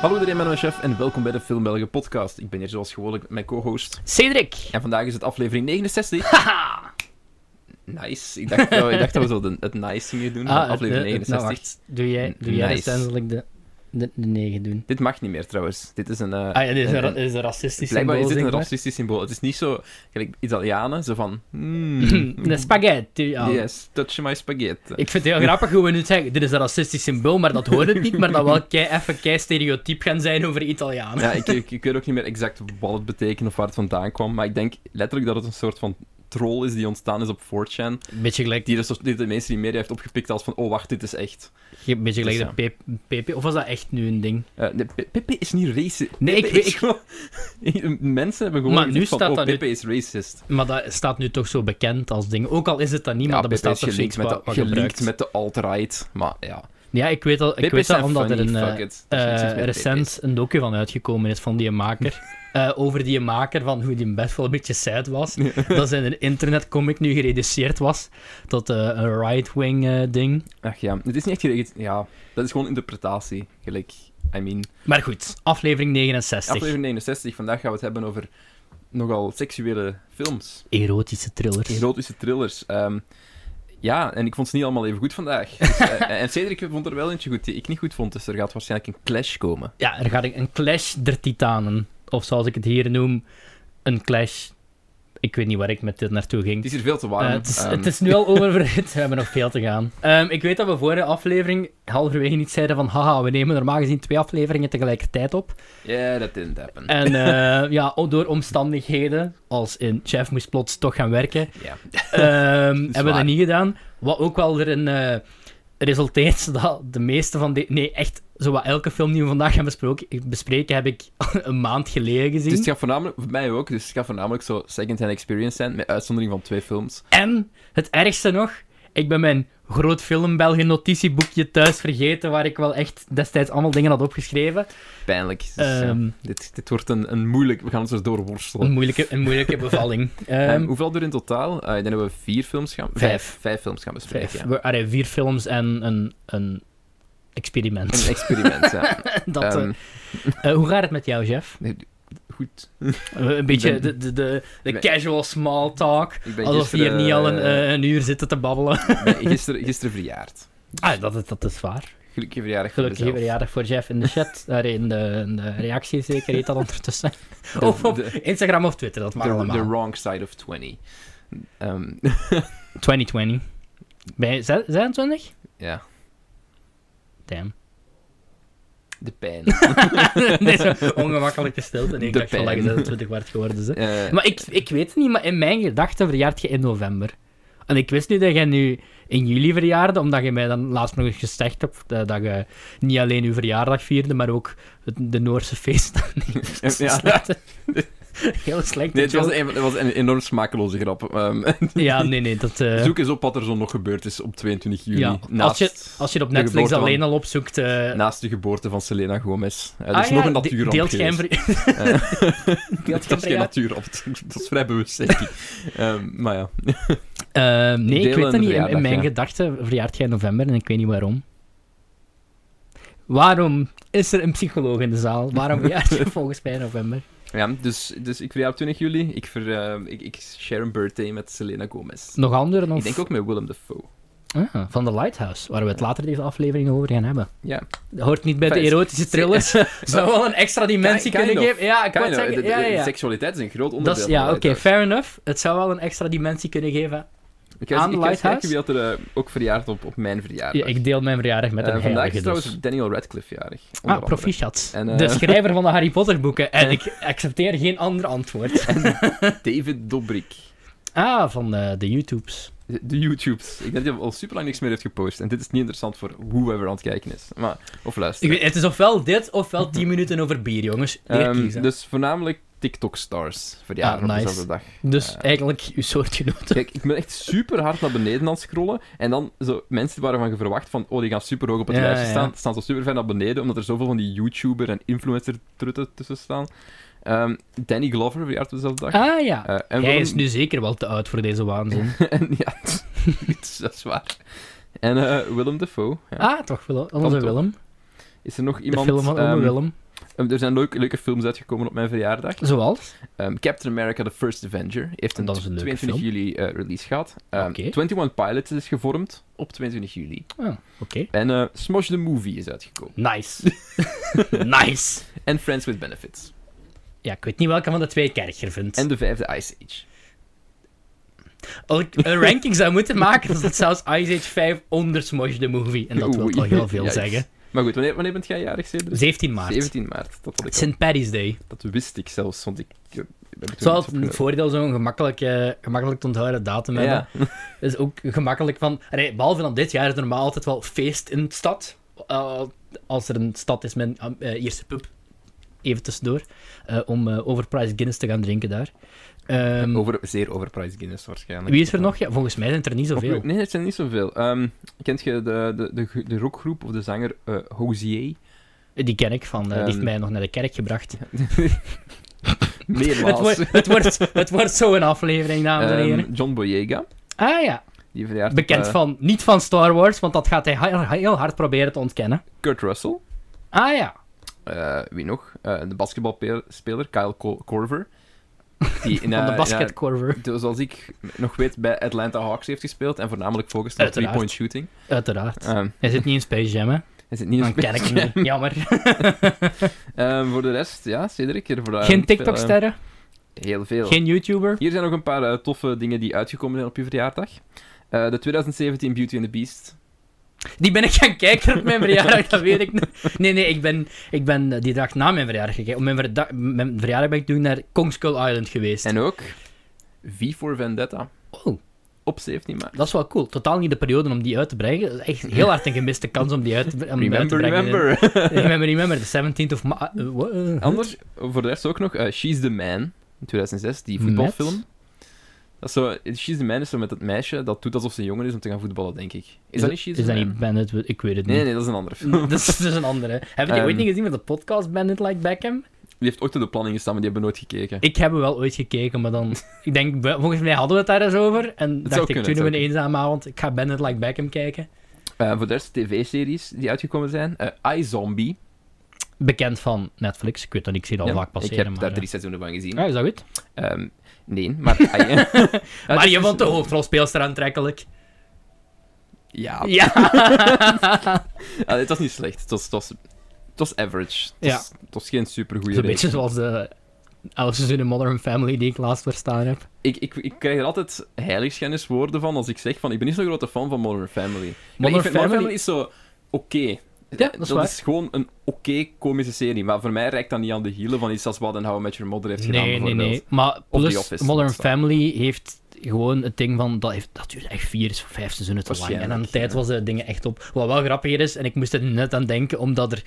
Hallo iedereen, mijn chef en welkom bij de Film België podcast. Ik ben hier zoals gewoonlijk met mijn co-host. Cedric! En vandaag is het aflevering 69. Haha! Nice. Ik dacht, eh, ik dacht dat we zo de- het nice hier doen, Ah, van aflevering het- het- 69. nou, Doe jij, doe jij Nice. nice. dan zal ik de, de, de 9 doen. Dit mag niet meer trouwens. Dit is een... eh, Ah ja, dit is een, een- ra- dit is een racistisch Blijkbaar is symbool, dit een zeg maar. racistisch symbool. Het is niet zo, gelijk Italianen, zo van... Mm, Hmm, De spaghetti, ja. yes, touch my spaghetti. Nou. Ik vind het heel grappig hoe we nu zeggen, dit is een racistisch symbool, maar dat hoort het niet, maar dat wel kei, even kei stereotyp gaan zijn over Italianen. Ja, ik, ik, ik weet ook niet meer exact wat het betekent of waar het vandaan kwam, maar ik denk letterlijk dat het een soort van troll is die ontstaan is op 4chan, Beetje gelijk, die, dus, die de mensen die media heeft opgepikt als van, oh wacht, dit is echt. beetje Dus gelijk de P- PP, of was dat echt nu een ding? Eh, nee, Pe- Pepe is niet racist. Nee, Pepe ik weet- is gewoon- Mensen hebben gewoon Maar nu gezegd van, staat oh, dat nu- Pepe is racist. Maar dat staat nu toch zo bekend als ding. Ook al is het dat niet, maar dat Pepe bestaat is toch gelinkt zoiets met, wat, de, wat gelinkt gebruikt. met de alt-right. Maar ja, Ja, ik weet al, ik Pepe weet zijn dat omdat funny, er een... eh, fuck it. Er is niks mis eh, met recent een docu van uitgekomen is van die maker. Eh, over die maker van hoe die best wel een beetje sad was. dat zijn internetcomic nu gereduceerd was tot eh, een right-wing eh, ding. Pepe. Ach ja, het is niet echt geregeld. Ja, dat is gewoon interpretatie. Gelijk, I mean. Maar goed, aflevering 69. Aflevering 69, vandaag gaan we het hebben over nogal seksuele films. Erotische thrillers. Erotische thrillers. Ehm, ja, en ik vond ze niet allemaal even goed vandaag. Dus, eh, en Cedric vond er wel eentje goed die ik niet goed vond, dus er gaat waarschijnlijk een clash komen. ja, er gaat een clash der titanen. Of zoals ik het hier noem, een clash... Ik weet niet waar ik met dit naartoe ging. Het is hier veel te warm. Eh, het, is, Ehm, het is nu al oververhit. We hebben nog veel te gaan. Ehm, ik weet dat we vorige aflevering halverwege niet zeiden van haha, we nemen normaal gezien twee afleveringen tegelijkertijd op. Yeah, that didn't happen. En eh, ja, o- door omstandigheden, als in Chef moest plots toch gaan werken, Ja. ehm, hebben we waar. dat niet gedaan. Wat ook wel erin eh resulteert dat de meeste van de... Nee, echt, zowat elke film die we vandaag gaan besproken, bespreken heb ik een maand geleden gezien. Dus het gaat voornamelijk, voor mij ook, dus het gaat voornamelijk zo second-hand experience zijn, met uitzondering van twee films. En het ergste nog, ik ben mijn groot filmbelgen notitieboekje thuis vergeten, waar ik wel echt destijds allemaal dingen had opgeschreven. Pijnlijk. Dus, ja, Ehm. dit, dit wordt een, een moeilijk, we gaan ons erdoor worstelen. Een moeilijke, een moeilijke bevalling. Ehm, Ehm, hoeveel er in totaal? Eh, ik denk dat we vier films gaan... Vijf. Vijf films gaan bespreken, vijf- ja. we- allee, vier films en een, een experiment. Een experiment, ja. Dat, eh, Ehm, eh, hoe gaat het met jou, Jeff? goed. Eh, Een beetje ben- de, de, de, de ben- casual small talk. Ik ben Alsof we hier niet al een, eh, eh, een uur zitten te babbelen. ben gisteren, gisteren verjaard. Ah, dat, is- dat is waar. Gelukkige verjaardag voor Gelukkige mezelf. verjaardag voor Jeff in de chat. Daar in de, in de reactie zeker heet dat ondertussen. De- of op de- Instagram of Twitter, dat mag de- allemaal. The wrong side of 20. Ehm, 2020. Ben je zes- 26? ja, Damn. de pijn. Deze ongemakkelijke stilte. Nee, ik De dacht wel dat je pijn. 26 werd geworden. Ze. Eh, Maar ik, ik weet het niet, maar in mijn gedachten verjaart je in november. En ik wist nu dat jij nu in juli verjaarde, omdat je mij dan laatst nog eens gezegd hebt eh, dat je niet alleen je verjaardag vierde, maar ook het, de Noorse feesten. ja. Heel slecht. Nee, het was, een, het was een enorm smakeloze grap. Ehm, Ja, nee, nee. Dat, eh, Zoek eens op wat er zo nog gebeurd is op 22 juli. ja. naast, als, je, als je het op de Netflix geboorte van- alleen al opzoekt... eh, naast de geboorte van Selena Gomez. Eh, Ah dat Nou, is ja, nog een de- natuurramp Deelt geweest. geen ver- Dat geen is geen verjaar- natuurramp. Dat is vrij bewust, denk ik. Ehm, maar ja. Ehm, nee, Deel ik weet een dat niet. In, verjaardag, in mijn ja. gedachten verjaart jij in november en ik weet niet waarom. Waarom is er een psycholoog in de zaal? Waarom verjaart je volgens mij in november? ja dus, dus ik verjaar op 20 juli. Ik, ver, eh, ik, ik share een birthday met Selena Gomez. Nog anderen? Of... Ik denk ook met Willem Dafoe. Ah, van The Lighthouse, waar we het later deze aflevering over gaan hebben. Ja. Dat hoort niet bij de Fijn. erotische thrillers. Zou wel een extra dimensie Kind- kind kunnen of. geven. Ja, ik wou Kind of, zeggen, nou, de- de- ja, ja, ja. Seksualiteit is een groot onderdeel Dat is, van ja, de oké, Lighthouse. fair enough. Het zou wel een extra dimensie kunnen geven. Ik ga eens- aan de ik ga eens kijken Lighthouse. wie dat er eh, ook verjaard op, op mijn verjaardag. Ja, ik deel mijn verjaardag met Eh, een vandaag heilige is dus. trouwens Daniel Radcliffe jarig. onder Ah, andere. proficiat. En, eh, De schrijver van de Harry Potter boeken. En ik accepteer geen ander antwoord. David Dobrik. Ah, van de, de YouTubes. De de YouTubes. Ik denk dat hij al super lang niks meer heeft gepost. En dit is niet interessant voor whoever aan het kijken is. Maar, of Ik luisteren. weet, het is ofwel dit, ofwel 10 minuten over bier, jongens. Leer Ehm, kiezen. Dus, dus voornamelijk TikTok-stars verjaren Ah, nice. op dezelfde dag. eh. dus eigenlijk uw soortgenoten. Kijk, ik ben echt super hard naar beneden aan het scrollen. En dan zo mensen waarvan je verwacht van, oh, die gaan super hoog op het Ja, lijstje ja. staan, staan zo super ver naar beneden, omdat er zoveel van die YouTuber en influencer-trutten tussen staan. Ehm, Danny Glover verjaart op dezelfde dag. Ah ja. Eh, en Hij Willem- is nu zeker wel te oud voor deze waanzin. en, ja, dat is waar. En eh, Willem Dafoe. Ja. Ah, toch, Willem. Onze toch. Willem. Is er nog De iemand... film van Ome ehm, Willem. Eh, Er zijn leuke, leuke films uitgekomen op mijn verjaardag. Zoals? Ehm, Captain America The First Avenger heeft een, Dat is een leuke 22 juli eh, release gehad. Ehm, Oké. 21 Pilots is gevormd op 22 juli. Oh, oké. En eh Smosh the Movie is uitgekomen. Nice. nice. En Friends with Benefits. Ja, ik weet niet welke van de twee ik erger vind. En de vijfde Ice Age. Al- een ranking zou moeten maken, dan zit zelfs Ice Age 5 onder Smosh the Movie. En dat wil Oei. toch heel veel Yikes. zeggen. Maar goed, wanneer, wanneer bent jij jarig, Cedric? 17 maart. 17 maart. Dat, had ik St. Paddy's Day. al- dat wist ik zelfs, want ik... eh, ik heb het toen Zoals niet een opgelet. voordeel zo'n gemakkelijke, gemakkelijk te onthouden datum hebben. Ja, is ook gemakkelijk van. Allee, behalve dan dit jaar is er normaal altijd wel feest in de stad. Eh, als er een stad is met een eh, eerste pub. Even tussendoor. eh, om eh, overpriced Guinness te gaan drinken daar. Ehm, over, zeer overpriced Guinness waarschijnlijk. wie is er nog? Ja, volgens mij zijn het er niet zoveel. Nee, het zijn niet zoveel. Ehm kent je de, de, de, de rockgroep of de zanger eh Hosier? Die ken ik van. eh, die Ehm. heeft mij nog naar de kerk gebracht. Het, Meermaals. wordt, het, wordt, het wordt zo een aflevering, dames en Ehm, heren. John Boyega. Ah ja, Die verjaart op, bekend eh, van. Niet van Star Wars, want dat gaat hij heel- heel hard proberen te ontkennen. Kurt Russell. Ah ja. Eh, wie nog? Eh, de basketbalspeler Kyle Cor- Corver. Die in, Van de eh, ja, basketcorver. dus zoals ik nog weet, bij Atlanta Hawks heeft gespeeld en voornamelijk focust op Uiteraard. three-point shooting. Uiteraard. Ehm, Hij zit niet in Space Jam, hè? hij zit niet in Dan ken ik Space je. Jammer. Ehm, voor de rest, ja, Cedric. er voor, eh, Geen veel, eh, TikTok-sterren, Heel veel. geen YouTuber. Hier zijn nog een paar eh, toffe dingen die uitgekomen zijn op je verjaardag. Eh, de 2017 Beauty and the Beast. Die ben ik gaan kijken op mijn verjaardag, dat weet ik niet. Nee, nee, ik ben, ik ben eh, die dag na mijn verjaardag gekeken. Op mijn, verda- mijn verjaardag ben ik toen naar Kong Skull Island geweest. En ook V for Vendetta. Oh, Op 17 maart. dat is wel cool. Totaal niet de periode om die uit te brengen. Dat is echt heel hard een gemiste kans om die uit te, om die uit te Remember, brengen. remember. Remember, remember. De 17th of... Ma- eh, wa- eh, Anders, voor de rest ook nog eh, She's the Man, in 2006, die voetbalfilm. Met? Dat is zo, She's the Man is zo met dat meisje dat doet alsof ze een jongen is om te gaan voetballen, denk ik. Is, Is, dat niet She's Is the dat Man? niet Bandit? Ik weet het niet. Nee, nee, dat is een andere film. Dat, is, dat is een andere. Heb je die Ehm. ooit niet gezien met de podcast Bandit Like Beckham? Die heeft ooit op de planning gestaan, maar die hebben nooit gekeken. Ik heb er wel ooit gekeken, maar dan... Ik denk, we- volgens mij hadden we het daar eens over. En zou dacht kunnen, ik, toen het we zou een eenzame avond, ik ga Bandit Like Beckham kijken. Eh, voor de rest tv-series die uitgekomen zijn. Eh I, Zombie. Bekend van Netflix. Ik weet dat ik zie dat al vaak passeren, ik heb maar... daar eh. drie seizoenen van gezien. Ah, is dat goed? Ehm, nee, maar... Ah, ja. Ja, maar dus- je vond de hoofdrolspeelster aantrekkelijk. Ja, Ja. Ah, het was niet slecht. Het was, het was, het was average. Het, Ja. was, het was geen supergoeie Zo'n reeks. beetje zoals de... Alice in the Modern Family die ik laatst verstaan heb. Ik, ik, ik krijg er altijd heiligschenniswoorden van als ik zeg van ik ben niet zo'n grote fan van Modern Family. Maar ik vind Modern Family is zo oké. Eh, dat is waar. gewoon een oké komische serie, maar voor mij reikt dat niet aan de hielen van iets als wat en How I Met Your Mother heeft gedaan Nee, nee, bijvoorbeeld. nee. Maar The plus, Office, Modern dat is waar. Family heeft gewoon het ding van... Dat, heeft, dat duurt echt vier, vijf seizoenen te lang. En aan de Waarschijnlijk, tijd ja. was de dingen echt op. Wat wel grappiger is, en ik moest er net aan denken, omdat er...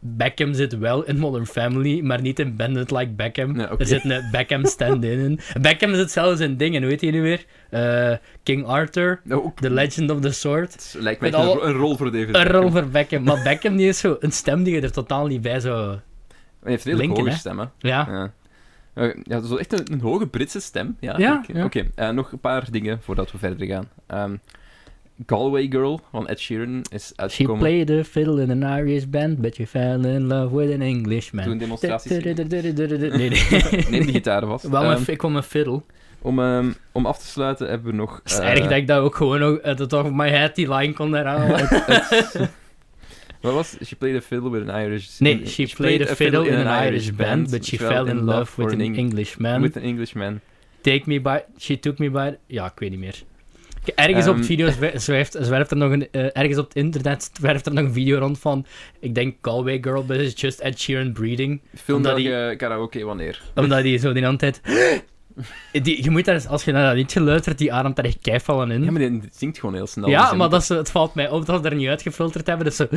Beckham zit wel in Modern Family, maar niet in Bandit Like Beckham. Ja, oké. Er zit een Beckham stand-in in. Beckham zit zelfs in dingen, hoe heet hij nu weer? Eh, King Arthur, Nou, ook- The Legend of the Sword. het lijkt mij Met echt een, alle- ro- een rol voor David Een Beckham. rol voor Beckham. Maar Beckham die is zo een stem die je er totaal niet bij zou... Hij heeft redelijk Lincoln, hoge hè? stemmen. Ja. Ja. Eh, Ja, zo echt een, een hoge Britse stem. Ja, Ja, oké. ja. Oké, eh, nog een paar dingen voordat we verder gaan. Ehm, Galway Girl van Ed Sheeran is She uitgekomen. played a fiddle in an Irish band, but you fell in love with an Englishman. Toen demonstraties. Nee, Nee, nee. de gitaar was. Wel, mijn Ehm, f- ik kwam een fiddle. om, ehm, om af te sluiten hebben we nog... Het is eh, erg dat ik dat ook gewoon ook uit het top of my head die line kon herhalen. Wat was She played a fiddle with an Irish... Nee, she played a fiddle in an Irish band, but she fell in love with an Englishman. With an Englishman. Take me by... She took me by... Ja, ik weet niet meer. K- Ergens op Ehm. het video zwe- zwerft, zwerft er nog een... eh, ergens op het internet zwerft er nog een video rond van... Ik denk Galway Girl, but it's just Ed Sheeran breeding. Film Omdat dat karaoke wanneer? Omdat hij zo die hele tijd... Die, je moet daar, eens- als je naar dat liedje luistert, die ademt daar echt keivallen in. Ja, maar die zingt gewoon heel snel. Hm? ja, dus je maar moet- dat is, het valt mij op dat we er niet uitgefilterd hebben. Dus zo-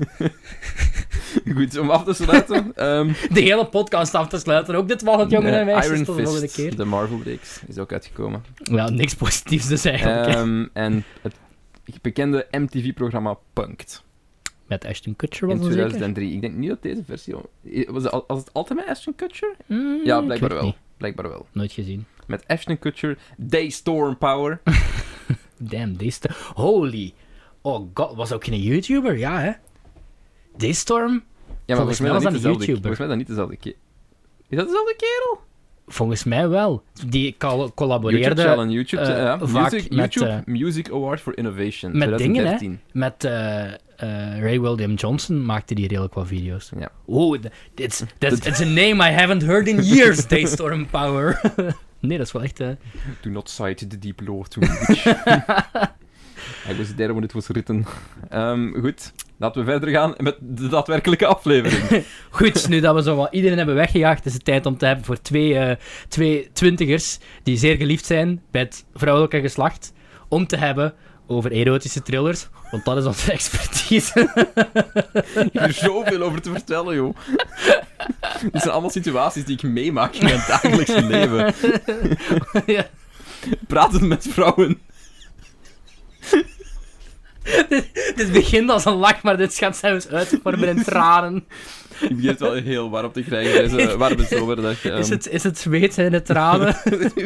Goed, om af te sluiten... ehm, de hele podcast af te sluiten. Ook dit was het, jongen en eh, meisjes. Iron tot de volgende Fist, keer. de Marvel reeks, is ook uitgekomen. Ja, niks positiefs dus eigenlijk. hè. Ehm, en het bekende MTV-programma Punked Met Ashton Kutcher was in dat zeker? 2003. Ik denk niet dat deze versie... al- Was, het al- was het altijd met Ashton Kutcher? Hmm, Ja, ik blijkbaar weet wel. niet. Blijkbaar wel. Nooit gezien. Met Ashton Kutcher, Daystorm Power. Damn, deze... te- Holy. Oh god, was ook geen YouTuber? Ja, hè? Daystorm? Ja, maar volgens mij mij is dat was dat niet een dezelfde YouTuber. Volgens mij is dat niet dezelfde keer. Is dat dezelfde kerel? Volgens mij wel. Die col- collaboreerde YouTube Challenge, YouTube, eh, ja. vaak Music, met, YouTube eh, Music Award for Innovation met dingen, hè. 2013. met eh, eh, Ray William Johnson, maakte die redelijk wat video's. Ja. Oh, th- it's, that's, it's a name I haven't heard in years, Daystorm Power. nee, dat is wel echt... eh, Do not cite the deep lore too much. I was there when it was written. Ehm, goed, laten we verder gaan met de daadwerkelijke aflevering. Goed, nu dat we zo wat iedereen hebben weggejaagd, is het tijd om te hebben voor twee, eh, twee twintigers die zeer geliefd zijn bij het vrouwelijke geslacht, om te hebben over erotische thrillers, want dat is onze expertise. Ik heb er zoveel over te vertellen, joh. Dit zijn allemaal situaties die ik meemaak in mijn dagelijks leven. ja. Praten met vrouwen. Dit begint als een lach, maar dit gaat zelfs uitvormen in tranen. Ik begin het wel heel warm te krijgen deze warme zomerdag. ehm. Is het, is het zweet en de tranen? Het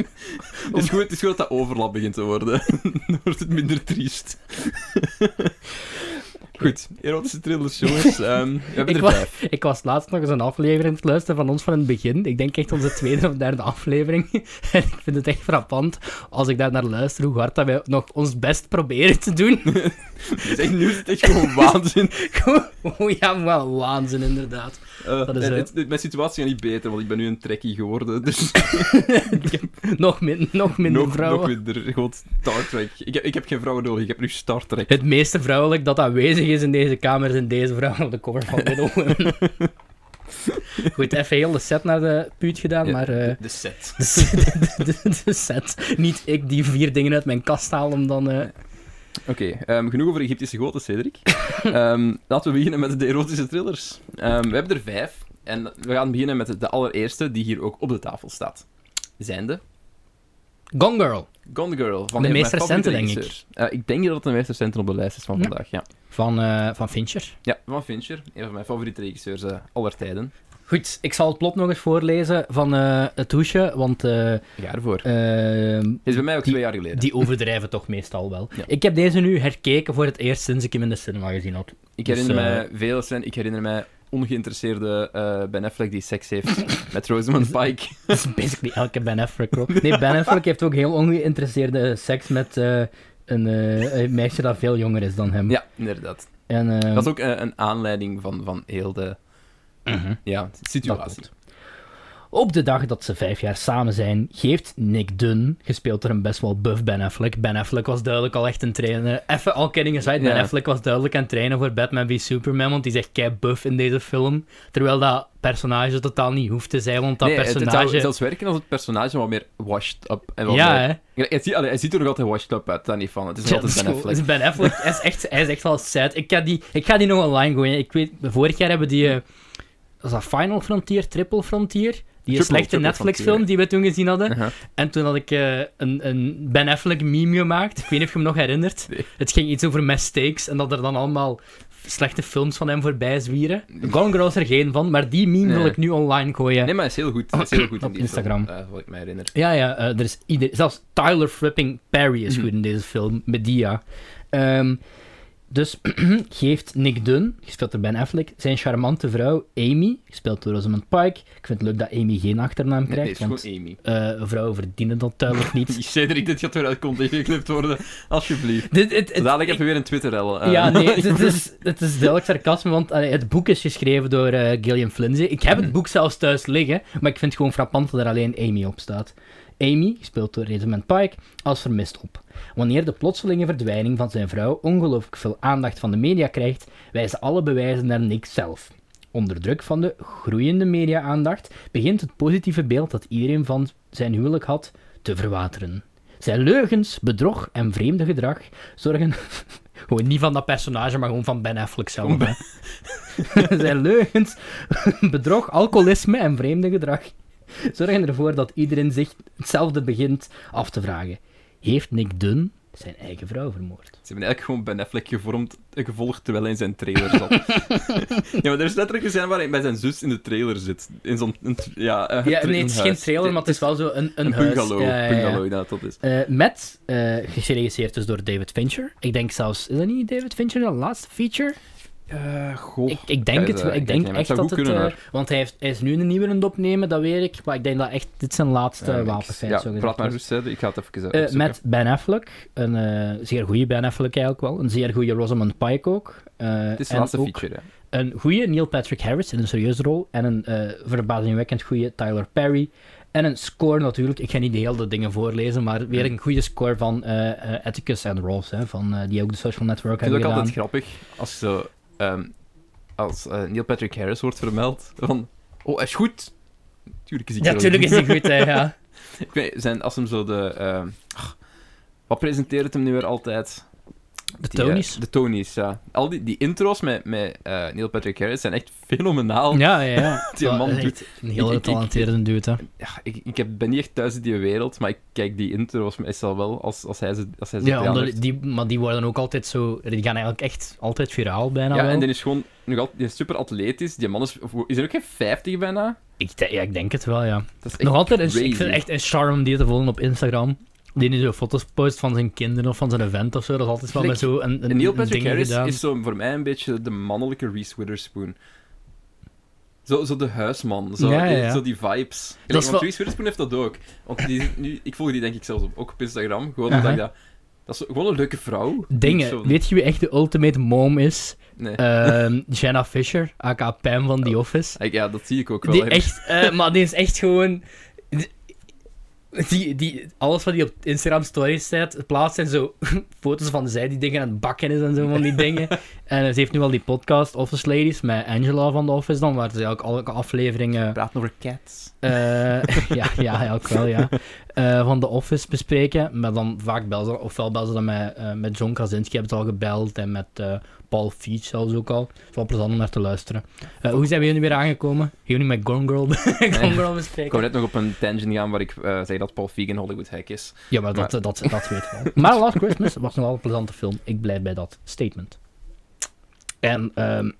is, goed, het is goed dat dat overlap begint te worden. Dan wordt het minder triest. Goed, erotische thrillers, jongens. Ehm, we hebben Ik er was, vijf. ik was laatst nog eens een aflevering aan het luisteren van ons van het begin. Ik denk echt onze tweede of derde aflevering. En ik vind het echt frappant als ik daar naar luister hoe hard dat wij nog ons best proberen te doen. Het is echt, nu is het echt gewoon waanzin. oh ja, wel waanzin inderdaad. Eh, Dat is, en eh, het- het- mijn situatie gaat niet beter, want ik ben nu een trekkie geworden. Dus Nog, min, nog minder nog, vrouwen. nog minder. Gewoon Star Trek. Ik heb, ik heb geen vrouwen nodig, ik heb nu Star Trek. het meeste vrouwelijk dat aanwezig is in deze kamer zijn deze vrouwen op de cover van Little Women. Goed, even heel de set naar de puut gedaan, Ja, maar... eh, de, de set. de, de- de- de set. Niet ik die vier dingen uit mijn kast haal om dan... eh, Oké, ehm, genoeg over Egyptische goten, Cedric. Ehm, laten we beginnen met de erotische thrillers. Ehm, we hebben er vijf. En we gaan beginnen met de allereerste die hier ook op de tafel staat. Zijnde Gone Girl. Gone Girl. Van De een meest van mijn favoriete recente, denk ik. regisseurs. Eh, ik denk dat het de meest recente op de lijst is van Ja. vandaag. Ja. Van, eh, van Fincher. ja, van Fincher. Een van mijn favoriete regisseurs eh, aller tijden. Goed, ik zal het plot nog eens voorlezen van eh, het hoesje, want eh, Ik ga ervoor. eh, Is bij mij ook twee jaar geleden. die overdrijven toch meestal wel. Ja. Ik heb deze nu herkeken voor het eerst sinds ik hem in de cinema gezien had. Ik herinner Dus, eh, mij veel scènes. Ik herinner mij ongeïnteresseerde eh, Ben Affleck die seks heeft met Rosamund Pike. Dat is basically elke Ben Affleck. hoor. Nee, Ben Affleck heeft ook heel ongeïnteresseerde seks met eh, een eh, een meisje dat veel jonger is dan hem. Ja, inderdaad. En, eh, Dat is ook eh, een aanleiding van, van heel de mhm. ja, situatie. Dat Op de dag dat ze vijf jaar samen zijn, geeft Nick Dunn, gespeeld door een best wel buff Ben Affleck. Ben Affleck was duidelijk al echt een trainer. Even al kidding aside, Ben Ja. Affleck was duidelijk aan het trainen voor Batman v Superman, want die zegt kei buff in deze film. Terwijl dat personage totaal niet hoeft te zijn, want dat nee, het- Het, personage... zou zelfs werken als het personage wat meer washed up en wat ja, meer- hè. Ja, het ziet- allee, hij ziet er nog altijd washed up uit, daar niet van. Het is nog Ja, dat altijd Ben cool. Affleck. Het is Dus Ben Affleck. hij, is echt, hij is echt wel sad. Ik ga die, ik ga die nog online gooien. Ik weet, vorig jaar hebben die... eh, was dat Final Frontier? Triple Frontier? Die Triple- slechte Triple Uh-huh. Netflix-film die we toen gezien hadden. Aha. En toen had ik eh, een, een Ben Affleck meme gemaakt. Ik weet niet of je hem nog herinnert. Nee. Het ging iets over mistakes en dat er dan allemaal slechte films van hem voorbij zwieren. Gone Girl is er geen van, maar die meme wil Nee. ik nu online gooien. Nee, maar hij is heel goed. Hij is heel goed in Op die Instagram. film, eh, wat ik me herinner. Ja, ja, eh, er is ieder... zelfs Tyler Flipping Perry is Mhm. goed in deze film, Medea. Ehm, dus geeft Nick Dunn, gespeeld door Ben Affleck, zijn charmante vrouw Amy, gespeeld door Rosamund Pike. Ik vind het leuk dat Amy geen achternaam Nee, nee, krijgt, het is want gewoon Amy. eh, vrouwen verdienen dat duidelijk niet. Cedric, dit gaat weer uit context geknipt worden. Alsjeblieft. Dit, het, het, Dadelijk even weer een Twitter-rel. eh. Ja, nee, het, het is, het is duidelijk sarcasme, want allee, het boek is geschreven door eh, Gillian Flinzy. Ik heb het boek zelfs thuis liggen, maar ik vind het gewoon frappant dat er alleen Amy op staat. Amy, gespeeld door Rosamund Pike, als vermist op. Wanneer de plotselinge verdwijning van zijn vrouw ongelooflijk veel aandacht van de media krijgt, wijzen alle bewijzen naar Nick zelf. Onder druk van de groeiende media-aandacht begint het positieve beeld dat iedereen van zijn huwelijk had te verwateren. Zijn leugens, bedrog en vreemde gedrag zorgen. gewoon niet van dat personage, maar gewoon van Ben Affleck zelf. Van hè. Zijn leugens, bedrog, alcoholisme en vreemde gedrag zorgen ervoor dat iedereen zich hetzelfde begint af te vragen. Heeft Nick Dunn zijn eigen vrouw vermoord? Ze hebben eigenlijk gewoon Ben Affleck gevormd, eh, gevolgd terwijl hij in zijn trailer zat. ja, maar er is letterlijk een scène waar hij bij zijn zus in de trailer zit. In zo'n... een tr- Ja, eh, Ja, tra- nee, een het is geen huis. trailer, maar het is wel zo een, een, Een huis. bungalow. Ja, ja, ja. Bungalow, inderdaad, dat is. Eh, met, eh geregisseerd dus door David Fincher. Ik denk zelfs, is dat niet David Fincher, de laatste feature? Eh, goh. Ik, ik denk Ga het je wel. dat- Ik denk kijk, maar eh, het echt zou dat het... goed kunnen, eh, want hij, heeft, hij is nu een nieuwe aan het opnemen, dat weet ik. Maar ik denk dat echt dit zijn laatste Ehm, ik- wapen zijn. Ja, praat maar rustig. hè. Ik ga het even eh, Eh, opzoeken. met Ben Affleck, een eh, zeer goede Ben Affleck eigenlijk wel. Een zeer goede Rosamund Pike ook. Eh, Het is de en laatste ook feature, hè. Een goede Neil Patrick Harris in een serieuze rol. En een eh, verbazingwekkend goede Tyler Perry. En een score natuurlijk. Ik ga niet de hele dingen voorlezen, maar weer Mm. een goede score van eh eh Atticus en Ross, hè, van, eh, die ook de social network Ik vind hebben het ook gedaan. altijd grappig als zo... ehm, als eh, Neil Patrick Harris wordt vermeld van... Oh, hij is goed. Tuurlijk is hij Ja, wel natuurlijk is goed. die goed, hè, ja. Ik weet, zijn, als hem zo de... ehm, ach, wat presenteert het hem nu weer altijd? De Die, eh, Tonys. de Tonys, ja. Al die, die intro's met, met eh, Neil Patrick Harris zijn echt fenomenaal. Ja, ja, ja. Die man Dat is doet- echt Een heel Ik- ik- getalenteerde dude, hè. Ja, ik ik heb, ben niet echt thuis in die wereld, maar ik kijk die intro's meestal wel als, als hij ze, als hij ze Ja, gedaan omdat heeft. die, maar die worden ook altijd zo... Die gaan eigenlijk echt altijd viraal bijna ja, wel. en die is gewoon nog altijd die is super atletisch. Die man is, is er ook geen 50 bijna? ik, de- ja, ik denk het wel, ja. Dat is echt Nog altijd, een, ik crazy. vind het echt een charme om die te volgen op Instagram. Die nu zo foto's post van zijn kinderen of van zijn event of zo. Dat is altijd wel Like, met zo een, een, En Neil een Patrick ding Harris gedaan. is zo voor mij een beetje de mannelijke Reese Witherspoon. Zo, zo de huisman, zo, Ja, ja, ja. zo die vibes. Kijk, want wel- Reese Witherspoon heeft dat ook. Want die, is nu, ik volg die denk ik zelfs op, ook op Instagram, gewoon omdat Aha. ik dat... Dat is zo- gewoon een leuke vrouw. Dingen. Niet zo- Weet je wie echt de ultimate mom is? Nee. Ehm, Jenna Fisher, aka Pam van Oh. The Office. Ik- ja, dat zie ik ook wel. Die hè. echt, eh, maar die is echt gewoon. Die, die, alles wat hij op Instagram stories zet, plaatst zijn zo foto's van zij die dingen aan het bakken is en zo van die dingen. En ze heeft nu al die podcast Office Ladies met Angela van de Office dan, waar ze ook elke aflevering eh, Praat over cats. eh, ja, ja, ook wel, ja. Eh, van The Office bespreken. Maar dan vaak bel ze, ofwel bel ze dan met, eh, met John Krasinski, hebben ze al gebeld. En met eh, Paul Feig zelfs ook al. Het is wel plezant om naar te luisteren. Eh, hoe zijn we hier nu weer aangekomen? Gaan we nu met Gone Girl, Gone Girl Ik wou bespreken? net nog op een tangent gaan waar ik eh zei dat Paul Feig een Hollywood hack is. Ja, maar dat, dat, dat weet ik wel. Maar Last Christmas was nog wel een plezante film. Ik blijf bij dat statement. En ehm,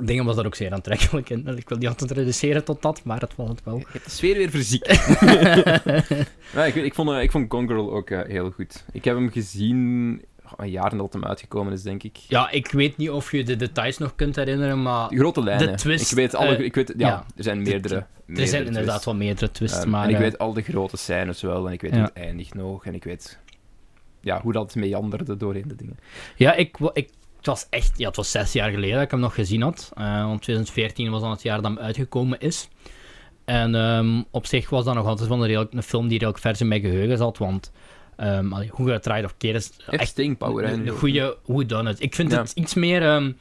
dingen was daar ook zeer aantrekkelijk in. Ik wil niet altijd reduceren tot dat, maar dat was het wel. Je hebt de sfeer weer verziekt. ja, ik, weet- ik, vond, eh, ik vond Gone Girl ook eh, heel goed. Ik heb hem gezien oh, een jaar nadat hem uitgekomen is, denk ik. Ja, ik weet niet of je de details nog kunt herinneren, maar De grote lijnen. twist, ik weet alle, eh, ik weet, ja, ja. er zijn De- meerdere. er meerdere zijn inderdaad twists. wel meerdere twists. Ehm, maar en ik eh, weet al de grote scènes wel, en ik weet Ja. hoe het eindigt nog, en ik weet ja, hoe dat meanderde doorheen de dingen. ja, ik, wa- ik, het was echt, ja, het was zes jaar geleden dat ik hem nog gezien had. Eh, want 2014 was dan het jaar dat hem uitgekomen is. En ehm, op zich was dat nog altijd wel een, redelijk- een film die redelijk vers in mijn geheugen zat, want ehm, allee, hoe je het draait of keer is Echt staying power. hè. Een, een goede whodunit. Ik vind Ja. het iets meer... ehm,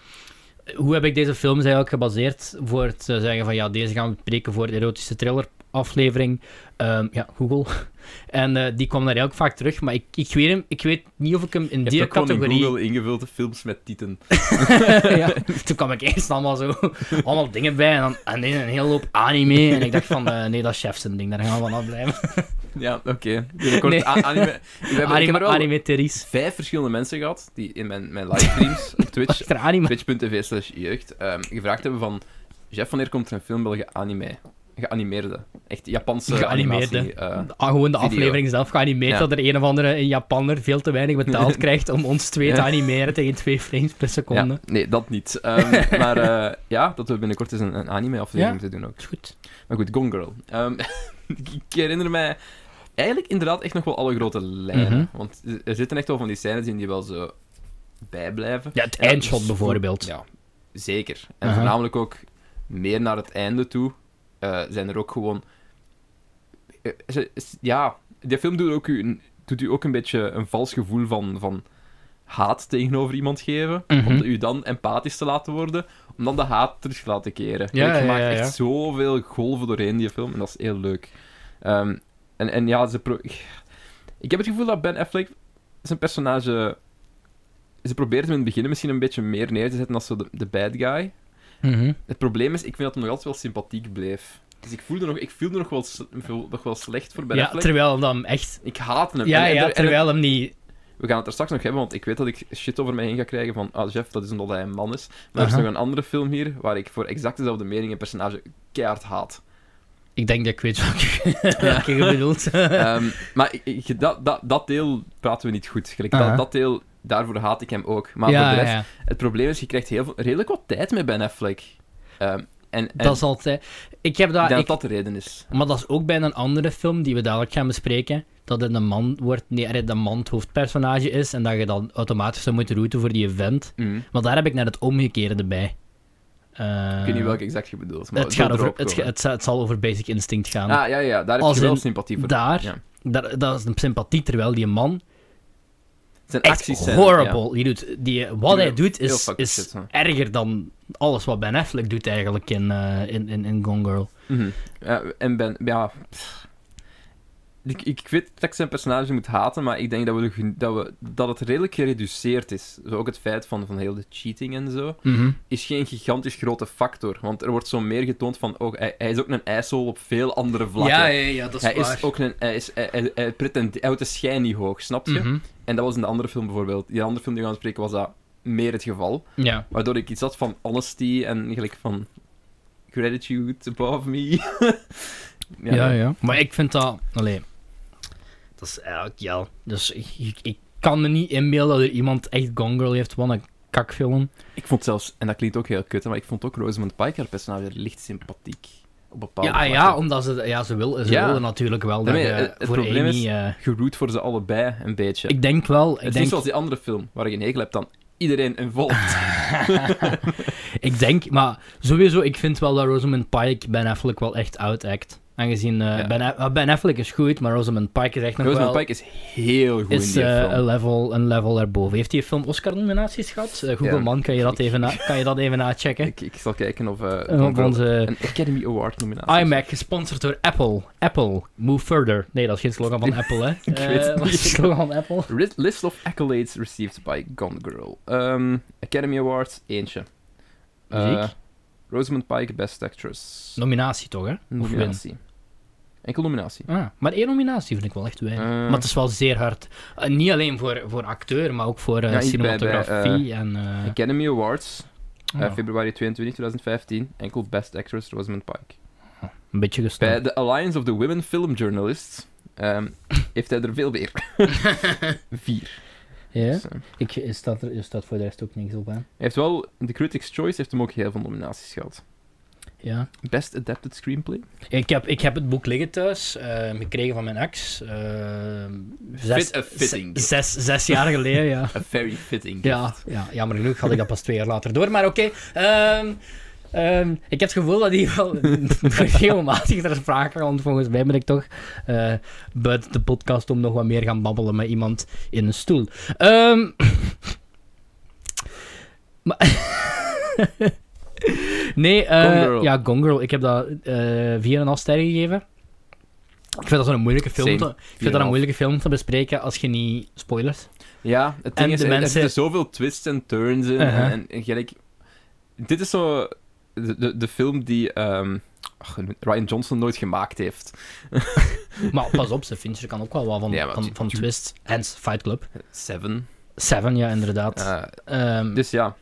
hoe heb ik deze films eigenlijk gebaseerd voor het eh, zeggen van ja, deze gaan we bespreken voor de erotische thriller aflevering. Ehm, ja, Google. En eh, die kwam daar eigenlijk vaak terug, maar ik, ik, weet, hem, ik weet niet of ik hem in Je die hebt ook gewoon in categorie... Google ingevulde films met titen. ja, toen kwam ik eerst allemaal zo allemaal dingen bij en dan en dan een hele hoop anime en ik dacht van eh, nee, dat is chef zijn ding, daar gaan we van afblijven. Ja, oké. Binnenkort Nee. a- anime. We hebben, ik heb Anime, er al anime Therese. vijf verschillende mensen gehad die in mijn, mijn livestreams op Twitch Achter anime. twitch.tv slash jeugd ehm, gevraagd hebben van... Jeff, wanneer komt er een film wel geanime? Geanimeerde. Echt Japanse Geanimeerde. animatie. eh. Ah, gewoon de Video. aflevering zelf geanimeerd, Ja. dat er een of andere Japanner veel te weinig betaald krijgt om ons twee te Ja. animeren tegen twee frames per seconde. ja, nee, dat niet. Ehm, maar eh, ja, dat we binnenkort eens een, een anime-aflevering Ja. moeten doen ook. Is goed. Maar goed, Gone Girl. Ehm, ik herinner mij eigenlijk inderdaad echt nog wel alle grote lijnen. Mhm. Want er zitten echt wel van die scènes in die wel zo bijblijven. Ja, het En dat eindshot is- bijvoorbeeld. dus- Uh-huh. Ja, zeker. En Aha. voornamelijk ook meer naar het einde toe eh, zijn er ook gewoon. eh, ze- s- ja, die film doet, ook u, een- doet u ook een beetje een vals gevoel van, van haat tegenover iemand geven. Mhm. Om u dan empathisch te laten worden, om dan de haat terug te laten keren. Ja, Like, je ja, maakt ja, ja. echt zoveel golven doorheen die film en dat is heel leuk. Ehm, en, en ja, ze pro- ik heb het gevoel dat Ben Affleck zijn personage. Ze probeert hem in het begin misschien een beetje meer neer te zetten als zo de, de bad guy. Mhm. Het probleem is, ik vind dat hem nog altijd wel sympathiek bleef. Dus ik voelde nog, ik voelde nog, wel, s- voel- nog wel slecht voor Ben Ja, Affleck. terwijl dan echt... Ik haat hem. Ja, En- en- ja, en- terwijl hem niet... we gaan het er straks nog hebben, want ik weet dat ik shit over mij heen ga krijgen van ah, Jeff, dat is omdat hij een man is. Maar er Aha. is nog een andere film hier waar ik voor exact dezelfde mening een personage keihard haat. Ik denk dat ik weet welke, welke je bedoelt. Ehm, maar ik- ik- dat, dat, dat deel praten we niet goed. Gelijk, Aha. dat, dat deel daarvoor haat ik hem ook. Maar ja, voor de ja, rest, ja. het probleem is, je krijgt heel veel, redelijk wat tijd met Ben Affleck. Ehm, en en dat is altijd... Ik heb ik dat... denk ik- dat dat de reden is. Maar dat is ook bij een andere film die we dadelijk gaan bespreken. Dat het een man wordt, nee, dat een man het hoofdpersonage is en dat je dan automatisch zou moeten routen voor die event. Mm. Maar daar heb ik net het omgekeerde bij. Eh, Ik weet niet welke exact je bedoelt. Maar Het, zal gaat over, erop het, komen. ga- het, za- het zal over Basic Instinct gaan. Ah, ja, ja, daar heb Als je wel in sympathie voor. daar, ja. daar, dat is een sympathie, terwijl die man Het zijn echt acties horrible. Die doet, die, wat hij Heel- doet heel is, fucking is shit, hè. erger dan alles wat Ben Affleck doet eigenlijk in, eh, in, in, in Gone Girl. Mhm. Ja, en Ben, ja. pff. Ik, ik weet dat ik zijn personage moet haten, maar ik denk dat, we, de gen- dat, we, dat het redelijk gereduceerd is. Zo ook het feit van, van heel de cheating en zo, Mhm. is geen gigantisch grote factor. Want er wordt zo meer getoond van, oh, hij, hij is ook een ijsel op veel andere vlakken. Ja, ja, ja, dat is hij waar. is ook een. Hij, is, hij, hij, hij pretendeert- hij houdt de schijn niet hoog, snap je? Mhm. En dat was in de andere film bijvoorbeeld. Die andere film die we gaan spreken was dat meer het geval. Ja. Waardoor ik iets had van honesty en gelijk van gratitude above me. Ja, ja, Maar ik vind dat... Allee, dat is eigenlijk ja. Dus ik, ik, ik kan me niet inbeelden dat er iemand echt Gone Girl heeft, wat een kakfilm. Ik vond zelfs, en dat klinkt ook heel kut, hè, maar ik vond ook Rosamund Pike haar personage licht sympathiek. Op bepaalde Ja, ja, vlakken. omdat ze... Ja, ze, wil, ze Ja. willen natuurlijk wel dat Nee, je het- het voor probleem Amy... is- eh, Geroet voor ze allebei, een beetje. ik denk wel... het Ik is niet denk, zoals die andere film, waar je een hekel hebt aan iedereen involved. ik denk... Maar sowieso, ik vind wel dat Rosamund Pike Ben Affleck wel echt outact. Aangezien eh, Ja. ben, Aff- ah, Ben Affleck is goed, maar Rosamund Pike is echt nog Rosamund wel... Pike is heel goed in is die eh, film. een, level, een level daarboven. Heeft die film Oscar-nominaties gehad? Eh, Google Ja. Man, kan je dat even, na- kan je dat even nachecken? Ik, ik zal kijken of... eh, Eh, of op onze Een Academy Award nominatie. iMac, gesponsord door Apple. Apple, move further. Nee, dat is geen slogan van Apple, hè? Ik weet het Eh, wat is de niet. slogan van Apple? Ri- List of accolades received by Gone Girl. Ehm, Academy Awards, eentje. Eh, Muziek? Rosamund Pike, Best Actress. Nominatie toch, hè? Of nominatie. Enkel nominatie. win. Ah, maar één nominatie vind ik wel echt weinig. Eh. maar het is wel zeer hard. Eh, niet alleen voor, voor acteur, maar ook voor eh, Ja, hier bij- bij, cinematografie en... eh, oh, Academy Awards, eh, ja, februari 22, 2015. Enkel Best Actress, Rosamund Pike. een beetje Bij gestopt. de Alliance of the Women Film Journalists ehm, heeft hij er veel meer. Vier. Ja? Dus, eh, Ik, is, dat er, is dat voor de rest ook niks op, hè? hij heeft wel, de Critics' Choice heeft hem ook heel veel nominaties gehad. Ja. Best Adapted Screenplay. Ik heb, ik heb het boek liggen thuis, eh, gekregen van mijn ex. eh, zes, Fit- a fitting zes, zes, zes jaar geleden, ja. A very fitting Ja, ja, jammer genoeg had ik dat pas twee jaar later door. Maar oké, ehm, ehm, ik heb het gevoel dat die wel regelmatig ter sprake komt. Volgens mij ben ik toch eh, buiten de podcast om nog wat meer gaan babbelen met iemand in een stoel. Ehm, maar... nee, eh, Gone Girl. ja, Gone Girl. Ik heb dat eh 4,5 sterren gegeven. Ik vind dat zo'n moeilijke film, Same. te, ik vind dat een 4,5. moeilijke film te bespreken als je niet spoilers. Ja, het ding En is, de er mensen- zitten zoveel twists en turns in. Uh-huh. En, en gelijk, dit is zo de, de, de film die ehm, ach, Ryan Johnson nooit gemaakt heeft. Maar pas op, ze Fincher kan ook wel wat van, Ja, maar van, tu- van tu- Twist. Hence Fight Club. Seven. Seven, ja, inderdaad. Eh, Ehm, dus ja,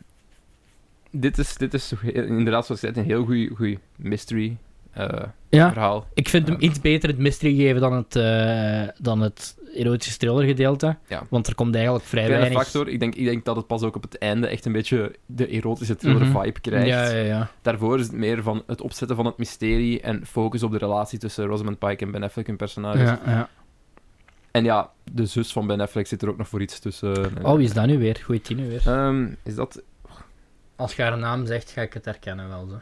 dit is, dit is zo heel- inderdaad, zoals ik zei, een heel goed mystery eh, ja, verhaal. ik vind hem ehm. iets beter het mystery geven dan het, eh, dan het erotische thriller gedeelte. Ja. Want er komt eigenlijk vrij Kleine weinig... factor, ik denk, ik denk dat het pas ook op het einde echt een beetje de erotische thriller Mhm. vibe krijgt. Ja, ja, ja. Daarvoor is het meer van het opzetten van het mysterie en focus op de relatie tussen Rosamund Pike en Ben Affleck, hun personages. ja, ja. En ja, de zus van Ben Affleck zit er ook nog voor iets tussen. eh, Oh, wie is dat nu weer? Goeie tien weer. Ehm, is dat... Als je haar naam zegt, ga ik het herkennen wel. Zo.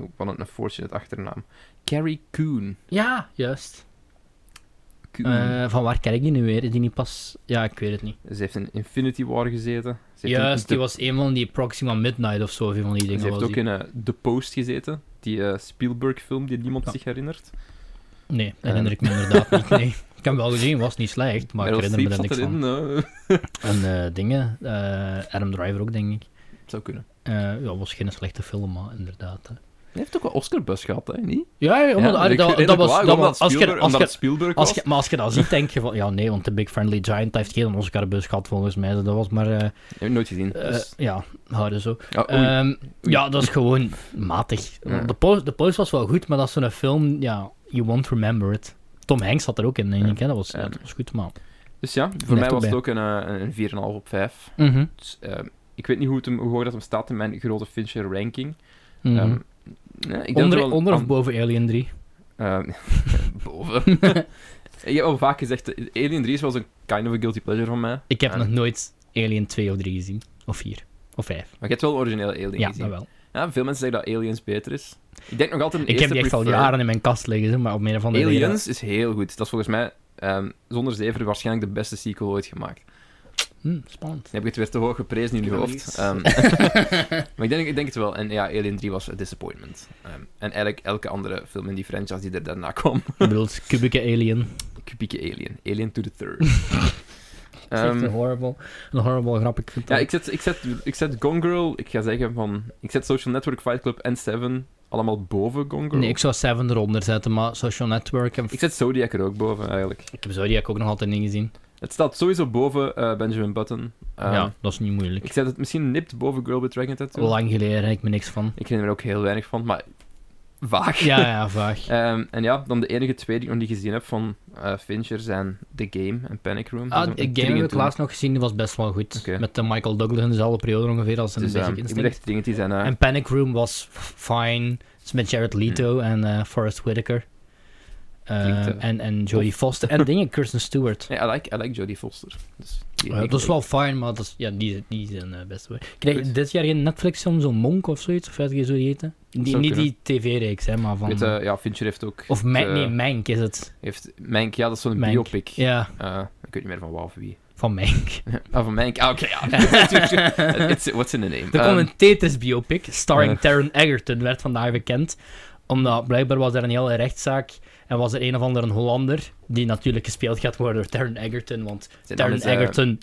Oh, wat een fortunate achternaam. Carrie Coon. Ja, juist. Coon. Eh, van waar ken ik die nu weer? Is die niet pas... Ja, ik weet het niet. Ze heeft in Infinity War gezeten. Ze heeft Juist, in die was een van die Proxima Midnight of zo. of een van die de... dingen Ze heeft was ook die. in eh, The Post gezeten. Die eh, Spielberg-film die niemand zich herinnert. Nee, Ehm. herinner ik me inderdaad niet. Nee. Ik heb hem wel gezien, was niet slecht, maar ik Meryl herinner me daar Streep niks zat van. erin. eh, En eh, dingen, eh, Adam Driver ook, denk ik. zou kunnen. Eh ja, was geen slechte film, maar inderdaad. hè. Hij heeft ook wel Oscar-bus gehad, hè? Niet? Ja, ja, omdat- ik dat, herinner dat me was... wel, Dat omdat was als je, Spielberg- als omdat het je, Spielberg als was. je, maar als je dat ziet, denk je van... Ja, nee, want de Big Friendly Giant heeft geen Oscarbus gehad, volgens mij. Dat was maar... eh, Heb ik nooit gezien. eh, dus- ja, houden zo. Ah, oei. Ehm, ja, dat is gewoon matig. Ja. De, post, de post was wel goed, maar dat is zo'n film... Ja, you won't remember it. Tom Hanks zat er ook in, denk Ja. ik. Hè? Dat, was, Ja. dat was goed, maar... Dus ja, voor Blijft mij was erbij. het ook een, eh, een 4,5 op 5. Mhm, Dus, eh, ik weet niet hoe, het hem, hoe hoog dat hem staat in mijn grote Fincher ranking. mhm. Ehm, nee, ik denk onder, dat wel- onder of aan- boven Alien 3? Ehm, boven. ik heb al vaak gezegd, eh, Alien 3 is wel zo'n kind of a guilty pleasure van mij. Ik heb Ja. nog nooit Alien 2 of 3 gezien. Of 4. Of 5. Maar je hebt wel een originele Alien Ja, gezien. dat wel. Ja, veel mensen zeggen dat Aliens beter is. Ik denk nog altijd... de Ik heb eerste die echt al prefer. jaren in mijn kast liggen, zeg maar op meer van de Aliens is heel goed. Dat is volgens mij, ehm, zonder zeven, waarschijnlijk de beste sequel ooit gemaakt. Hm, spannend. Dan heb ik het weer te hoog geprezen in je Ik ben hoofd. benieuwd. Ehm, maar ik denk, ik denk het wel. En ja, Alien 3 was een disappointment. Ehm, en eigenlijk elke andere film in die franchise die er daarna kwam. Ik bedoel, het is kubieke Alien. Kubieke Alien. Alien to the third. Dat is echt Ehm, een horrible, een horrible grap. Ik vind ja, dat- ik zet, ik, zet, ik zet Gone Girl, ik ga zeggen van... Ik zet Social Network, Fight Club en Seven allemaal boven Gone Girl. Nee, ik zou Seven eronder zetten, maar Social Network... En... Ik zet Zodiac er ook boven, eigenlijk. Ik heb Zodiac ook nog altijd niet gezien. Het staat sowieso boven eh, Benjamin Button. Ehm, ja, dat is niet moeilijk. Ik zet het misschien nipt boven Girl with Dragon Tattoo. Lang geleden heb ik me niks van. Ik herinner me er ook heel weinig van, maar vaag. Ja, ja, vaag. Ehm, en ja, dan de enige twee die ik nog niet gezien heb van eh, Fincher zijn The Game en Panic Room. Ah, Dat de zijn game heb dringend ik toe. laatst nog gezien, die was best wel goed. Oké. Met de Michael Douglas in dezelfde periode ongeveer als een Dus, Basic ehm, ik moet Instinct. echt dringend die zijn. eh, En Panic Room was f- fine. Het is met Hmm. Jared Leto en eh, Forrest Whitaker. Eh, Klinkt, eh, en, en Jodie Foster. En dingen, Kirsten Stewart. Nee, I like, I like Jodie Foster. Dus die- Eh, ik- dat is wel fine, maar dat is, ja, die, die zijn eh, best wel. Krijg je Goed. dit jaar geen Netflix-film, zo'n Monk of zoiets? Of weet je zo die heette? Die, zou niet die tv-reeks, hè, maar ik van... weet, eh, ja, Fincher heeft ook... of Ma- eh, nee, Mank is het. heeft Mank, ja, dat is zo'n Mank. biopic. Ja, Eh, ik weet niet meer van waar of wie. van Mank. Ah, van Mank. Ah, oké, ja. It's- what's in the name? Er Ehm, komt een Tetris-biopic, starring eh. Taron Egerton, werd vandaag bekend. Omdat blijkbaar was er een hele rechtszaak en was er een of andere Hollander, die natuurlijk gespeeld gaat worden door Taron Egerton, want zijn naam Taron is, eh, Egerton,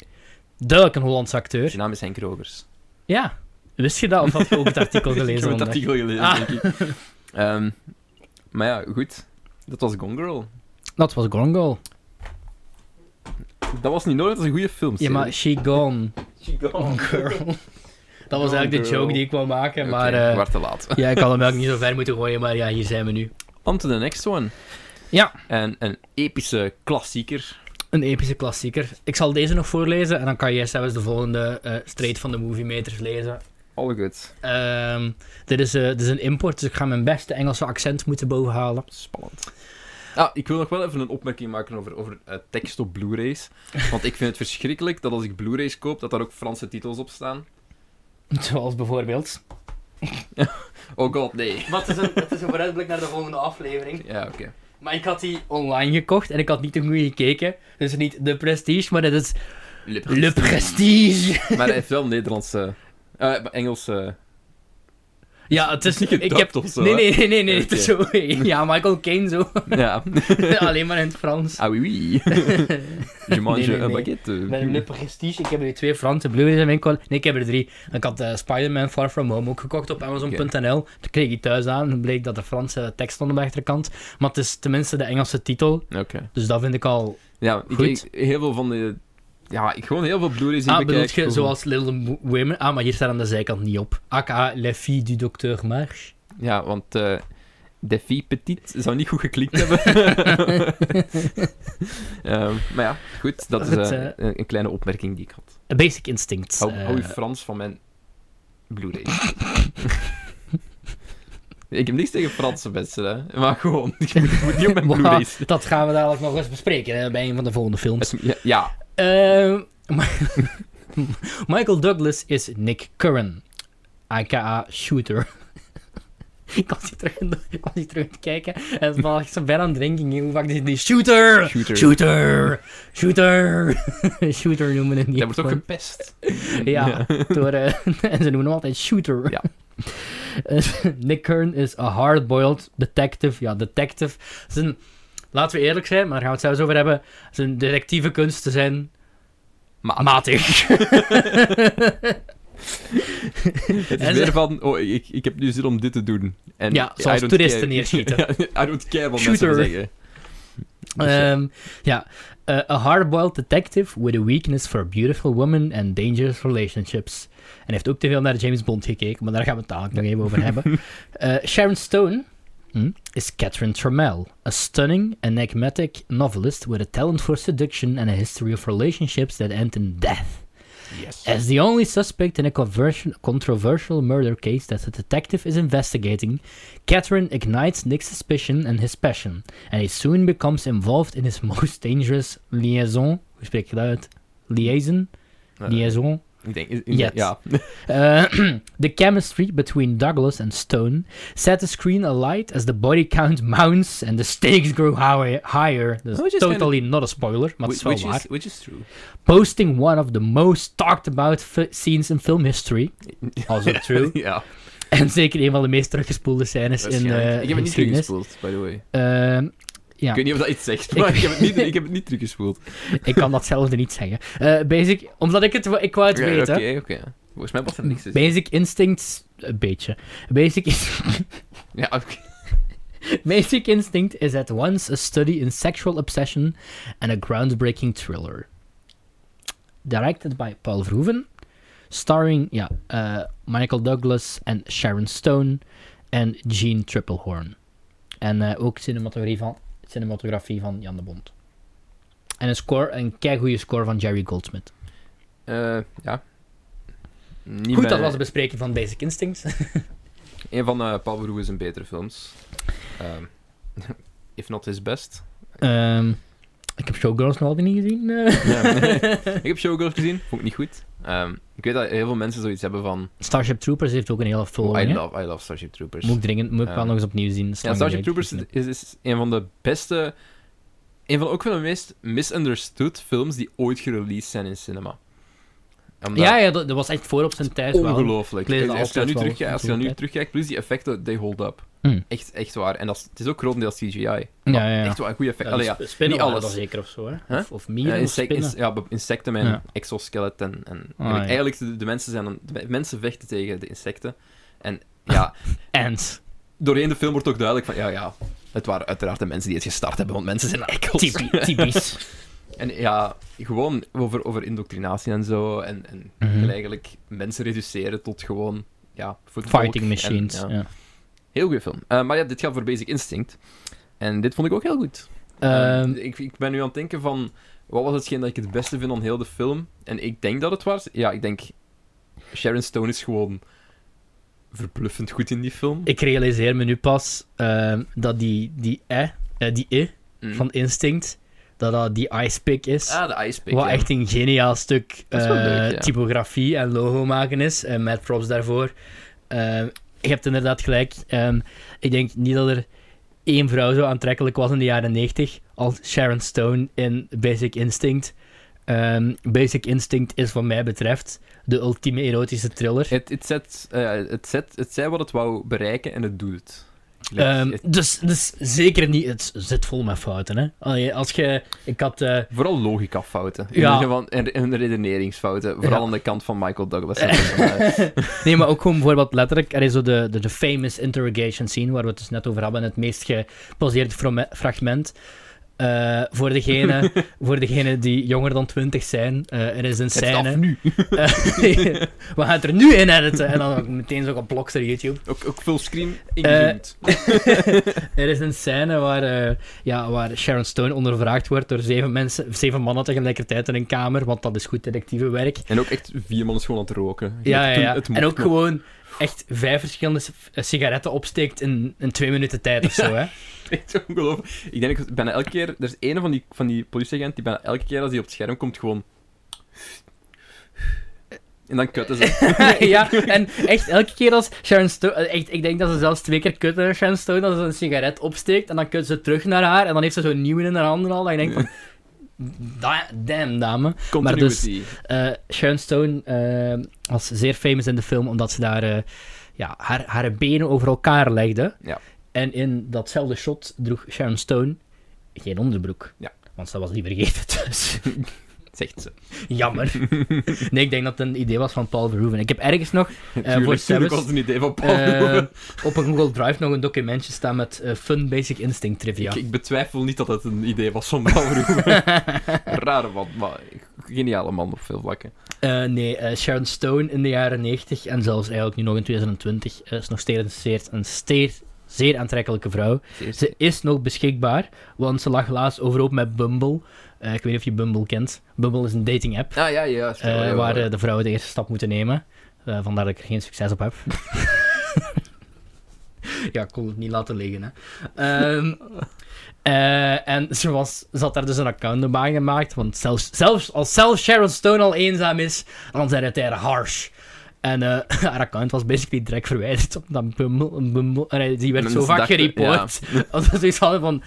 duidelijk een Hollandse acteur. Zijn naam is Henk Rogers. Ja, wist je dat of had je ook het artikel ik heb gelezen? het vandaag? artikel gelezen, Ah. denk ik. Ehm, maar ja, goed. Dat was Gone Girl. Dat was Gone Girl. Dat was niet nodig, dat is een goede film. Ja, maar She Gone Girl. Dat was Gone eigenlijk de Girl. joke die ik wou maken, maar... Oké, eh, we waren te laat. ja, ik had hem eigenlijk niet zo ver moeten gooien, maar ja, hier zijn we nu. On to the next one. Ja. En een epische klassieker. Een epische klassieker. Ik zal deze nog voorlezen en dan kan jij zelfs de volgende eh straight van de Movie Meters lezen. All good. Ehm, dit, is, eh, dit is een import, dus ik ga mijn beste Engelse accent moeten bovenhalen. Spannend. Ah, ik wil nog wel even een opmerking maken over, over eh, tekst op Blu-rays. Want ik vind het verschrikkelijk dat als ik Blu-rays koop, dat daar ook Franse titels op staan. Zoals bijvoorbeeld. Oh god, nee. Wat is een, is een vooruitblik naar de volgende aflevering. Ja, oké. Maar ik had die online gekocht en ik had niet te goed gekeken. Dus niet de Prestige, maar dat is Lip- Le Prestige. Maar hij heeft wel Nederlandse... eh, Engelse... Ja, het is Niet gedubt Ik heb... of zo, nee, hè? nee, nee, nee, nee, het is zo. Ja, Michael Caine zo. Ja. Alleen maar in het Frans. Ah oui, oui. Je mange Nee, nee, een nee. baguette. Met een luppe prestige. Ik heb er twee Franse Blu-rays in mijn col- Nee, ik heb er drie. Ik had eh, Spider-Man Far From Home ook gekocht op Amazon.nl. Toen kreeg ik thuis aan en bleek dat er Franse tekst stond op de achterkant. Maar het is tenminste de Engelse titel. Oké. Dus dat vind ik al... Ja, ik Goed. ik- heel veel van de... Ja, ik gewoon heel veel Blu-rays die ah, ik bekijk. bedoel je zoals Little Mo- Women? Ah, maar hier staat aan de zijkant niet op. A.k.a. Les Filles du Docteur Marche. Ja, want eh De Fille Petite zou niet goed geklikt hebben. Ehm, maar ja, goed. Dat is Goed, eh, eh. een, een kleine opmerking die ik had. A Basic Instinct. Hou, hou je eh, Frans van mijn Blu-ray. ik heb niks tegen Franse mensen, hè. Maar gewoon, ik moet, ik moet niet op mijn maar Blu-rays. dat gaan we dadelijk nog eens bespreken hè, bij een van de volgende films. Ja, ja, Ehm, Ma- Michael Douglas is Nick Curran, aka Shooter. ik, was hier terug, ik was hier terug aan het kijken en het was echt zo bijna aan het drinken. hè, Hoe vaak is die Shooter! shooter. Shooter! Shooter! shooter noemen we het niet. Jij wordt ook gepest. Ja, door, eh, en ze noemen hem altijd Shooter. Ja. Eh, Nick Kern is a hard-boiled detective. Ja, detective. Het is een- laten we eerlijk zijn, maar daar gaan we het zelfs over hebben. Zijn detectieve kunsten zijn Maar matig. Het is En meer ze- van, oh, ik, ik heb nu zin om dit te doen. En Ja, I zoals don't toeristen care. neerschieten. Ja, I don't care wat Shooter. mensen zeggen. Dus, eh, Ehm, ja, Eh, a hard-boiled detective with a weakness for beautiful women and dangerous relationships. En hij heeft ook te veel naar James Bond gekeken, maar daar gaan we het dadelijk nog even over hebben. Eh, Sharon Stone hmm, is Catherine Trammell, a stunning, enigmatic novelist with a talent for seduction and a history of relationships that end in death. Yes. As the only suspect in a conversion- controversial murder case that the detective is investigating, Catherine ignites Nick's suspicion and his passion, and he soon becomes involved in his most dangerous liaison. Hoe spreek je dat uit? Liaison? Liaison? ik denk, ik- ik- Yes. ja. Uh, the chemistry between Douglas and Stone set the screen alight as the body count mounts and the stakes grow hi- higher. That's Which is kind of- totally not a spoiler, maar het Which, is wel which waar. is, which is true. Posting one of the most talked about fi- scenes in film history. Also true. ja, en zeker een van de meest teruggespoelde scènes in waarschijnlijk. de Ik heb het niet geschiedenis. teruggespoeld, by the way. Ehm, ja. Ik weet niet of dat iets zegt, maar ik, heb het niet, ik heb het niet teruggespoeld. ik kan datzelfde niet zeggen. Eh, basic, omdat ik het, wa- ik wou het Ja, weten. Oké, oké. Volgens mij was er niks te zeggen. Basic Instincts, een beetje. Basic is. Ja, oké. Basic Instinct is at once a study in sexual obsession and a groundbreaking thriller. Directed by Paul Verhoeven, starring yeah, uh, Michael Douglas and Sharon Stone and Gene Triplehorn. En eh, ook cinematografie van, cinematografie van Jan de Bond. En een score, een keigoede score van Jerry Goldsmith. Eh, ja. Niet Goed, mijn- dat was de bespreking van Basic Instinct. Een van eh Paul Verhoeven zijn betere films. Ehm, if not his best. Ehm, ik heb Showgirls nog altijd niet gezien. eh. ik heb Showgirls gezien, vond ik niet goed. Ehm, ik weet dat heel veel mensen zoiets hebben van... Starship Troopers heeft ook een hele oh, I, following. hè? love, I love Starship Troopers. Moet ik dringend, moet ik wel Ehm, nog eens opnieuw zien. Ja, Starship Troopers is, is een van de beste... Een van, ook van de meest misunderstood films die ooit gereleased zijn in cinema. Omdat- Ja, ja dat, dat was echt voor op zijn tijd. wel. Ongelooflijk. Ik Als, lees dat als je dat nu altijd wel terugkijkt, als je dat nu natuurlijk, terugkijkt, plus die effecten, they hold up. Hmm. Echt, echt waar. En dat is, het is ook grotendeels CGI. Ja, ja, ja. Echt waar, goede Ja, effecten. Allee, ja. sp- spinnen niet waren alles. dat zeker of zo, hè? Huh? Of, of mieren Ja, of insect- spinnen. Eh, ins- ja, be- insecten en Ja. exoskelet. En, en, Ah, en ja. Eigenlijk, de, de mensen zijn dan, de mensen vechten tegen de insecten. En ja, Ants. doorheen de film wordt ook duidelijk van, ja, ja, het waren uiteraard de mensen die het gestart hebben, want mensen zijn ekkels. Typi- Typisch. En ja, gewoon over, over indoctrinatie en zo. En, en Mhm. eigenlijk mensen reduceren tot gewoon, ja, voetvolk Fighting en- machines. ja. ja. Heel goede film. Eh, maar ja, dit gaat voor Basic Instinct. En dit vond ik ook heel goed. Ehm, Eh, ik, ik ben nu aan het denken van... Wat was hetgeen dat ik het beste vind aan heel de film? En ik denk dat het was... Ja, ik denk... Sharon Stone is gewoon... Verbluffend goed in die film. ik realiseer me nu pas ehm, dat die, die, eh, eh, die E Mm. van Instinct, dat dat die icepick is. Ah, de Ice Pick, Wat ja. echt een geniaal stuk Dat is wel eh, leuk, ja. typografie en logo maken is. eh, met props daarvoor. Ehm, je hebt inderdaad gelijk. Ehm, ik denk niet dat er één vrouw zo aantrekkelijk was in de jaren 90 als Sharon Stone in Basic Instinct. Ehm, Basic Instinct is wat mij betreft de ultieme erotische thriller. Het, het, zet, eh, het, zet, het zei wat het wou bereiken en het doet het. Gelijk, Ehm, het- dus, dus zeker niet. Het zit vol met fouten. Hè? Allee, Als je, ik had eh, Vooral logicafouten. In Ja. ieder geval- en, en redeneringsfouten. Vooral Ja. aan de kant van Michael Douglas. en van, eh, Nee, maar ook gewoon bijvoorbeeld letterlijk, er is zo de, de, de famous interrogation scene, waar we het dus net over hadden, het meest gepauzeerde frome- fragment. Eh, voor, degene, voor degene die jonger dan 20 zijn, eh, er is een het is af scène. nu. Eh, we gaan het er nu in editen en dan ook meteen zo geblokt door YouTube. Ook, ook fullscreen Eh, ingezoomd. Er is een scène waar, eh, ja, waar Sharon Stone ondervraagd wordt door zeven, mensen, zeven mannen tegelijkertijd in een kamer, want dat is goed detectieve werk. En ook echt vier man is gewoon aan het roken. Ja, ja, Toen ja. het mocht en ook nog. gewoon echt vijf verschillende c- eh, sigaretten opsteekt in, in twee minuten tijd of zo, hè. Echt ongelooflijk. Ik denk dat ik bijna elke keer... Er is één van die, van die politieagent die bijna elke keer als hij op het scherm komt gewoon... En dan kutten ze. ja, en echt elke keer als Sharon Stone... eh, Echt, ik denk dat ze zelfs twee keer kutte, Sharon Stone, dat ze een sigaret opsteekt en dan kut ze terug naar haar en dan heeft ze zo'n nieuwe in haar handen al, dat je denkt van... "Da- Damn, dame. Maar dus- Continuity. Eh, Sharon Stone eh, was zeer famous in de film omdat ze daar eh, ja, haar, haar benen over elkaar legde. Ja. En in datzelfde shot droeg Sharon Stone geen onderbroek. Ja. Want ze was die vergeten dus. Zegt ze. Jammer. nee, ik denk dat het een idee was van Paul Verhoeven. Ik heb ergens nog Tuurlijk, eh, voor tuurlijk Sebus, was het een idee van Paul eh, Verhoeven. op een Google Drive nog een documentje staan met eh, Fun Basic Instinct Trivia. Ik, ik betwijfel niet dat het een idee was van Paul Verhoeven. Rare man, maar geniale man op veel vlakken. Eh, nee, eh, Sharon Stone in de jaren 90 en zelfs eigenlijk nu nog in 2020 eh, is nog steeds, een steeds, een steeds, Zeer aantrekkelijke vrouw. Ze is nog beschikbaar, want ze lag laatst overhoop met Bumble. Eh, ik weet niet of je Bumble kent. Bumble is een dating app Ah, ja, ja. sure, eh, ja, ja. waar eh, de vrouwen de eerste stap moeten nemen. Eh, vandaar dat ik er geen succes op heb. ja, ik kon het niet laten liggen. Hè. Ehm, eh, en ze, was, ze had daar dus een account erbij gemaakt. Want zelfs, zelfs als zelfs Sharon Stone al eenzaam is, dan zijn het haar harsh. En eh, haar account was basically direct verwijderd op dat Bumble. Bumble en hij- die werd Mensen zo vaak dachten, gereport. Als ze zoiets hadden van...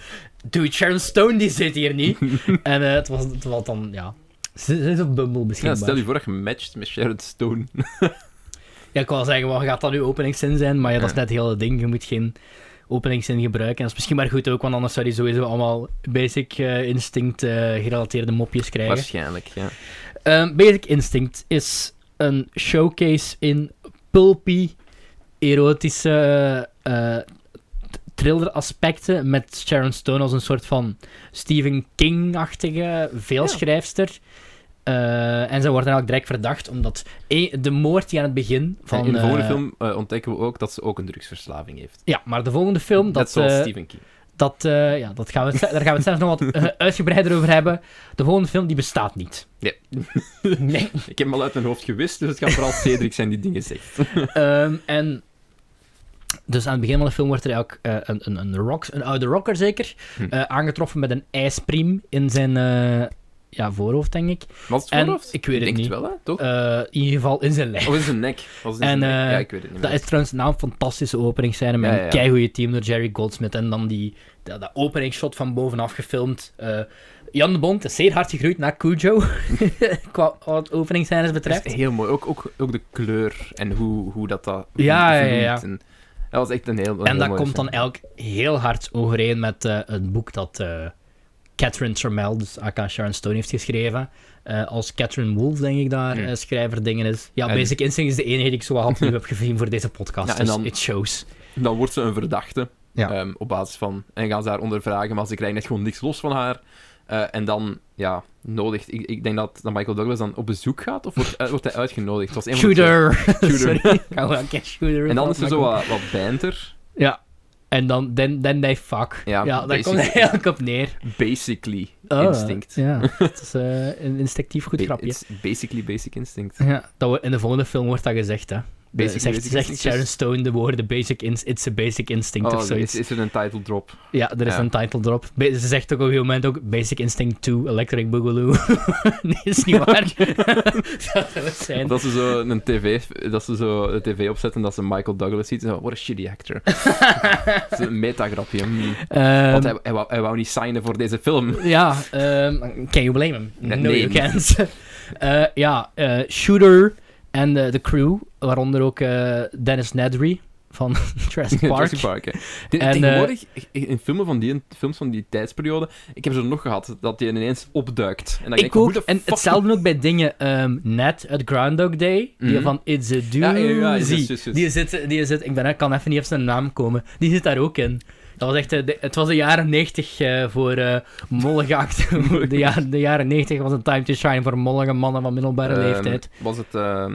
Dude, Sharon Stone die zit hier niet. en eh, het, was, het was dan... Ja, ze ze is op Bumble Ja, beschikbaar. Eh, stel je voor dat je matcht met Sharon Stone. Ja, ik wou zeggen, wat gaat dat nu openingszin zijn? Maar ja, dat is Ja. net het hele ding. Je moet geen openingszin gebruiken. En dat is misschien maar goed ook, want anders zou je sowieso allemaal basic eh, instinct eh, gerelateerde mopjes krijgen. Waarschijnlijk, ja. Ehm, basic instinct is een showcase in pulpy, erotische eh thriller aspecten met Sharon Stone als een soort van Stephen King-achtige veelschrijfster. Eh, en ze wordt dan ook direct verdacht, omdat e- de moord die aan het begin van... Van, in de volgende eh, film eh, ontdekken we ook dat ze ook een drugsverslaving heeft. Ja, maar de volgende film, Net dat, zoals eh, Stephen King. dat, eh, ja, dat gaan we, daar gaan we het zelfs nog wat eh, uitgebreider over hebben. De volgende film, die bestaat niet. Ja. Nee. Ik heb hem al uit mijn hoofd gewist, dus het kan vooral Cedric zijn die dingen zegt. Ehm, en dus aan het begin van de film wordt er ook eh, een, een, een, rock, een oude rocker zeker Hm. eh, aangetroffen met een ijspriem in zijn eh, ja, voorhoofd, denk ik. Wat is En het ik weet het denk niet. het wel, hè? Toch? Eh, in ieder geval in zijn lijf. Of in zijn nek. Of in zijn En, nek. eh, Ja, ik weet het niet Dat is meer. trouwens een fantastische openingsscène met Ja, ja, een ja. keigoede team door Jerry Goldsmith. En dan die, dat, dat openingsshot van bovenaf gefilmd. Eh, Jan de Bond is zeer hard gegroeid naar Cujo, qua wat openingsscènes Dat is betreft. heel mooi. Ook, ook, ook de kleur en hoe, hoe dat dat Ja, ja, ja, ja. vloeit En, dat was echt een heel, een En heel dat mooie komt dan film. elk heel hard overeen met eh, het boek dat eh, Catherine Tremel, dus aka Sharon Stone, heeft geschreven. Eh, als Catherine Wolf, denk ik, daar Hmm. eh, schrijver dingen is. Ja, En- Basic Instinct is de enige die ik zo wat opnieuw heb gezien voor deze podcast. Ja, en dus dan- it shows. Dan wordt ze een verdachte. Ja. ehm, op basis van... En gaan ze haar ondervragen, maar ze krijgen net gewoon niks los van haar. Eh, en dan, ja, nodigt... Ik, ik denk dat, dat Michael Douglas dan op bezoek gaat, of wordt, eh, wordt hij uitgenodigd? Het was een van de Shooter! twee. Shooter. Sorry, ik wou wel een keer shooter. En dan is er maken. zo wat, wat banter. Ja. En dan, then, then they fuck. Ja, Ja, daar komt basically. het eigenlijk op neer. Basically Oh, instinct. Ja, het is eh, een instinctief goed Ba- grapje. it's basically basic instinct. Ja, dat wordt- in de volgende film wordt dat gezegd, hè. De- Basic- zegt, basic zegt instinct Sharon is- Stone de woorden basic ins it's a basic instinct of Oh, zoiets. is, is er een title drop? Ja, er is ja. een title drop. Ba- ze zegt ook op een gegeven moment ook Basic Instinct 2 Electric Boogaloo. nee, is niet waar. dat zou het zijn. Dat ze zo een tv, dat ze zo de tv opzetten en dat ze Michael Douglas ziet. en Zo, what a shitty actor. dat is een metagrapje. hmm. Ehm, Want hij, hij, wou, hij wou niet signen voor deze film. Ja, ehm, can you blame him? No, Nee, nee. you can't. Eh, ja, eh, Shooter en eh, de crew, waaronder ook eh, Dennis Nedry van Jurassic Park. Jurassic Park, hè. Te- En, eh, Tegenwoordig, in filmen van die, films van die tijdsperiode, ik heb ze nog gehad, dat die ineens opduikt. En dan denk Ik van, ook, hoe de en fuck- hetzelfde ook bij dingen, ehm net uit Groundhog Day, die Mhm. van It's a ja, ja, Doozy, juist, juist, juist. die zit, die zit, ik ben, ik kan even niet op zijn naam komen, die zit daar ook in. Dat was echt, eh, de- het was de jaren 90 eh, voor eh mollige acten. De, ja- de jaren 90 was een time to shine voor mollige mannen van middelbare Ehm, leeftijd. Was het... ehm,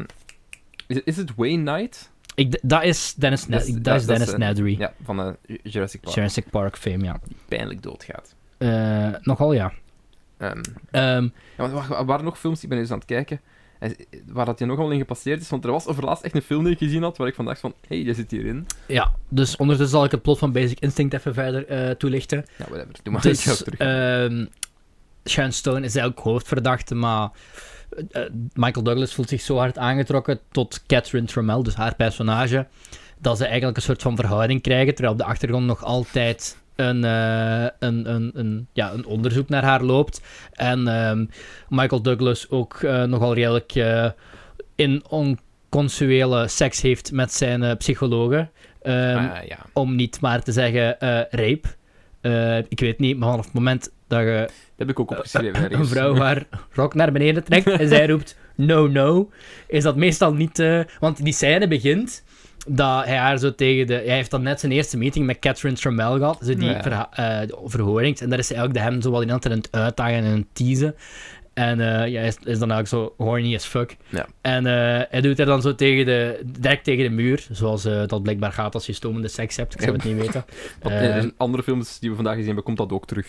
is, het- is het Wayne Knight? Ik, d- dat is Dennis, Dat Ned is- dat, dat- is dat is, Dennis eh, Nedry. Ja, van eh, Jurassic Park. Jurassic Park fame, ja. Pijnlijk doodgaat. Eh, nogal ja. Ehm, Ehm, Ja, maar er waren nog films, ik ben eens aan het kijken, en waar dat je nogal in gepasseerd is. Want er was overlaatst echt een film die ik gezien had, waar ik vandaag van, hé, hey, jij zit hierin. ja, dus ondertussen zal ik het plot van Basic Instinct even verder eh, toelichten. Ja, whatever, doe maar. ik ga dus ook terug. ehm Sharon Stone is eigenlijk hoofdverdachte, maar eh, eh, Michael Douglas voelt zich zo hard aangetrokken tot Catherine Tremel, dus haar personage, dat ze eigenlijk een soort van verhouding krijgen, terwijl op de achtergrond nog altijd een, eh, een, een, een, ja, een onderzoek naar haar loopt. En ehm, Michael Douglas ook eh, nogal redelijk eh, in onconsuele seks heeft met zijn eh, psychologe. Ehm, Ah, ja. om niet maar te zeggen eh rape. Eh, ik weet niet, maar vanaf het moment dat je Dat heb ik ook opgeschreven eh, een ergens. vrouw haar rok naar beneden trekt en zij roept no, no, is dat meestal niet... eh, want die scène begint dat hij haar zo tegen de... Hij heeft dan net zijn eerste meeting met Catherine Trammell gehad, zo die Ja. verha- eh, de verhoring. En daar is hij ook de hem zo wat in aan het uitdagen en teasen. En eh, ja, hij is, is dan eigenlijk zo horny as fuck. Ja. En eh, hij doet er dan zo tegen de, direct tegen de muur, zoals eh, dat blijkbaar gaat als je stomende seks hebt. Ik zou het niet weten. Wat- Eh, in- in andere films die we vandaag gezien hebben, komt dat ook terug.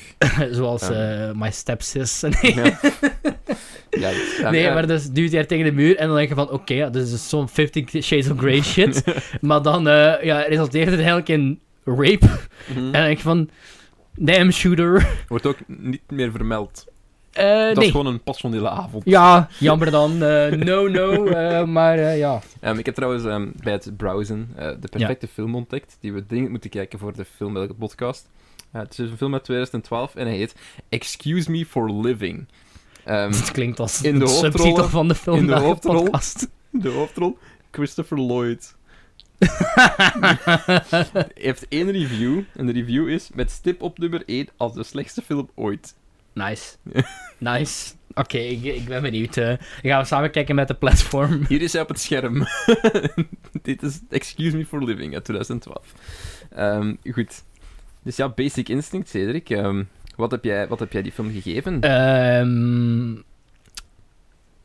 zoals Ja. eh, My Stepsis. Ja. Ja, ja, nee, ja. maar dus duwt hij er tegen de muur en dan denk je van, oké, ja, dit is dus zo'n 50 Shades of Grey shit. maar dan eh, ja, resulteert het eigenlijk in rape. Mhm. En dan denk je van, damn shooter. Wordt ook niet meer vermeld. Eh, dat nee. is gewoon een passionele avond. Ja, jammer dan. eh, no, no. eh, maar eh, ja. Ehm, ik heb trouwens ehm, bij het browsen eh, de perfecte film ontdekt, die we dringend moeten kijken voor de film welke podcast. Eh, het is dus een film uit 2012 en hij heet Excuse Me for Living. Ehm, Het klinkt als In de de subtitel hoofdrollen- van de film. in de naar hoofdrol. podcast. de hoofdrol, Christopher Lloyd. Hij heeft één review en de review is met stip op nummer 1 als de slechtste film ooit. Nice. Nice. Oké, ik, ik ben benieuwd. eh gaan we samen kijken met de platform. Hier is hij op het scherm. Dit is Excuse Me for Living uit 2012. Ehm, goed. Dus ja, Basic Instinct, Cedric. Ehm, wat, heb jij, wat heb jij die film gegeven? Ehm,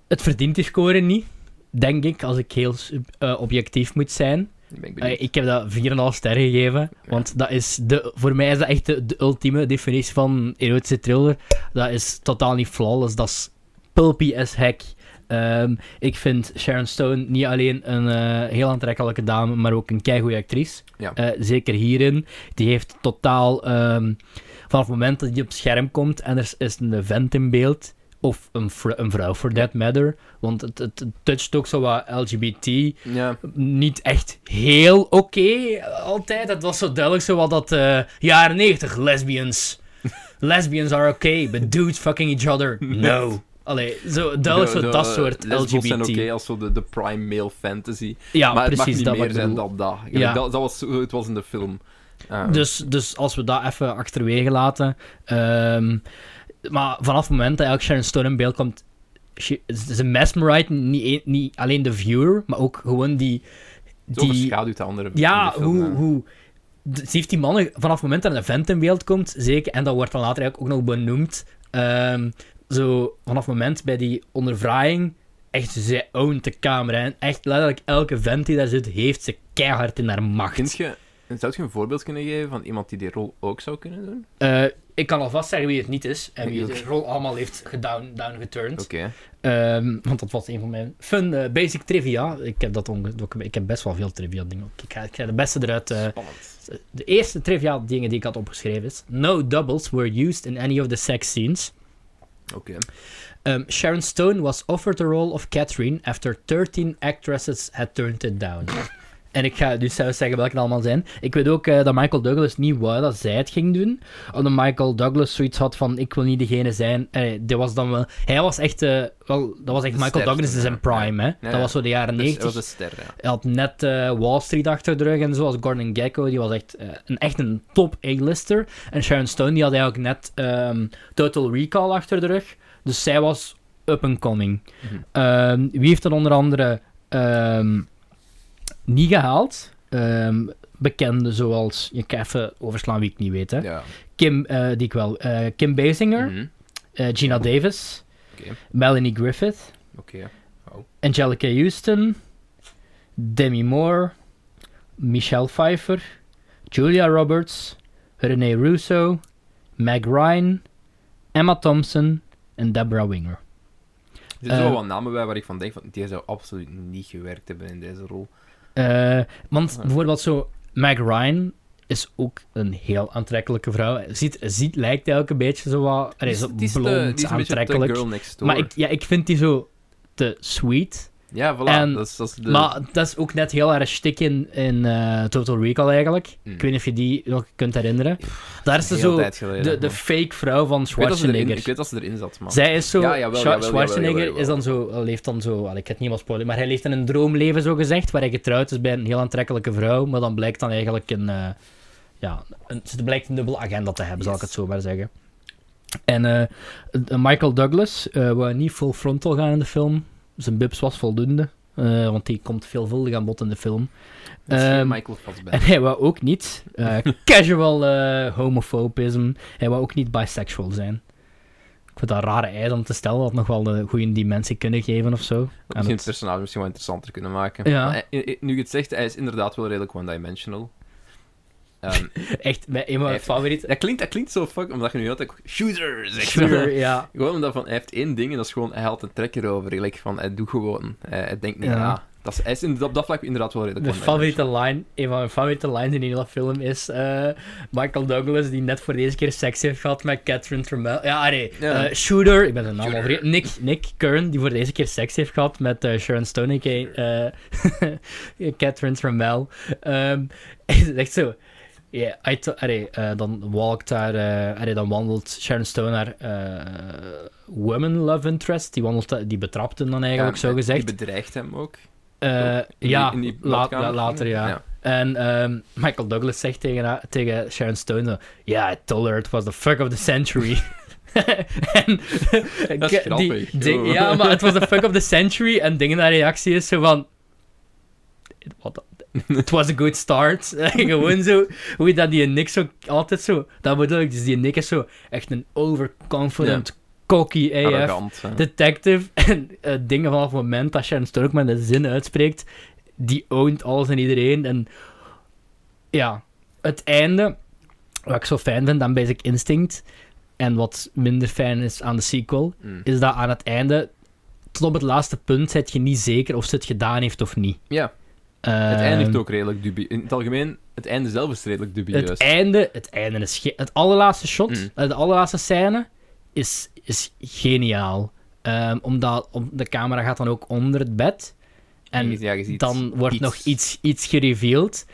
het verdient die score niet, denk ik, als ik heel sub- eh, objectief moet zijn. Ik ben Eh, benieuwd. ik heb dat 4,5 sterren gegeven. Want dat is de, voor mij is dat echt de, de ultieme definitie van erotische thriller. Dat is totaal niet flawless. Dat is pulpy as heck. Ehm, ik vind Sharon Stone niet alleen een eh, heel aantrekkelijke dame, maar ook een keigoede actrice. Ja. Eh, zeker hierin. Die heeft totaal... ehm, vanaf het moment dat die op het scherm komt en er is een vent in beeld... Of een, vrou- een vrouw, for that matter. Want het, het, het toucht ook zo wat LGBT Ja. niet echt heel oké altijd. Het was zo duidelijk zo wat dat eh, jaren 90 lesbians. lesbians are okay, but dudes fucking each other, no. Allee, zo duidelijk Zo- zo zo, dat eh, soort lesbos LGBT. zijn oké als zo de, de prime male fantasy. Ja, maar het mag precies niet dat wat meer ik zijn bedoel. dan dat. Ja, Ja. dat. Dat was hoe het was in de film. Eh, Dus, dus als we dat even achterwege laten. ehm, maar vanaf het moment dat eigenlijk Sharon Stone in beeld komt. She, ze mesmerized niet, een- niet alleen de viewer, maar ook gewoon die. zo die overschaduwt de andere Ja, in de film, hoe, eh. hoe... d- Ze heeft die mannen vanaf het moment dat er een vent in beeld komt, zeker, en dat wordt dan later eigenlijk ook nog benoemd, ehm, zo vanaf het moment bij die ondervraging, echt, ze oont de camera. En echt letterlijk elke vent die daar zit, heeft ze keihard in haar Kunt macht. je, zou je een voorbeeld kunnen geven van iemand die die rol ook zou kunnen doen? Eh, ik kan alvast zeggen wie het niet is en wie Ik ook. de rol allemaal heeft gedown, downgeturned. Oké. Ehm, want dat was een van mijn fun eh, basic trivia. Ik heb, dat onge- ik heb best wel veel trivia dingen. ook. Ik ga, ik ga de beste eruit... eh, Spannend. De eerste trivia dingen die ik had opgeschreven is: No doubles were used in any of the sex scenes. Oké. Um, Sharon Stone was offered the role of Catherine after 13 actresses had turned it down. en ik ga dus zelf zeggen welke het allemaal zijn. Ik weet ook eh, dat Michael Douglas niet wou dat zij het ging doen. Omdat Michael Douglas zoiets had van: Ik wil niet degene zijn. Eh, dit was dan wel. Hij was echt. eh, wel, dat De was echt Michael sterkste, Douglas in zijn ja. prime, hè? ja. Dat was zo de jaren Dus 90. dat was een ster, ja. Hij had net eh, Wall Street achter de rug en zo, als Gordon Gekko. Die was echt, eh, een, echt een top A-lister. En Sharon Stone die had eigenlijk net ehm, Total Recall achter de rug. Dus zij was up and coming. Mhm. Ehm, wie heeft dat onder andere ehm, niet gehaald? Ehm bekende zoals, je kan even overslaan wie ik niet weet. Hè? ja. Kim, eh, die ik wel. eh, Kim Basinger, Mhm. eh, Gina Davis, Oké. Melanie Griffith, Oké. Angelica Houston, Demi Moore, Michelle Pfeiffer, Julia Roberts, René Russo, Meg Ryan, Emma Thompson en Deborah Winger. Er zijn wel Eh, wat namen bij waar ik van denk van, die zou absoluut niet gewerkt hebben in deze rol. Eh, want Ja. bijvoorbeeld zo, Meg Ryan is ook een heel aantrekkelijke vrouw. Ziet, ziet lijkt eigenlijk een beetje zo wat... Er is, Die die de- blond, die is een beetje de aantrekkelijk. girl next door. Maar ik, ja, ik vind die zo te sweet. ja, voilà. en- dat is, dat is de... Maar dat is ook net heel erg stik in, in eh, Total Recall eigenlijk. Mm. Ik weet niet of je die nog kunt herinneren. Daar is ze heel zo tijd geleden. de, de man. fake vrouw van ik, weet dat ze erin, ik Schwarzenegger. weet dat ze erin zat, man. Zij is zo. Ja, jawel, Schwa- jawel, jawel, Schwarzenegger jawel, jawel. is dan zo, eh, leeft dan zo. allee, ik ga het niet helemaal spoilen, maar hij leeft in een droomleven zo gezegd, waar hij getrouwd is bij een heel aantrekkelijke vrouw, maar dan blijkt dan eigenlijk een. eh, ja, een, ze blijkt een dubbele agenda te hebben, zal ik Yes. het zo maar zeggen. En eh, eh, Michael Douglas eh wou niet full frontal gaan in de film. Zijn bibs was voldoende, eh, want die komt veelvuldig aan bod in de film. Dat is geen ehm, Michael En Fassbender. hij wou ook niet eh, casual eh homofobism. Hij wou ook niet bisexual zijn. Ik vind dat een rare eis om te stellen, dat nog wel een goede dimensie kunnen geven of zo. Dat En misschien het dat- personage misschien wel interessanter kunnen maken. Ja. Maar hij- hij- nu je het zegt, hij is inderdaad wel redelijk one-dimensional. Ehm, Echt, mijn, een van mijn Hij- favoriete... dat, klinkt, dat klinkt zo fuck, omdat je nu altijd shooter zegt. Sure, ja. Gewoon omdat van, hij heeft één ding en dat is gewoon, hij haalt een trekker over. Like, van, hij doet gewoon, hij, hij denkt niet Ja. na. Dat is, hij is in, op dat vlak inderdaad wel redelijk Mijn one-dimensional. favoriete line, een van mijn favoriete lines in de hele film is eh, Michael Douglas, die net voor deze keer seks heeft gehad met Catherine Tremel. Ja, nee, Ja. eh, Shooter, ik ben zijn naam al Shooter. vergeten. Nick, Nick Kern, die voor deze keer seks heeft gehad met eh, Sharon Stone en Kay- eh, Catherine Tremel. Ehm, het is echt zo. Ja, I to- allee, eh, dan walkt daar, eh, allee, dan wandelt Sharon Stone haar eh, woman love interest. Die, wandelt, die betrapt hem dan eigenlijk, Ja, zo gezegd. Die bedreigt hem ook. Eh, In die- ja, in die la- badkamer. la- later, ja. Ja. En ehm, Michael Douglas zegt tegen, haar- tegen Sharon Stone: zo, Yeah, I told her it was the fuck of the century. en, Dat is grappig, ding- joh. ja, maar het was the fuck of the century. En dingen naar reactie is zo van. What the- It was a good start. Gewoon zo. Hoe dat die Nick zo altijd zo. Dat bedoel ik. Dus die Nick is zo echt een overconfident, cocky AF Arrogant. hè. detective en eh, dingen vanaf het moment dat Sharon Stone ook met een zin uitspreekt, die oont alles en iedereen. En ja, het einde, wat ik zo fijn vind aan Basic Instinct, en wat minder fijn is aan de sequel, Mm. is dat aan het einde, tot op het laatste punt, zit je niet zeker of ze het gedaan heeft of niet. Ja, het eindigt Ehm, ook redelijk dubieus. In het algemeen, het einde zelf is redelijk dubieus. Het einde, het einde is ge- het allerlaatste shot, Mm. eh, de allerlaatste scène is, is geniaal. Ehm, omdat om, de camera gaat dan ook onder het bed. En ja, je ziet dan wordt iets. nog iets, iets gereveeld.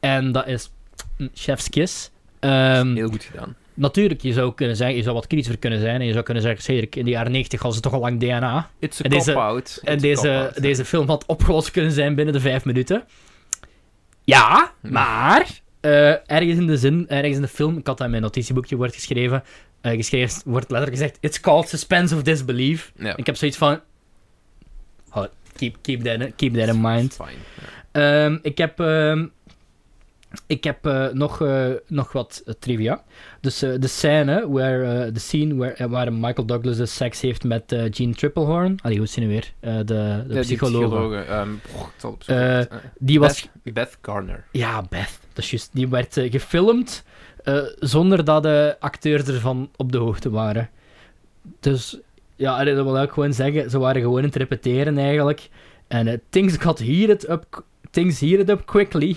En dat is mm, chef's kiss. Ehm, Heel goed gedaan. natuurlijk, je zou kunnen zeggen, je zou wat kritischer kunnen zijn. En je zou kunnen zeggen, Cedric, in de jaren 90 hadden ze toch al lang DNA. It's a En deze- cop-out. It's a En deze, cop-out. deze film had opgelost kunnen zijn binnen de vijf minuten. Ja, maar eh, ergens in de zin, ergens in de film, ik had dat in mijn notitieboekje wordt geschreven, eh, geschreven wordt letterlijk gezegd: It's called suspense of disbelief. Ja. Ik heb zoiets van. "Oh, keep, keep, that, in- keep that in mind. Fine. Ja. Ehm, ik heb, ehm, ik heb eh, nog, eh, nog wat eh, trivia. Dus eh, de scène, where, eh, de scene where, eh, waar Michael Douglas de seks heeft met eh, Gene Triplehorn. Allee, hoe is die nu weer? Eh, de de Ja, die psycholoog. psychologe, ehm, poch, ik zal het Eh, opzoeken. Eh, Die was... Beth, Beth Garner. Ja, Beth. Dat is juist. Die werd eh, gefilmd eh, zonder dat de acteurs ervan op de hoogte waren. Dus ja, allee, dat wil ik gewoon zeggen. Ze waren gewoon aan het repeteren eigenlijk. En eh, things got heated up... Things heated up quickly.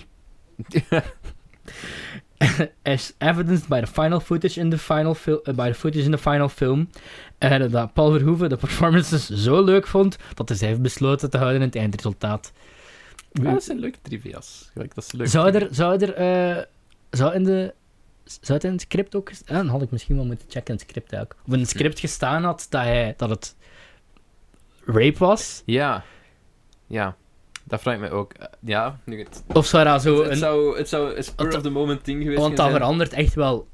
as evidenced by the final footage in the final film, by the footage in the final film, en eh, dat Paul Verhoeven de performances zo leuk vond dat hij ze heeft besloten te houden in het eindresultaat. Ah, dat zijn leuke trivia's. Gelijk, dat is leuk. Zou er, zou er, eh, zou in de, zou het in het script ook, ges- ah, dan had ik misschien wel moeten checken in het script ook, of in het script gestaan had dat hij, dat het rape was, Ja. Ja. Dat vraag ik mij ook. Eh, ja. Nu het, of zou dat zo het, een, zou, het zou een spur of the moment ding geweest want dat zijn. verandert echt wel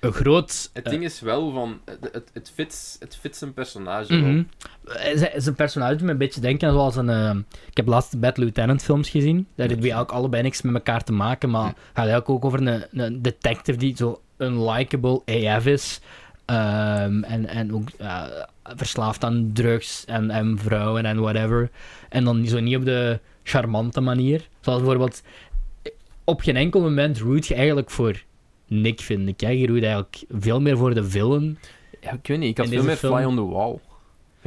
een groot. Het eh, ding is wel van... Het, het, het, fits, het fits een personage wel. Mhm. Eh, Zijn zijn personage doet me een beetje denken zoals een... eh, ik heb laatst de Bad Lieutenant films gezien. Daar hebben ook allebei niks met elkaar te maken, maar Hm. het gaat eigenlijk ook over een, een detective die zo unlikable AF is. Ehm, en, en ook eh, verslaafd aan drugs en, en vrouwen en whatever. En dan zo niet op de charmante manier. Zoals bijvoorbeeld... Op geen enkel moment root je eigenlijk voor Nick, vind ik. Hè. Je root eigenlijk veel meer voor de villain Ja, ik weet niet. Ik had In veel deze meer film- fly on the wall.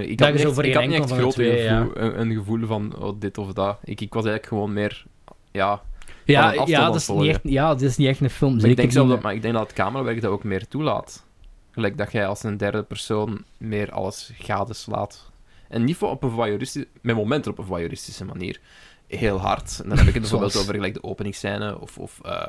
Ik Dat had is niet over echt, ik had geen niet echt enkel van de groot twee, ja. gevoel, een, een gevoel van oh, dit of dat. Ik, ik was eigenlijk gewoon meer... Ja, van een Ja, afstand ja, aan dat het is niet volgen. echt, ja, dat is niet echt een film. Maar Zeker ik, denk zelf niet, dat, maar ik denk dat het camerawerk dat ook meer toelaat. Gelijk dat jij als een derde persoon meer alles gadeslaat. En niet voor op een voyeuristische... Met momenten op een voyeuristische manier. Heel hard. En dan heb ik het bijvoorbeeld Zoals- over gelijk de openingsscène of... of eh,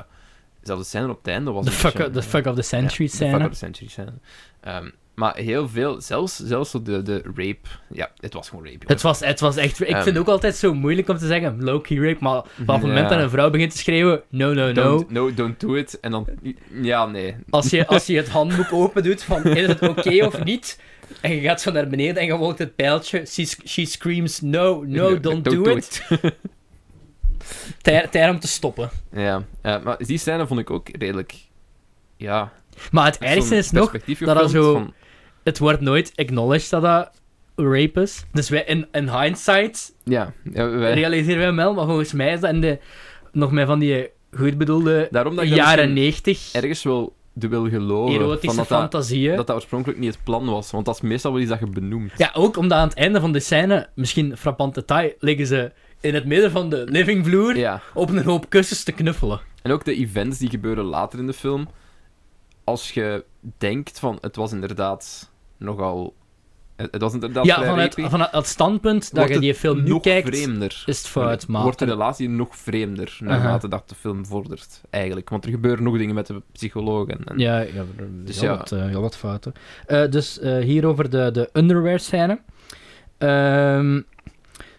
zelfs de scène op het einde was de een fuck, beetje- de fuck of the century ja, de scène. fuck up century scène. Ehm, maar heel veel... Zelfs, zelfs zo de, de rape... Ja, het was gewoon rape. het, was, het was echt... Ik Ehm. vind het ook altijd zo moeilijk om te zeggen low-key rape, maar op het moment Ja. dat een vrouw begint te schreeuwen no, no, jongens. no, Don't, no, don't do it. En dan... Ja, nee. als je, als je het handboek open doet van is het oké of niet, en je gaat zo naar beneden en je volgt het pijltje, she, she screams no, no, don't do it, Tijd- tijd om te stoppen. Ja, eh, maar die scène vond ik ook redelijk. Ja. Maar het echt ergste zo'n is nog, perspectief dat dat gefilmd zo- van- het wordt nooit acknowledged dat dat rape is. Dus wij, in, in hindsight Ja, ja, wij- realiseren wij hem wel, maar volgens mij is dat in de, nog met van die goed bedoelde Daarom dat ik dat jaren misschien 90 ergens wel de wil geloven. erotische van dat, dat, fantasieën. dat dat oorspronkelijk niet het plan was. Want dat is meestal wel iets dat je benoemt. Ja, ook omdat aan het einde van de scène, misschien frappant detail, liggen ze in het midden van de livingvloer Ja. op een hoop kussens te knuffelen. En ook de events die gebeuren later in de film. Als je denkt van het was inderdaad nogal. Het, het was inderdaad. ja, vrij vanuit, rapey, vanuit het standpunt dat wordt je die het film nu nog kijkt, vreemder. is het fout, maar... Wordt de relatie nog vreemder naarmate dat de film vordert, eigenlijk. Want er gebeuren nog dingen met de psychologen. En... Ja, ja, Dus dus ja. ja. Wat, eh, heel wat fouten. Eh, dus eh, hier over de, de underwear scène. Ehm,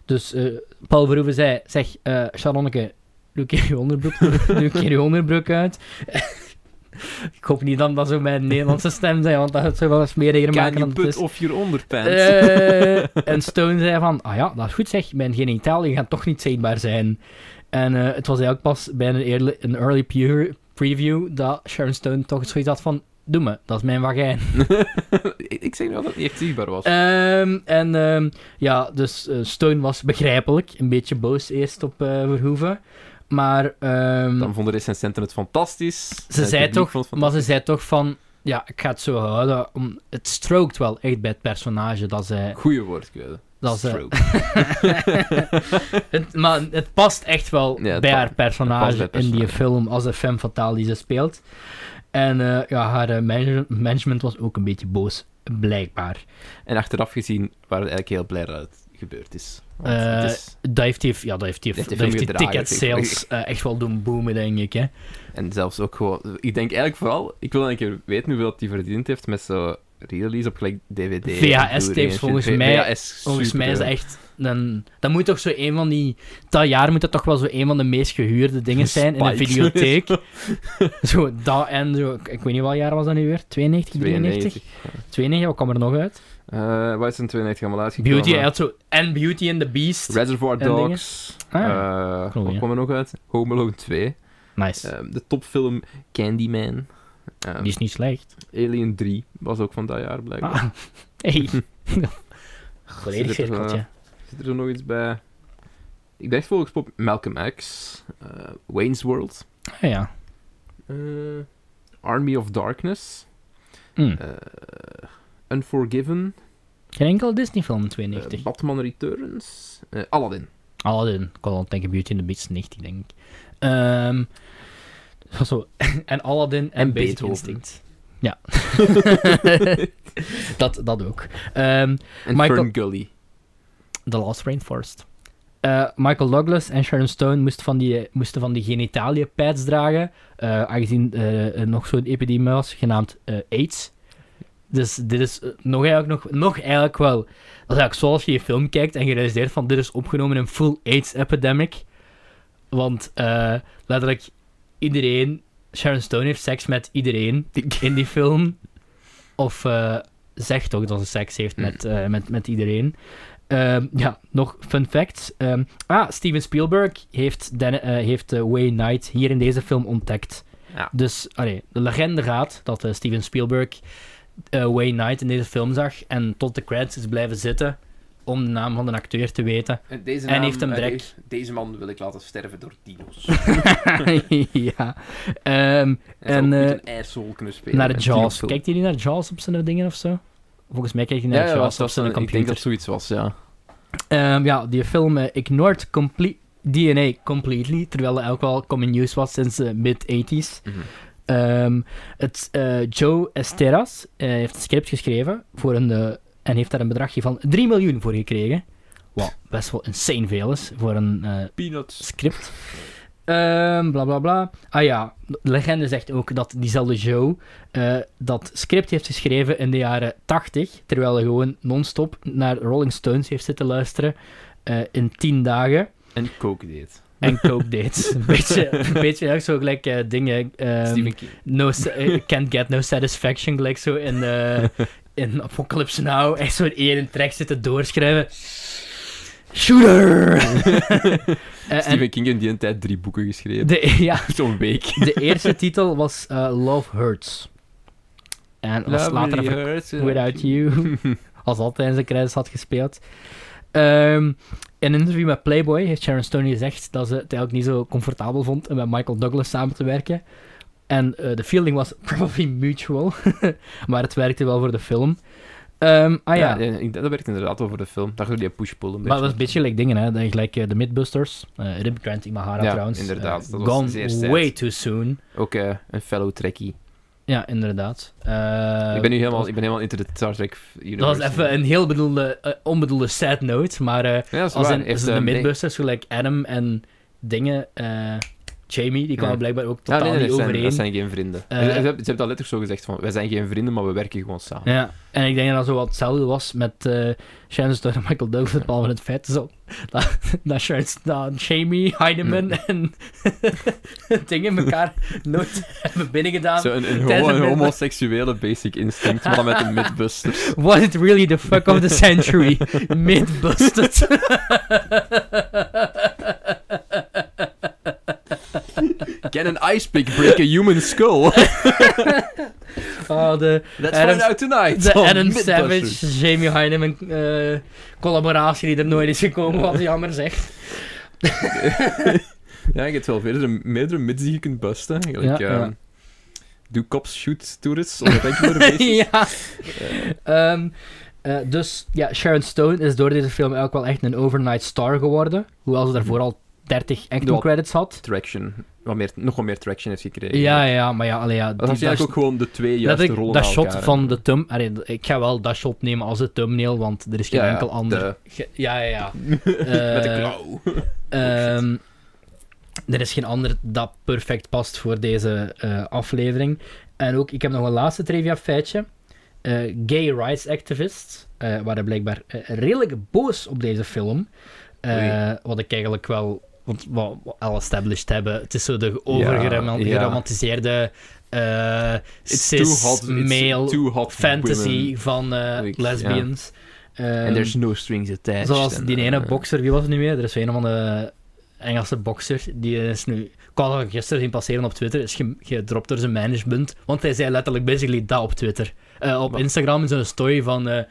dus eh, Paul Verhoeven zei, zeg eh Charlonneke, doe een keer je onderbroek, doe een keer je onderbroek uit. Ik hoop niet dan dat zo mijn Nederlandse stem zijn, want dat zou wel eens meer hier Can you maken dan het put is. off your onderpants? Eh, en Stone zei van, ah ja, dat is goed zeg, mijn genitaliën gaan toch niet zichtbaar zijn. En eh, het was eigenlijk pas bij een early, een early pure- preview dat Sharon Stone toch zoiets had van, doe me, dat is mijn vagijn. ik, ik zeg nu wel dat het niet echt zichtbaar was. Ehm, en ehm, ja, dus eh, Stone was begrijpelijk, een beetje boos eerst op eh, Verhoeven. Maar ehm, Dan vonden recensenten het fantastisch. ze Het zei publiek toch, vond het maar ze zei toch van, ja, ik ga het zo houden. om- het strookt wel echt bij het personage dat zij... fantastisch. Goeie woordkeuze. Dat ze, Stroke. Het, maar het past echt wel Ja, het bij pa- haar personage, het past bij het in die personage. film als de femme fatale die ze speelt. En eh, ja, haar eh, manage- management was ook een beetje boos, blijkbaar. En achteraf gezien waren we eigenlijk heel blij dat het gebeurd is. Want Eh, het is- Dat heeft die, ja, dat heeft die, Dat heeft dat die heeft film die gedragen, ticket sales eh, echt wel doen boomen, denk ik. Hè. En zelfs ook gewoon... Ik denk eigenlijk vooral... Ik wil dan een keer weten hoeveel dat die verdiend heeft met zo'n release op gelijk DVD. en VHS tapes Blu-ray en shit. volgens V- mij- VHS, Volgens mij is dat superveel. echt... Een, dat moet toch zo een van die... Dat jaar moet dat toch wel zo een van de meest gehuurde dingen zijn in een Spike. videotheek. zo, dat en zo... Ik, ik weet niet wat jaar was dat nu weer? 92, 93? 92. 92, wat kwam er nog uit? Eh, wat is in 92 allemaal uitgekomen? Beauty, hij had zo... En Beauty and the Beast. Reservoir en dingen. Dogs. Ah, Eh Cool, wat ja. kwam er nog uit? Home Alone 2. Nice. Eh, de topfilm Candyman. Eh, Die is niet slecht. Alien 3 was ook van dat jaar, blijkbaar. Ah. Hey. Zit er, Volledig cirkeltje. Zit er zo nog iets bij? Ik dacht volgens Pop Malcolm X, eh, Wayne's World, Ah, ja. eh, Army of Darkness, Hm. eh, Unforgiven, Geen enkele Disney-film in eh, 92. Batman Returns, eh, Aladdin. Aladdin. Ik kon al denken Beauty and the Beast 90, denk ik. Ehm, dat was zo. en Aladdin en, En Basic Beethoven. Instinct. Ja. dat, dat ook. Ehm, En Michael- Fern Gully. The Last Rainforest. Eh, Michael Douglas en Sharon Stone moesten van die, moesten van die genitalië pads dragen, eh, aangezien eh, er nog zo'n epidemie was, genaamd eh, AIDS. Dus dit is eh, nog eigenlijk, nog, nog eigenlijk wel... Dat is eigenlijk zoals je je film kijkt en je realiseert van dit is opgenomen in een full AIDS-epidemic. Want eh, letterlijk iedereen... Sharon Stone heeft seks met iedereen in die film. Of eh, zegt ook dat ze seks heeft met, eh, met, met iedereen. Ehm, ja, nog fun facts. Ehm, ah, Steven Spielberg heeft, Den- eh, heeft eh, Wayne Knight hier in deze film ontdekt. Ja. Dus, allee, de legende gaat dat eh, Steven Spielberg eh, Wayne Knight in deze film zag en tot de credits is blijven zitten om de naam van de acteur te weten. Deze En naam, heeft een eh, drek. deze- deze man wil ik laten sterven door dino's. ja. Ehm, En, en ook goed eh, een ijsrol kunnen spelen. naar Jaws. Kijkt hij niet naar Jaws op zijn dingen of zo? Volgens mij kijkt hij Ja, naar ja, Jaws was, op was zijn een, ik denk computer. dat zoiets was, ja. Ehm, ja, die film eh, ignored comple- DNA completely, terwijl het ook wel common news was sinds de mid-80s. Mhm. Ehm, het, eh, Joe Esteras eh, heeft een script geschreven voor een, eh, en heeft daar een bedragje van 3 miljoen voor gekregen. Wat best wel insane veel is voor een eh, Peanuts. script. Ehm, bla bla bla. Ah ja, de legende zegt ook dat diezelfde Joe eh, dat script heeft geschreven in de jaren 80, terwijl hij gewoon non-stop naar Rolling Stones heeft zitten luisteren eh, in 10 dagen. En Coke deed. En coke dates. Een beetje, een beetje eigenlijk zo gelijk eh, dingen. ehm, Stephen King. no sa- eh, can't get no satisfaction, gelijk zo in, eh, in Apocalypse Now. Echt zo'n ene track zitten doorschrijven. Shooter! Eh, en Stephen King heeft in die tijd drie boeken geschreven. de, ja, Zo'n week. de eerste titel was eh, Love Hurts. En was later Lovely even hurts eh, Without You. Als altijd in zijn credits had gespeeld. Ehm, in een interview met Playboy heeft Sharon Stone gezegd dat ze het eigenlijk niet zo comfortabel vond om met Michael Douglas samen te werken. En eh, de feeling was probably mutual. maar het werkte wel voor de film. Ehm, ah ja, ja, ik- dat werkt inderdaad wel voor de film. Daar doe je push-pull een beetje. maar dat is een beetje like dingen, hè. Dat je Gelijk eh, de Midbusters. eh Rip Grant Imahara Ja, trouwens. inderdaad. eh, Dat was gone zeer sad. way too soon. Ook eh, een fellow trekkie. Ja, inderdaad. ik ben nu helemaal helemaal, ik ben helemaal into de Star Trek universe. Eh, Dat was even een heel bedoelde, eh, onbedoelde sad note, maar eh, Ja, dat is als waar. in, Heeft, als in de eh, midbusters, gelijk Adam en dingen, eh, Jamie, die kwamen Ja. blijkbaar ook nee, totaal nee, dat niet zijn- overeen. Dat zijn geen vrienden. Eh, ze, ze hebben, ze hebben dat letterlijk zo gezegd: van, wij zijn geen vrienden, maar we werken gewoon samen. Ja, en ik denk dat dat zo wat hetzelfde was met eh Sharon Stone en Michael Douglas, behalve het feit zo, dat, dat, Sharon, dat Jamie, Mm. Heineman en dingen elkaar nooit hebben binnengedaan. Zo een, een tijdens gewoon een mid- homoseksuele basic instinct, maar dan met een midbusters. Was it really the fuck of the century? Mythbusters. Can an ice pick break a human skull? Let's Oh, de, Adam- find out tonight. De on Adam Mythbusters. Savage, Jamie Heineman eh, collaboratie die er nooit is gekomen, wat jammer zeg. Ja, je hebt wel verder meerdere mids die je kunt busten. Gelijk, Ja, ehm, ja. Do cops shoot tourists on a regular basis? ja. Eh, Ehm, eh, dus ja, Sharon Stone is door deze film ook wel echt een overnight star geworden. Hoewel ze daarvoor al 30 acting Wel- credits had. traction. Wat meer, nog wel meer traction heeft gekregen. Ja, ja, maar ja, allee, ja. Dat die- is eigenlijk ook gewoon de twee dat, juiste ik- rollen dat na shot elkaar, hè. van de thumb... allee, ik ga wel dat shot nemen als de thumbnail, want er is geen Ja, ja, enkel ander... de- ge- ja, ja, ja. Met de Eh, klauw. Ehm, er is geen ander dat perfect past voor deze eh, aflevering. En ook, ik heb nog een laatste trivia feitje. Eh, gay rights activists eh, waren blijkbaar eh, redelijk boos op deze film. Eh, wat ik eigenlijk wel... Want wat we al established hebben, het is zo de Ja, ja. overgeromantiseerde eh It's too hot. It's cis-male too hot fantasy women. van eh, Like, ja. lesbians. Ehm, And there's no strings attached. Zoals en, die eh, ene bokser, wie was het nu meer? Er is zo een van de Engelse bokser, die is nu... Ik had hem gisteren zien passeren op Twitter, is ge- gedropt door zijn management. Want hij zei letterlijk basically dat op Twitter. Eh, op Wat? Instagram is een story van eh,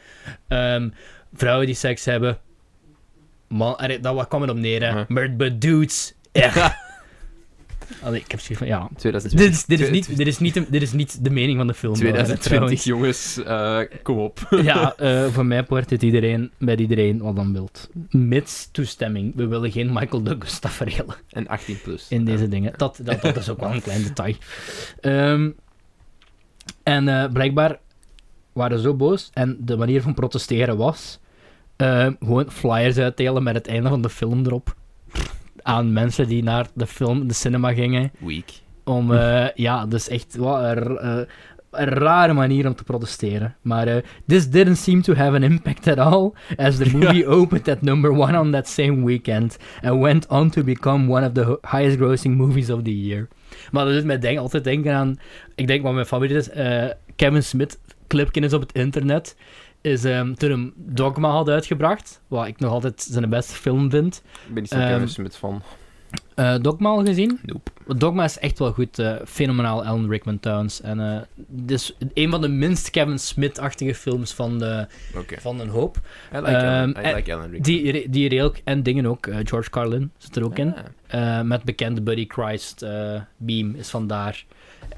ehm, vrouwen die seks hebben. Man, allee, dat wat kwam het op neer, hè. Ja. Maar but dudes, echt. Allee, ik heb zoiets van, ja... 2020. Dit is, dit, is Twee- niet, dit, is niet de, dit is niet de mening van de film. wel, hè, 2020, jongens, eh, kom op. trouwens. Ja, eh, voor mij wordt dit iedereen, bij iedereen wat dan wilt. Mits toestemming. We willen geen Michael Douglas tafereelen En 18 plus. in deze dingen. Dat, dat, dat is ook wel een klein detail. Ehm, en eh, blijkbaar waren ze zo boos. En de manier van protesteren was eh, gewoon flyers uitdelen met het einde van de film erop. Aan mensen die naar de film, de cinema gingen. Week. Om, eh, ja, dus echt wat een, eh, een rare manier om te protesteren. Maar eh, this didn't seem to have an impact at all, as the movie opened at number one on that same weekend and went on to become one of the ho- highest grossing movies of the year. Maar dat doet mij denk, altijd denken aan, ik denk wat mijn favoriet is, eh, Kevin Smith clipjes op het internet. Is ehm, toen hem Dogma had uitgebracht, wat ik nog altijd zijn beste film vind. Ik ben niet zo Ehm, kennis met van. Eh, Dogma al gezien? Nope. Want Dogma is echt wel goed. eh, fenomenaal Alan Rickman Towns. En eh dus een van de minst Kevin Smith-achtige films van, de, Oké. van een hoop. I like Alan, Ehm, I en- like Alan Rickman. Die, re- die reëel en dingen ook. eh, George Carlin zit er ook in. Ah. Eh, met bekende Buddy Christ eh, Beam is vandaar.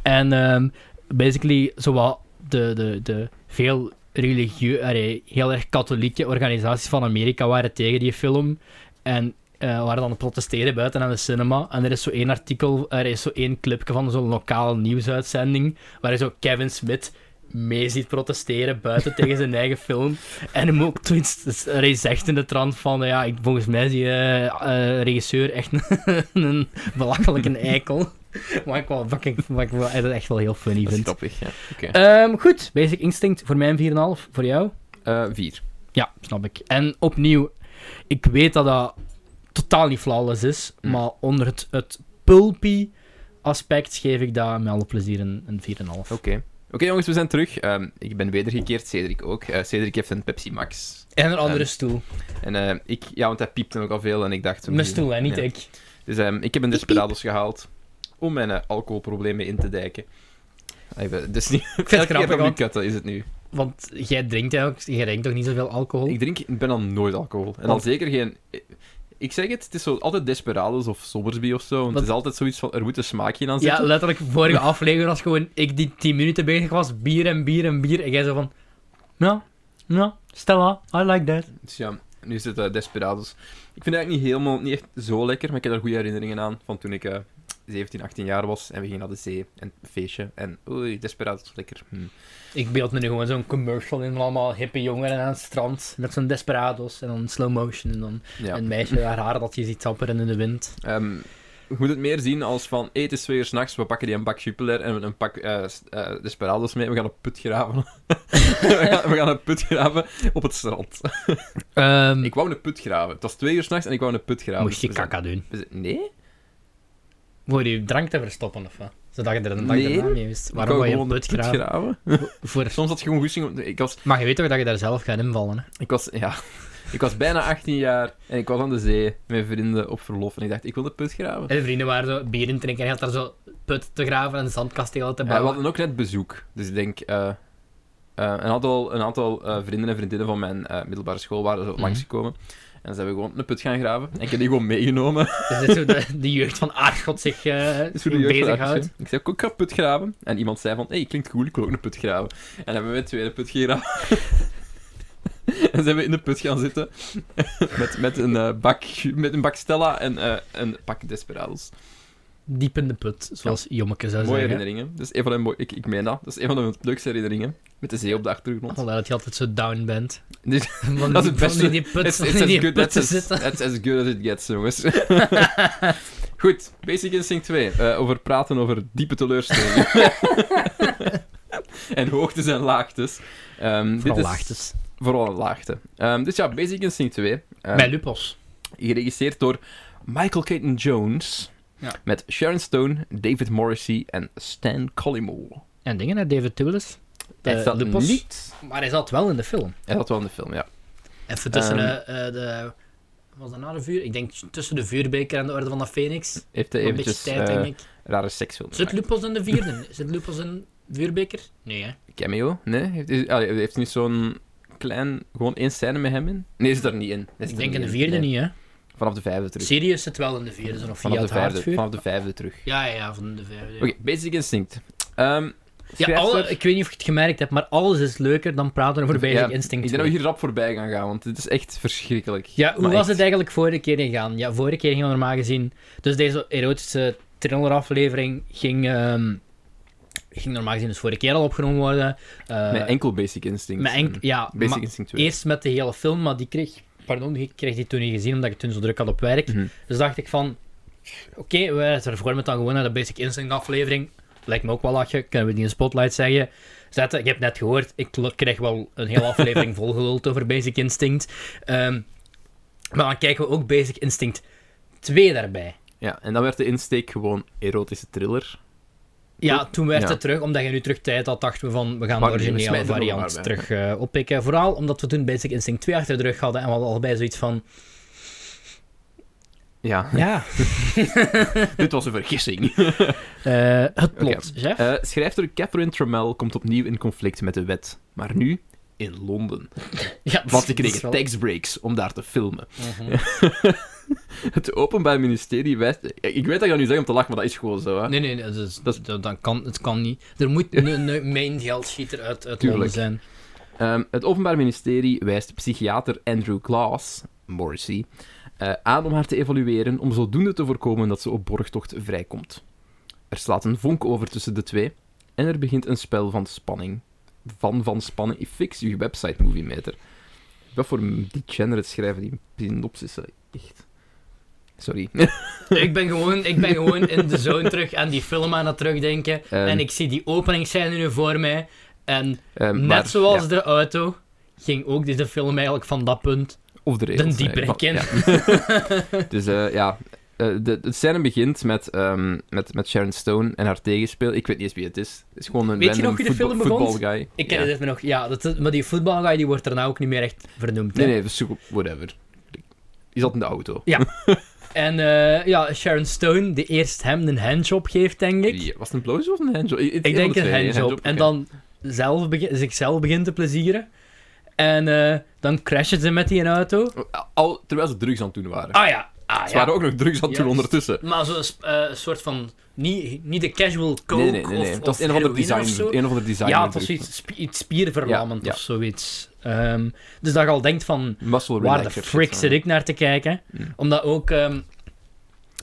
En ehm, basically, zowat de, de, de veel religieus, heel erg katholieke organisaties van Amerika waren tegen die film. En eh, waren dan aan het protesteren buiten aan de cinema. En er is zo één artikel, er is zo één clipje van zo'n lokale nieuwsuitzending. Waar je zo Kevin Smith mee ziet protesteren buiten tegen zijn eigen film. En hem ook tweets, dus hij zegt in de trant van, ja, ik, volgens mij is die eh, eh, regisseur echt een, een belachelijke eikel. Maar ik wel fucking, wat ik wel, dat echt wel heel funny Dat is vind. grappig, ja. Oké. Ehm, goed, Basic Instinct voor mij een 4,5, voor jou? Eh, vier. Ja, snap ik. En opnieuw, ik weet dat dat totaal niet flawless is, Mm. maar onder het, het pulpy aspect geef ik daar met alle plezier een, een 4,5. Oké. Oké, jongens, we zijn terug. Ehm, ik ben wedergekeerd, Cedric ook. Eh, Cedric heeft een Pepsi Max. En een andere Ehm, stoel. En eh, ik, ja, want hij piepte ook al veel en ik dacht... Mijn stoel, hè, niet Ja. ik. Dus ehm, ik heb een Desperados gehaald om mijn eh, alcoholproblemen in te dijken. Allee, we- dit is niet... Ik vind het grappig, nu want, kutten is het nu. want jij drinkt eigenlijk, jij drinkt toch niet zoveel alcohol? Ik drink bijna nooit alcohol. En dan Want- zeker geen... Ik zeg het, het is zo altijd Desperados of Sobersby of zo. Want Want- het is altijd zoiets van, er moet een smaakje aan ja, zitten. letterlijk, vorige aflevering was gewoon ik die 10 minuten bezig was, bier en bier en bier. En jij zo van, nou, nou, Stella, I like that. Dus ja, nu is het eh, Desperados. Ik vind het eigenlijk niet helemaal, niet echt zo lekker, maar ik heb daar goede herinneringen aan van toen ik eh 17, 18 jaar was en we gingen naar de zee en een feestje. En oei, Desperados, lekker. Hm. Ik beeld me nu gewoon zo'n commercial in van allemaal hippe jongeren aan het strand met zo'n desperados en dan slow motion en dan Ja. een meisje haar haar dat je ziet tapperen in de wind. Ehm, je moet het meer zien als van, hey, het is twee uur s'nachts, we pakken die een bak Jupiler en een pak eh, s- eh, Desperados mee, we gaan een put graven. we, gaan, we gaan een put graven op het strand. Ehm, Ik wou een put graven. Het was twee uur s'nachts en ik wou een put graven. moest je Dus we kaka doen. zijn- we zijn- Nee? Voor je drank te verstoppen of wat? Zodat je er een dag Nee, daarna mee wist. Ik Waarom wou wou je gewoon een put graven? Voor... Soms had je gewoon goesting... om- Ik was Maar je weet toch dat je daar zelf gaat invallen, hè? Ik was, ja, ik was bijna 18 jaar en ik was aan de zee met vrienden op verlof. En ik dacht, ik wil de put graven. En de vrienden waren zo bier in drinken en je had daar zo put te graven en zandkastelen te Ja, we bouwen. hadden ook net bezoek. Dus ik denk, eh, eh, een aantal, een aantal eh, vrienden en vriendinnen van mijn eh, middelbare school waren zo Mhm. langsgekomen. En ze hebben gewoon een put gaan graven. En ik heb die gewoon meegenomen. Dus dit is hoe de, de jeugd van Aardgod zich eh Dus voor de jeugd van bezighoudt. Aartsen. Ik zei ook, ik ga put graven. En iemand zei van, hé, hey, klinkt cool, ik wil ook een put graven. En hebben we een tweede put gegraven. en zijn we in de put gaan zitten. met, met, een, eh, bak, met een bak Stella en eh, een pak Desperados. Diep in de put, zoals Jommeke zou Mooie zeggen. herinneringen. Dat is een van de mooi- ik, ik meen dat. Dat is een van de leukste herinneringen. Met de zee op de achtergrond. Vandaar dat je altijd zo down bent. Dus- Van, dat is het van beste. in die put, It's, van it's in as die good, put that's te as, zitten. that's as good as it gets, jongens. Goed, Basic Instinct 2. eh, over praten over diepe teleurstellingen. en hoogtes en laagtes. Ehm, dit Vooral is- laagtes. Vooral laagte. Ehm, dus ja, Basic Instinct 2. ehm, Bij Lupos. geregisseerd door Michael Caton Jones. Ja. Met Sharon Stone, David Morrissey en Stan Collymore. En dingen, hè, David Toulis. Hij Eh, zat Lupos. niet Maar hij zat wel in de film. Hij zat wel in de film, ja. Even tussen Ehm. eh, eh, de... wat Was dat na de vuur? Ik denk tussen de vuurbeker en de Orde van de Phoenix. Heeft hij Een beetje eventjes tijd, eh, denk ik. rare seksfilm Zit gemaakt. Lupos in de vierde? Zit Lupos in vuurbeker? Nee, hè? Cameo? Nee? Heeft, is, allee, heeft hij niet zo'n klein... Gewoon één scène met hem in? Nee, is er niet in. Hij Zit Ik er denk niet in de vierde Nee. niet, hè? Vanaf de vijfde terug. Sirius zit wel in de vierde, zo nog via Vanaf de, het vijfde, haardvuur. vanaf de vijfde terug. Ja, ja, ja, van de vijfde. ja. Oké, Basic Instinct. Ehm Ja, alle- ik weet niet of je het gemerkt hebt, maar alles is leuker dan praten over Basic Instinct. Ik denk dat 2. we hier rap voorbij gaan gaan, want dit is echt verschrikkelijk. Ja, hoe Maar was echt. het eigenlijk vorige keer gegaan? Ja, vorige keer gingen we normaal gezien... Dus deze erotische thriller-aflevering ging, ehm, ging normaal gezien dus vorige keer al opgenomen worden. Eh, Met enkel Basic Instinct. Mm. met enk- ja, Basic maar Instinct 2. eerst met de hele film, maar die kreeg... Pardon, ik kreeg die toen niet gezien, omdat ik toen zo druk had op werk. Mhm. Dus dacht ik van... Oké, we hervormen het dan gewoon naar de Basic Instinct aflevering. Lijkt me ook wel lachen. Kunnen we die in Spotlight zeggen? Zetten. Je hebt net gehoord, ik lo- krijg wel een hele aflevering volgeluld over Basic Instinct. Ehm, maar dan kijken we ook Basic Instinct 2 daarbij. Ja, en dan werd de insteek gewoon erotische thriller. Ja, toen werd Ja. het terug, omdat je nu terug tijd had, dachten we van, we gaan Maar de nee, we originele smijten er nog variant maar bij. terug eh, oppikken. Vooral omdat we toen Basic Instinct 2 achter de rug hadden en we hadden allebei zoiets van, Ja, ja, dit was een vergissing. eh, het plot, chef. Eh, schrijfster Catherine Trammell komt opnieuw in conflict met de wet. Maar nu in Londen. ja, Want ze dat is kregen wel- tax breaks om daar te filmen. Mhm. Het Openbaar Ministerie wijst... Ik weet dat ik dat nu zeg om te lachen, maar dat is gewoon zo, hè. Nee, nee, nee, dat, is- Dat is- dat, dat kan, het kan niet. Er moet een, een mijngeldschieter uit, uit Londen Tuurlijk. zijn. Ehm, het Openbaar Ministerie wijst psychiater Andrew Glass, Morrissey, eh, aan om haar te evalueren om zodoende te voorkomen dat ze op borgtocht vrijkomt. Er slaat een vonk over tussen de twee en er begint een spel van spanning. Van van spanning. Fix uw website, Movie Meter. Wat voor degenerate schrijven die synopsissen? Echt. Sorry. Ehm, Ik ben, gewoon, ik ben gewoon in de zone terug aan die film aan het terugdenken. Ehm. en ik zie die openingsscène nu voor mij. En Ehm, net maar, zoals ja, de auto, ging ook deze film eigenlijk van dat punt of de den regels. dieper eigenlijk. in. Ja. Dus eh, ja, eh, de, de scène begint met, ehm, met, met Sharon Stone en haar tegenspel. Ik weet niet eens wie het is. Het is gewoon een Weet je random nog wie de voetbal- film begon? voetbalguy. Ik ken Ja. dit me nog. Ja, dat, is- maar die voetbalguy die wordt nou daarna ook niet meer echt vernoemd. hè. Nee, nee, we zoeken- whatever. Die zat in de auto. En eh, ja, Sharon Stone, die eerst hem een handjob geeft, denk ik. Ja, was het een blowjob of een handjob? Ik denk een handjob. En dan zelf begin, zichzelf begint te plezieren. En eh, dan crashen ze met die auto. Al, terwijl ze drugs aan het doen waren. Ah ja, ah Ze ja. waren ook nog drugs aan het doen Juist. ondertussen. Maar zo'n sp- eh, soort van... Niet, niet de casual coke nee, nee, nee. nee. of, het was of een of ander heroïne design. of zo. Een of ander design. ja, het was drugs. iets, sp- iets spierverlammend Ja, of zoiets. Ehm, dus dat je al denkt van... Muscle Waar de relaxer frick shit, zit ik naar te kijken? Mm. Omdat ook... ehm,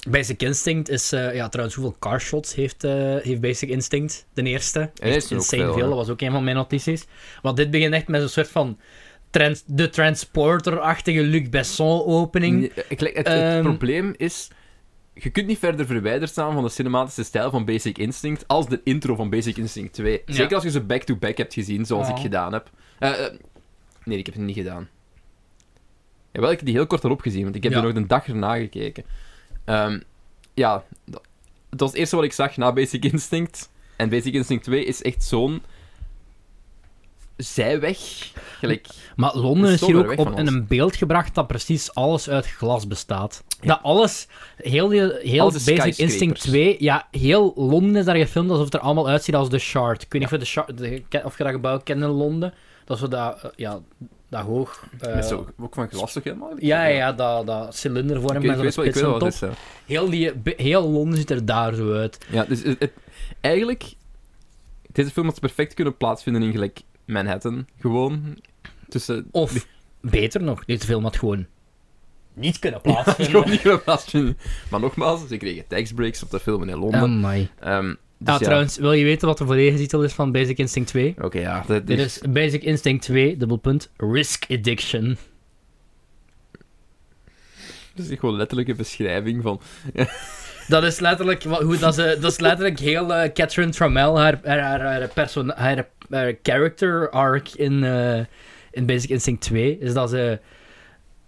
Basic Instinct is... eh, ja, trouwens, hoeveel carshots heeft, eh, heeft Basic Instinct? De eerste. Ja, dat is Echt er ook insane veel, veel. hè. Dat was ook een van mijn notities. Want dit begint echt met een soort van... Trans de Transporter-achtige Luc Besson-opening. Nee, ik lijk- het, het Ehm. probleem is... Je kunt niet verder verwijderd staan van de cinematische stijl van Basic Instinct als de intro van Basic Instinct 2. Ja. Zeker als je ze back-to-back hebt gezien, zoals Oh. ik gedaan heb. Eh, eh, nee, ik heb het niet gedaan. Jawel, ik heb die heel kort erop gezien, want ik heb Ja. er nog een dag erna gekeken. Ehm, ja, dat, het was het eerste wat ik zag na Basic Instinct. En Basic Instinct 2 is echt zo'n... Zijweg. Gelijk... Maar Dat Londen is is zo hier ver ook weg op van in ons. een beeld gebracht dat precies alles uit glas bestaat. Dat alles, heel, die- heel Al de Basic skyscrapers. Instinct 2, ja, heel Londen is daar gefilmd alsof het er allemaal uitziet als The Shard. Ik weet Ja. niet of je, de Shard, de- ke- of je dat gebouw kent in Londen. Dat is zo dat, eh, ja, dat hoog. eh, met zo, ook van glas toch helemaal? ja, ja, ja, dat, dat cilindervorm Ik, ik, met zo'n weet wel- ik spits weet wel en wat het top. is, ja. Heel, die, be- heel Londen ziet er daar zo uit. Ja, dus het, het- eigenlijk... Deze film had perfect kunnen plaatsvinden in gelijk Manhattan. Gewoon. Tussen... Of, beter nog, deze film had gewoon niet kunnen plaatsvinden. Gewoon niet kunnen plaatsvinden. Maar nogmaals, ze kregen taxbreaks op de filmen in Londen. Amai. Ehm, dus ah, trouwens, wil je weten wat de volledige titel is van Basic Instinct 2? Oké, ja. Dat, Dit is Basic Instinct 2, dubbelpunt, Risk Addiction. dat is gewoon letterlijke beschrijving van... Dat is letterlijk, wa- hoe dat, ze, dat is letterlijk heel eh, Catherine Trammell, haar, haar, haar, haar, perso- haar, haar character arc in, eh, in Basic Instinct 2, is dat ze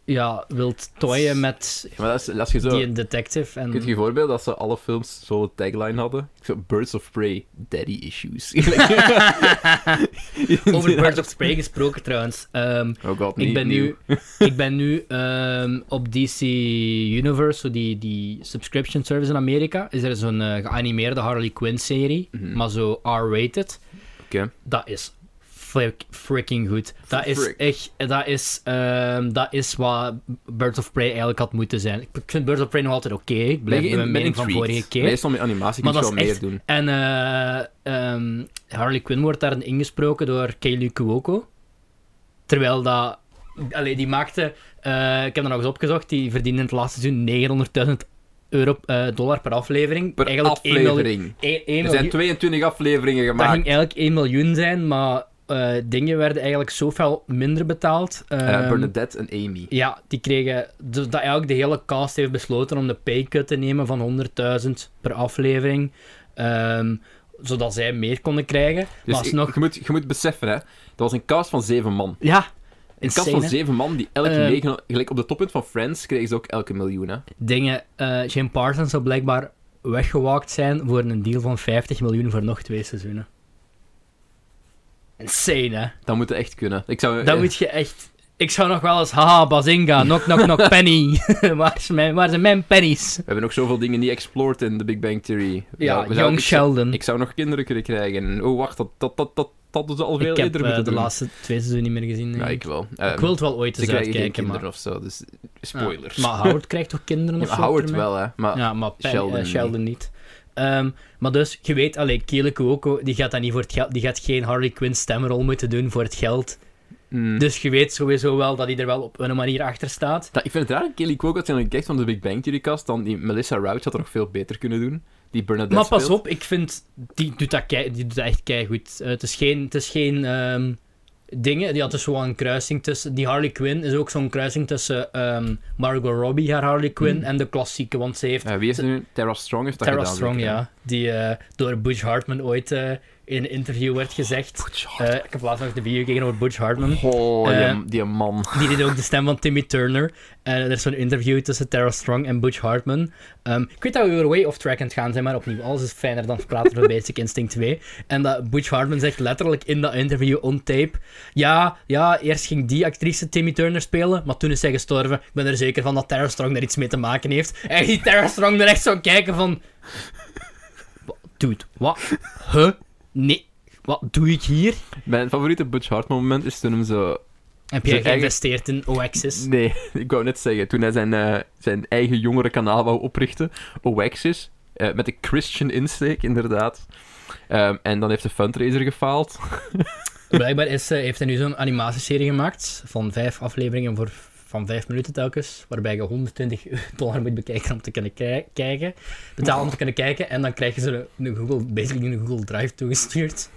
ja, wilt toyen met Ja, maar dat is, als je zo... die detective. En... Kun je je voorbeelden dat ze alle films zo'n tagline hadden? Zo, Birds of Prey, Daddy Issues. Gelijk- Over Birds of Prey gesproken trouwens. Ehm, Oh god, Ik niet ben, nieuw. nu, ik ben nu ehm, op DC Universe, zo die, die subscription service in Amerika, is er zo'n eh, geanimeerde Harley Quinn-serie, Mhm. maar zo R-rated. Oké. Dat is flik- freaking goed. Dat is Frick. echt, dat is, ehm, dat is wat Birds of Prey eigenlijk had moeten zijn. Ik vind Birds of Prey nog altijd oké, ik blijf Ben bij in- mijn ben mening van intrigued. vorige keer. Meestal met animatie kun je Maar wel dat is meer doen. echt- En eh, ehm, Harley Quinn wordt daarin ingesproken door Kaylee Cuoco. Terwijl dat... Allee, die maakte... eh, ik heb dat nog eens opgezocht. Die verdiende in het laatste seizoen 900.000 euro, eh, dollar per aflevering. Per eigenlijk één miljoen- aflevering. één- één Er zijn miljoen- 22 afleveringen dat gemaakt. ging eigenlijk 1 miljoen zijn, maar eh, dingen werden eigenlijk zoveel minder betaald. Eh, Ehm, Bernadette en Amy. ja, die kregen... Dus dat eigenlijk de hele cast heeft besloten om de paycut te nemen van 100.000 per aflevering. ehm, zodat zij meer konden krijgen. Dus maar ik- alsnog... je, moet, je moet beseffen, hè. Dat was een cast van zeven man. Ja, Een cast insane, van hè. zeven man die elke Ehm. negen... Gelijk op de toppunt van Friends kregen ze ook elke miljoen, hè. Dingen... eh Jim Parsons zou blijkbaar weggewaakt zijn voor een deal van 50 miljoen voor nog twee seizoenen. Insane, hè? Dat moet echt kunnen. Ik zou... Dat eh, moet je echt... Ik zou nog wel eens... Haha, Bazinga, knock, knock, knock, penny. waar, is mijn, waar zijn mijn pennies? We hebben nog zoveel dingen niet explored in The Big Bang Theory. Ja, Nou, we zouden- Young ik, Sheldon. ik zou nog kinderen kunnen krijgen. Oh, wacht. Dat, dat, dat, dat, dat hadden ze al veel Ik heb eerder eh, moeten de doen. laatste twee seizoenen niet meer gezien. Ja, denk ik wel. Ehm, Ik wil het wel ooit ze eens krijgen geen uitkijken, kinderen maar... of zo, dus... Spoilers. Ja, maar Howard krijgt toch kinderen of Ja, zo? Howard ermee? wel, hè. Maar... Ja, maar Penny- eh, Sheldon Sheldon, niet. niet. Ehm, maar dus, je weet, allee, Kele Cuoco, die gaat dat niet voor het geld... Die gaat geen Harley Quinn stemrol moeten doen voor het geld. mm. Dus je weet sowieso wel dat hij er wel op een manier achter staat. Dat- ik vind het raar dat Kelly Cuoco, als je dan kijkt van de Big Bang Theory cast, dan die Melissa Rout had er nog veel beter kunnen doen. Die Bernadette maar pas speelt. op, ik vind... Die doet dat, kei, die doet dat echt keigoed. Eh het is geen... Het is geen ehm, dingen. Die had dus wel een kruising tussen... Die Harley Quinn is ook zo'n kruising tussen ehm, Margot Robbie, haar Harley Quinn, en de klassieke, want ze heeft... Eh, wie heeft er nu? Tara Strong heeft Hmm. dat Tara gedaan. Strong, zeker, hè? ja. Die eh, door Bush Hartman ooit eh, in een interview werd gezegd. eh, ik heb laatst nog de video gekeken over Butch Hartman. Oh, Eh, die, die man. Die deed ook de stem van Timmy Turner. En er is zo'n interview tussen Tara Strong en Butch Hartman. Ehm, ik weet dat we weer way off track aan het gaan zijn, maar opnieuw, alles is fijner dan praten over Basic Instinct 2. En dat Butch Hartman zegt letterlijk in dat interview on tape: Ja, ja, eerst ging die actrice Timmy Turner spelen, maar toen is zij gestorven. Ik ben er zeker van dat Tara Strong daar iets mee te maken heeft. En die Tara Strong er echt zo kijken van... "Wa- Dude, wat? Huh? Nee. Wat doe ik hier? Mijn favoriete Butch Hartman moment is toen hem zo... Heb Zo jij erg- geïnvesteerd in Oaxis? Nee, ik wou net zeggen. Toen hij zijn, eh, zijn eigen jongere kanaal wou oprichten. Oaxis. eh, met de Christian insteek, inderdaad. Ehm, en dan heeft de fundraiser gefaald. Blijkbaar is, eh, heeft hij nu zo'n animatieserie gemaakt van vijf afleveringen voor, van vijf minuten telkens, waarbij je 120 dollar moet bekijken om te kunnen ki- kijken, betalen om te kunnen kijken, en dan krijg je ze een, een Google, basically een Google Drive toegestuurd.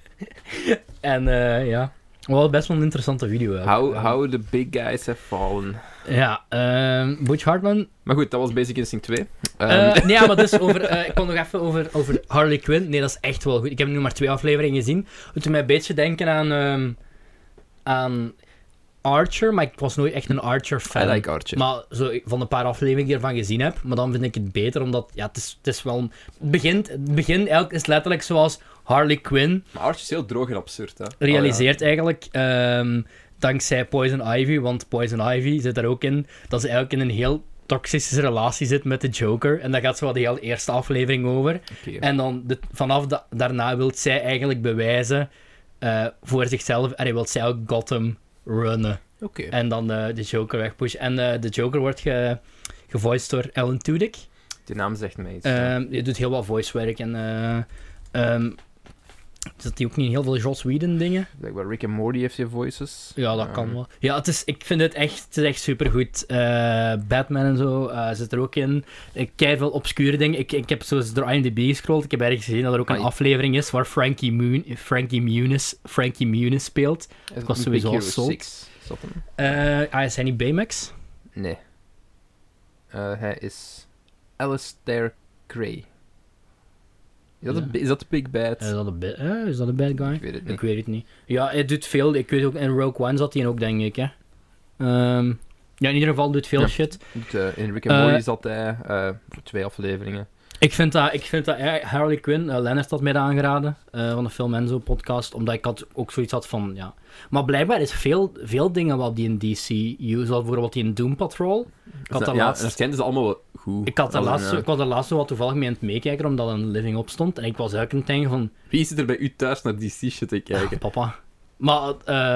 en eh, ja, wel best wel een interessante video. ook. How, Ja. how the big guys have fallen. Ja, ehm Butch Hartman. Maar goed, dat was Basic Instinct 2. Ehm, Eh, nee, ja, maar dus over, eh, ik kon nog even over, over Harley Quinn. Nee, dat is echt wel goed. Ik heb nu maar twee afleveringen gezien. Het doet mij een beetje denken aan, ehm, aan Archer, maar ik was nooit echt een Archer-fan. I like Archer. Maar zo, van een paar afleveringen die ik ervan gezien heb, maar dan vind ik het beter, omdat ja, het, is, het is wel... een- Het begint, het begin eigenlijk is letterlijk zoals Harley Quinn Maar Archer is heel droog en absurd, hè. realiseert eigenlijk, ehm, dankzij Poison Ivy, want Poison Ivy zit er ook in, dat ze eigenlijk in een heel toxische relatie zit met de Joker. En daar gaat zo wat de hele eerste aflevering over. Oh, Oké. En dan de- vanaf da- daarna wil zij eigenlijk bewijzen eh, voor zichzelf, en hij wil zij ook Gotham runnen. Oké. En dan eh, de Joker wegpushen. En eh, de Joker wordt ge gevoiced door Alan Tudyk. Die naam zegt mij iets. Ehm, je doet heel wat voicewerk en... eh ehm zit hij ook niet in heel veel Joss Whedon dingen? Blijkbaar Rick en Morty heeft je voices. Ja, dat Ehm, kan wel. Ja, het is, ik vind het echt, het is echt supergoed. Eh, Batman en zo eh, zit er ook in. Ik kijk wel obscure dingen. Ik, ik heb zoals door IMDb gescrolld. Ik heb ergens gezien dat er ook een Ah, ja. aflevering is waar Frankie, Moon, Frankie, Muniz, Frankie Muniz speelt. Is het was een sowieso Big al Hero sold. 6? Zat hem? Eh, ah, is hij niet Baymax? Nee. Eh, hij is Alistair Gray. Is dat, Ja. de, bi- is dat de Big Bad? Is dat een, ba- eh, is dat een bad guy? ik weet het Ik niet. weet het niet. Ja, hij doet veel. Ik weet ook, in Rogue One zat hij in ook, denk ik. Hè? Ehm, ja, in ieder geval doet veel Ja. shit. Want, eh, in Rick en Eh, Morty zat hij eh, voor twee afleveringen. Ik vind dat, ik vind dat eh, Harley Quinn, eh, Lennart had mij dat aangeraden, eh, van de Film Enzo podcast, omdat ik had ook zoiets had van, ja. Maar blijkbaar is veel, veel dingen wat die in DC use, zoals bijvoorbeeld die in Doom Patrol. Ik had dat ja, laatst- en schijnt is allemaal wel goed. Ik, had daar Als laatst, een, ik was daar laatst zo wat toevallig mee aan het meekijken, omdat een living op stond. En ik was eigenlijk aan het denken van, eh, Wie zit er bij u thuis naar DC shit te kijken? ah, papa. Maar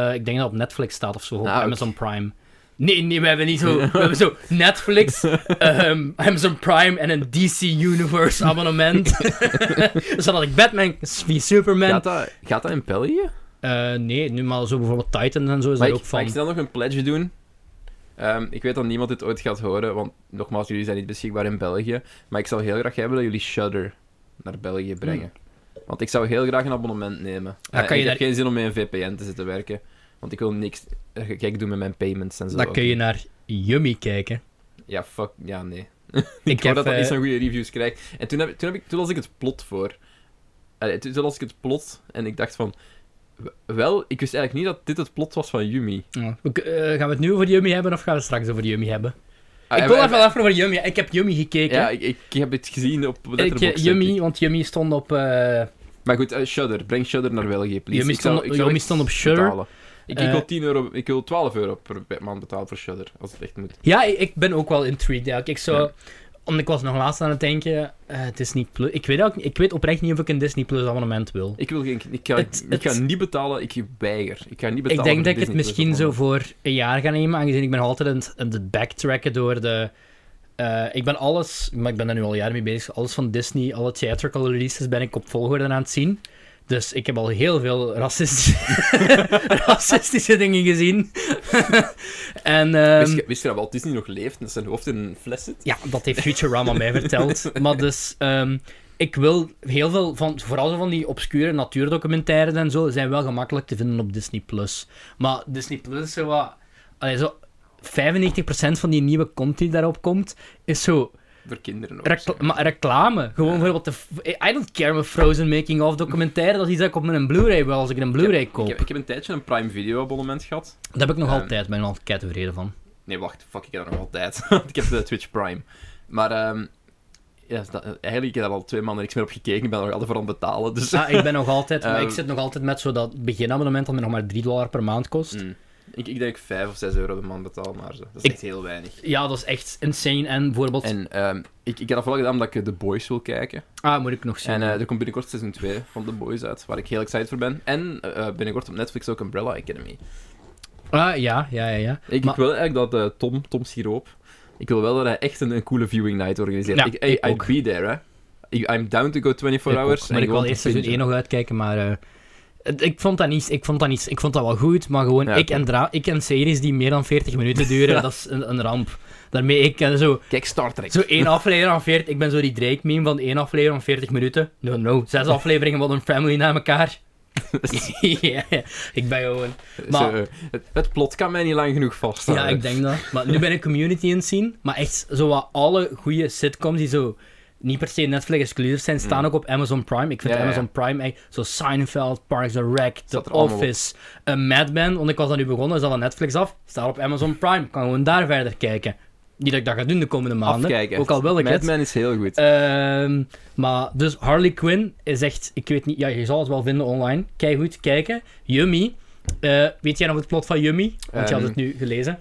eh, ik denk dat het op Netflix staat of zo, op oké. Amazon Prime. Nee, nee, we hebben niet zo, we hebben zo Netflix, ehm, Amazon Prime en een DC Universe abonnement. Zodat ik Batman, wie Superman, Gaat, dat, gaat dat in België? Eh, nee, nu maar zo bijvoorbeeld Titan en zo Mag is daar ik, ook mag van. ik snel nog een pledge doen? Ehm, ik weet dat niemand dit ooit gaat horen, want nogmaals, jullie zijn niet beschikbaar in België. Maar ik zou heel graag hebben dat jullie Shudder naar België brengen. Want ik zou heel graag een abonnement nemen. Dan Eh, Hmm. Ah, kan ik je heb daar- geen zin om met een VPN te zitten werken. Want ik wil niks eh, gek doen met mijn payments en zo. Dan kun je naar Yummy kijken. Ja, fuck. Ja, nee. Ik, Ik hoor dat dat eh, niet zo'n goede reviews krijgt. En toen, heb, toen, heb ik, toen las ik het plot voor. Allee, toen, toen las ik het plot en ik dacht van... w- Wel, ik wist eigenlijk niet dat dit het plot was van Yumi. ja. We k- eh, gaan we het nu over Yummy hebben of gaan we het straks over Yummy hebben? Ah, ik en- wil en- even af over Yummy. Ik heb Yummy gekeken. Ja, ik, ik heb het gezien op ik, eh, Letterboxd. denk Yummy, ik. want Yummy stond op... eh, Maar goed, eh, Shudder. Breng Shudder naar België, please. Yummy Ik stond zou- op- ik zou Yummy echt stond op Shudder. betalen. Ik, ik Eh, wil 10 euro... Ik wil 12 euro per maand betalen voor Shudder, als het echt moet. Ja, ik, ik ben ook wel intrigued eigenlijk. Ik zou... Ja. Omdat ik was nog laatst aan het denken, eh Disney Plus... Ik weet, ook, ik weet oprecht niet of ik een Disney Plus abonnement wil. Ik wil geen... Ik ga, Het- ik ga het- niet betalen. Ik weiger. Ik ga niet betalen Ik denk voor dat ik het Disney+. misschien zo voor een jaar ga nemen, aangezien ik ben altijd aan het, aan het backtracken door de... eh, ik ben alles, maar ik ben daar nu al jaren mee bezig, alles van Disney, alle theatrical releases ben ik op volgorde aan het zien. Dus ik heb al heel veel racistische, racistische dingen gezien. en, ehm, Wist je, wist je dat Walt Disney nog leeft en dat zijn hoofd in een fles zit? ja, dat heeft Futurama mij verteld. Maar dus, ehm, ik wil heel veel van, vooral zo van die obscure natuurdocumentaires en zo, zijn wel gemakkelijk te vinden op Disney Plus. Maar Disney Plus is zo wat. Allee, zo 95% van die nieuwe content die daarop komt, is zo Door kinderen ook. Recla- maar reclame. Gewoon bijvoorbeeld de... f- I don't care mijn Frozen making-of documentaire. Dat is iets dat ik op mijn Blu-ray wil als ik een Blu-ray koop. ik, heb, ik heb een tijdje een Prime Video abonnement gehad. Dat heb ik nog Ehm. altijd. ben ik nog altijd tevreden van. Nee, wacht, fuck, ik heb dat nog altijd. Want ik heb de Twitch Prime. Maar ehm, ja, is dat, eh, eigenlijk heb ik daar al twee maanden niks meer op gekeken. Ik ben er nog altijd voor aan het betalen. Dus, Ah, ik ben nog altijd... maar ik Ehm. zit nog altijd met zo dat beginabonnement dat me nog maar 3 dollar per maand kost. Mm. ik, ik denk 5 of 6 euro per maand betaal, maar zo. dat is Ik- echt heel weinig. Ja, dat is echt insane. En bijvoorbeeld... En ehm, ik, ik heb dat vooral gedaan omdat ik eh, The Boys wil kijken. Ah, moet ik nog zien. En eh, er komt binnenkort seizoen 2 van The Boys uit, waar ik heel excited voor ben. En eh, binnenkort op Netflix ook Umbrella Academy. Ah, ja, ja, ja, ja. Ik, Maar- ik wil eigenlijk dat eh, Tom, Tom Siroop, ik wil wel dat hij echt een, een coole viewing night organiseert. Ja, ik, I- ik I'd ook. be there, hè. I- I'm down to go 24 Ik hours. ook, en maar ik wil want eerst te seizoen 1 bingen. nog uitkijken, maar... eh, het- ik vond, dat niet, ik vond dat niet... Ik vond dat wel goed, maar gewoon... Ja, ik, oké. en dra- ik en series die meer dan 40 minuten duren, dat is een, een ramp. Daarmee ik eh, zo... Kijk Star Trek. Zo één aflevering van 40... Ik ben zo die Drake-meme van één aflevering van 40 minuten. No, no. Zes afleveringen van een family na elkaar. ja, ik ben gewoon... maar- Zo, eh, het, het plot kan mij niet lang genoeg vasthouden. Ja, ik denk dat. Maar nu ben ik community in het zien. Maar echt, zo wat alle goede sitcoms die zo niet per se Netflix exclusief zijn, staan ook op Amazon Prime. Ik vind Hmm. Ja, ja, ja. Amazon Prime echt zo Seinfeld, Parks and Rec, The Staat er allemaal op. Office, eh, Mad Men. Want ik was dan nu begonnen, is dat van Netflix af. Staat op Amazon Prime. Kan gewoon daar verder kijken. Niet dat ik dat ga doen de komende maanden. Afkijken. Ook al wil ik Mad het. Men is heel goed. Ehm, maar dus Harley Quinn is echt, ik weet niet, ja, je zal het wel vinden online. Kijk goed kijken. Yummy. Eh, weet jij nog het plot van Yummy? Want je Ehm, had het nu gelezen.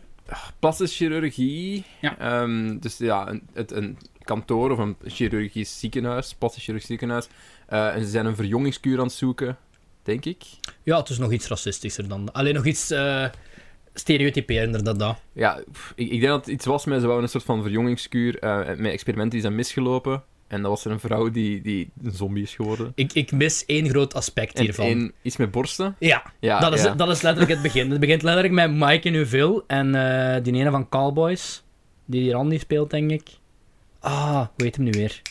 Plastisch chirurgie. Ja. Ehm, dus ja, een, het, een kantoor of een chirurgisch ziekenhuis, plastisch chirurgisch ziekenhuis. Eh, en ze zijn een verjongingskuur aan het zoeken, denk ik. Ja, het is nog iets racistischer dan. Alleen nog iets eh stereotyperender dan dat. Ja, pff, ik, ik denk dat het iets was met, ze wouden een soort van verjongingskuur, eh, met experimenten die zijn misgelopen. En dan was er een vrouw die, die een zombie is geworden. Ik, ik mis één groot aspect En, hiervan. en iets met borsten. Ja, Ja, dat, is, ja. dat is letterlijk het begin. Het begint letterlijk met Mike in Uville en eh, die ene van Cowboys, die die Randy speelt, denk ik. Ah, hoe heet hem nu weer?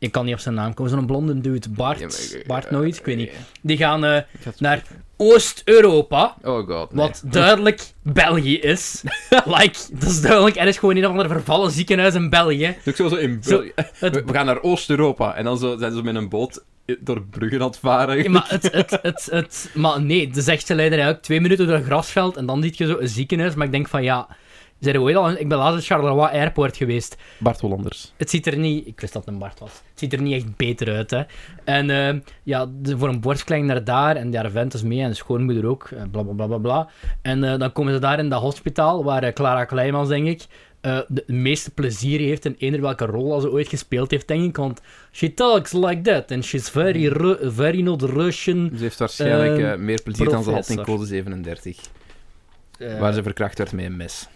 Ik kan niet op zijn naam komen. Zo'n blonde dude, Bart, Ja, maar, eh, Bart eh, nooit, ik weet niet. eh, Die gaan eh, ik had- naar Oost-Europa, Oh god, nee. wat duidelijk België is. like, dat is duidelijk. Er is gewoon een of ander vervallen ziekenhuis in België. Het is ook zo in Zo, Bel- we, we gaan naar Oost-Europa. En dan zo, zijn ze met een boot door bruggen aan het varen. Ja, maar, het, het, het, het, maar nee, de zegt ze leiden eigenlijk twee minuten door een grasveld en dan ziet je zo een ziekenhuis. Maar ik denk van ja, zijn er ooit al? Ik ben laatst in Charleroi Airport geweest. Bart Hollanders. Het ziet er niet, ik wist dat het een Bart was. Het ziet er niet echt beter uit, hè. En ehm, ja, de- voor een borstklijn naar daar en daar vent is mee en de schoonmoeder ook, eh, bla bla bla bla bla. En eh, dan komen ze daar in dat hospitaal waar eh, Clara Kleimans, denk ik, eh, de meeste plezier heeft in eender welke rol als ze ooit gespeeld heeft, denk ik. Want she talks like that and she's very, Ru- very not Russian. Ze heeft waarschijnlijk Ehm, eh, meer plezier dan ze had in professor. code 37. Eh, Waar ze verkracht werd met een mes.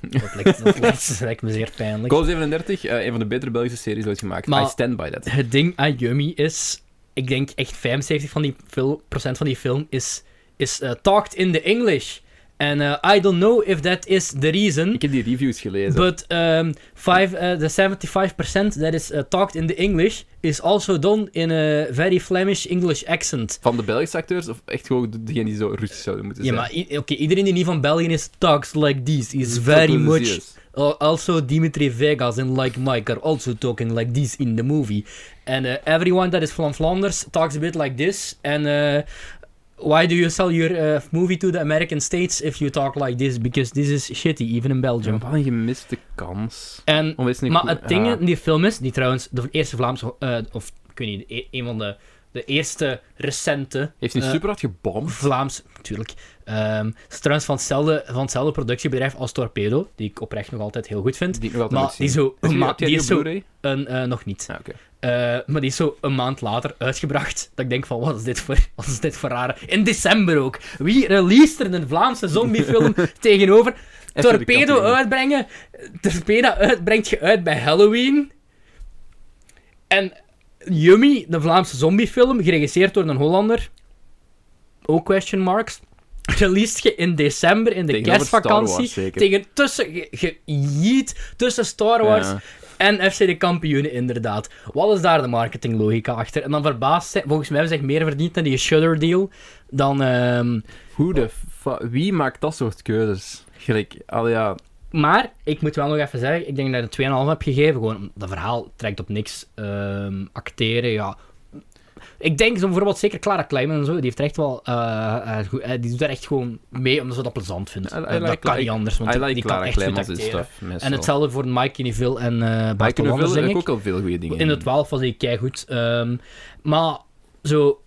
dat, lijkt, dat, lijkt, dat lijkt me zeer pijnlijk. Code 37, eh, een van de betere Belgische series ooit gemaakt. Maar- I stand by that. Het ding aan Yummy is, ik denk echt 75% van die, fil- procent van die film is, is eh, talked in the English. En eh, I don't know if that is the reason, Ik heb die reviews gelezen. but um, five, eh, the 75% that is eh, talked in the English is also done in a very Flemish English accent. Van de Belgische acteurs, of echt gewoon de- degenen die zo Russisch zouden moeten ja, zijn? maar i- oké, iedereen die niet van België is, talks like this. Is very Tot much Odysseus. Uh, also, Dimitri Vegas and like Mike are also talking like this in the movie. And uh, everyone that is from Flanders talks a bit like this. And uh, why do you sell your uh, movie to the American States if you talk like this? Because this is shitty, even in Ja, maar Belgium. wat een gemiste kans. En, Om eens een maar goe- het ding ja. in die film is, die trouwens de eerste Vlaamse, eh, of ik weet niet, e- een van de, de eerste recente Heeft hij eh, super hard gebomd? Vlaams, natuurlijk. Ehm het is trouwens van hetzelfde, van hetzelfde productiebedrijf als Torpedo, die ik oprecht nog altijd heel goed vind. Die ik nog altijd Maar moet zien. die, zo, Heb je- maar heb jij die is zo Blu-ray? een, eh, nog niet. Ah, oké. Eh, maar die is zo een maand later uitgebracht. Dat ik denk van, wat is dit voor, wat is dit voor rare... In december ook. Wie released er een Vlaamse zombiefilm tegenover? de Torpedo kampioen. uitbrengen. Torpedo uit, brengt je uit bij Halloween. En Yummy, de Vlaamse zombiefilm, geregisseerd door een Hollander. Ook question marks. Released je in december, in de Tegenover Star kerstvakantie. Wars, zeker. tegen tussen, ge- gejiet tussen Star Wars Ja. en FC de kampioenen, inderdaad. Wat is daar de marketinglogica achter? En dan verbaasd zijn, volgens mij hebben ze echt meer verdiend dan die Shudder deal. Dan, ehm, Hoe de fa- Wie maakt dat soort keuzes? Gelijk, al ja... Maar ik moet wel nog even zeggen, ik denk dat ik een 2,5 heb gegeven. Gewoon, omdat dat verhaal trekt op niks. Ehm, acteren, ja. Ik denk zo bijvoorbeeld zeker Clara Kleiman en zo, die heeft er echt wel. eh, eh, goed- eh, die doet er echt gewoon mee omdat ze dat plezant vindt. I- I Eh, like- dat kan like- niet anders, want I die- like die Clara kan echt goed Kleimans en acteren. stuff. meestal. En hetzelfde voor Mike Neville en eh Maar Bart ik heb Hollanders, denk ik. ook al veel goede dingen. In de 12 was hij keihard. Ehm maar zo.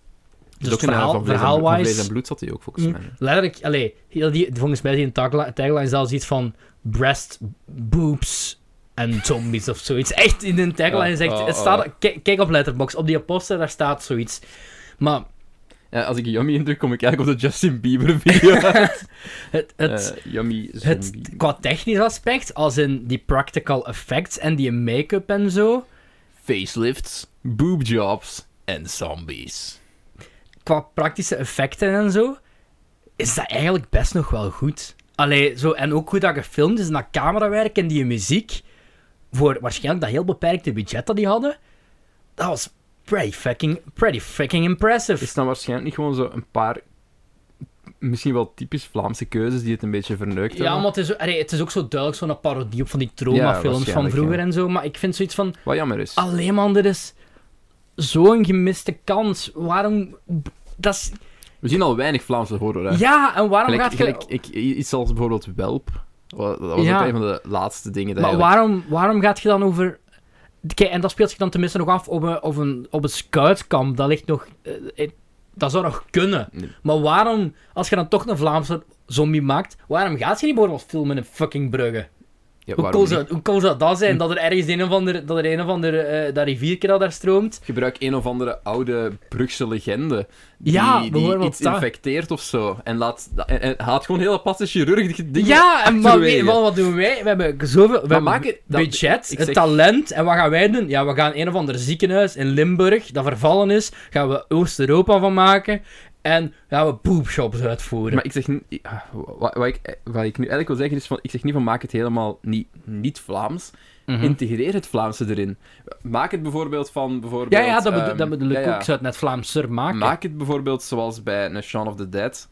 Dus het Ook in de verhaal, van Vlees en- van Vlees verhaalwise. Mm. en bloed zat hij ook volgens mij. Letterlijk, allee, heel die, volgens mij die een tagli- tagline zelfs iets van breast, boobs en zombies of zoiets. Echt in een tagline Ja, zegt, oh, het oh. staat, kijk, kijk op Letterboxd, op die poster daar staat zoiets. Maar Ja, als ik Yummy indruk, kom ik kijken op de Justin Bieber video. het, het, Eh, yummy het, zombie. qua technisch aspect, als in die practical effects en die make-up en zo, Facelifts, boobjobs en zombies. qua praktische effecten en zo, is dat eigenlijk best nog wel goed. Allee, zo, en ook hoe dat gefilmd is en dat camerawerk en die muziek, voor waarschijnlijk dat heel beperkte budget dat die hadden, dat was pretty fucking, pretty fucking impressive. Is dan waarschijnlijk niet gewoon zo een paar, misschien wel typisch Vlaamse keuzes die het een beetje verneukt ja, hebben? maar het is, allee, het is ook zo duidelijk zo'n parodie op van die Ja, traumafilms van waarschijnlijk, vroeger ja. en zo, maar ik vind zoiets van, Wat jammer is. alleen maar, er is zo'n gemiste kans. Waarom... Dat is, We zien al weinig Vlaamse horror, hè? ja, en waarom Gelijk- gaat je... gelijk, ik, iets als bijvoorbeeld Welp. Dat was Ja. ook een van de laatste dingen. Dat Maar eigenlijk- waarom, waarom gaat je dan over. Kijk, en dat speelt zich dan tenminste nog af op een, op een, op een scoutkamp. Dat ligt nog. eh, eh, dat zou nog kunnen. Nee. Maar waarom, als je dan toch een Vlaamse zombie maakt, waarom gaat je niet bijvoorbeeld filmen in fucking Brugge? Ja, Hoe waarom cool, niet? Hm. zou, hoe cool zou dat zijn? Dat er ergens een of ander, dat er een of ander eh dat riviertje dat daar stroomt. Gebruik een of andere oude Brugse legende. Die, Ja, die bijvoorbeeld iets dat. infecteert of zo. En, laat, en, en haalt gewoon hele patte chirurg die dingen ja, en maar achterwege. weet, wat, wat doen wij? We hebben zoveel. We Maar hebben maak het- dat- budget, ik het zeg- talent. En wat gaan wij doen? Ja, we gaan een of ander ziekenhuis in Limburg, dat vervallen is, gaan we Oost-Europa van maken. En gaan we poepshops uitvoeren. Maar ik zeg niet- ik- ah, wa- wat, ik, wat ik nu eigenlijk wil zeggen is van, ik zeg niet van maak het helemaal niet, niet Vlaams. Mhm. Integreer het Vlaamse erin. Maak het bijvoorbeeld van bijvoorbeeld. ja, ja, dat, bedo- ehm, dat bedoel ik ja, ja. ook. Ik zou het net Vlaamser maken. Maak het bijvoorbeeld zoals bij een Shaun of the Dead.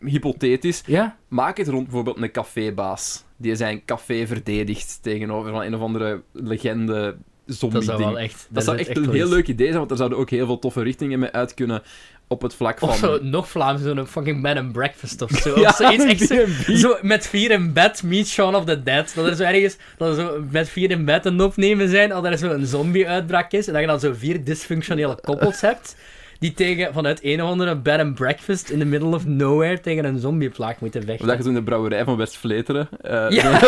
Hypothetisch. Ja? Maak het rond bijvoorbeeld een cafébaas. Die zijn café verdedigt tegenover van een of andere legende zombie Dat zou ding. wel echt... Dat zou is echt een wel heel iets. leuk idee zijn, want daar zouden ook heel veel toffe richtingen mee uit kunnen op het vlak van... Of zo, nog Vlaams, zo'n fucking bed and breakfast of zo. Ja, of zoiets echt zo, B&B. zo met vier in bed, meet Shaun of the Dead. Dat er zo ergens, dat er zo met vier in bed een opnemen zijn, al er zo een zombie-uitbraak is, en dat je dan zo vier dysfunctionele koppels hebt, die tegen, vanuit een of andere bed and breakfast in the middle of nowhere tegen een zombieplaag moeten Of vechten. dat je zo in de brouwerij van West-Vleteren... eh, Ja.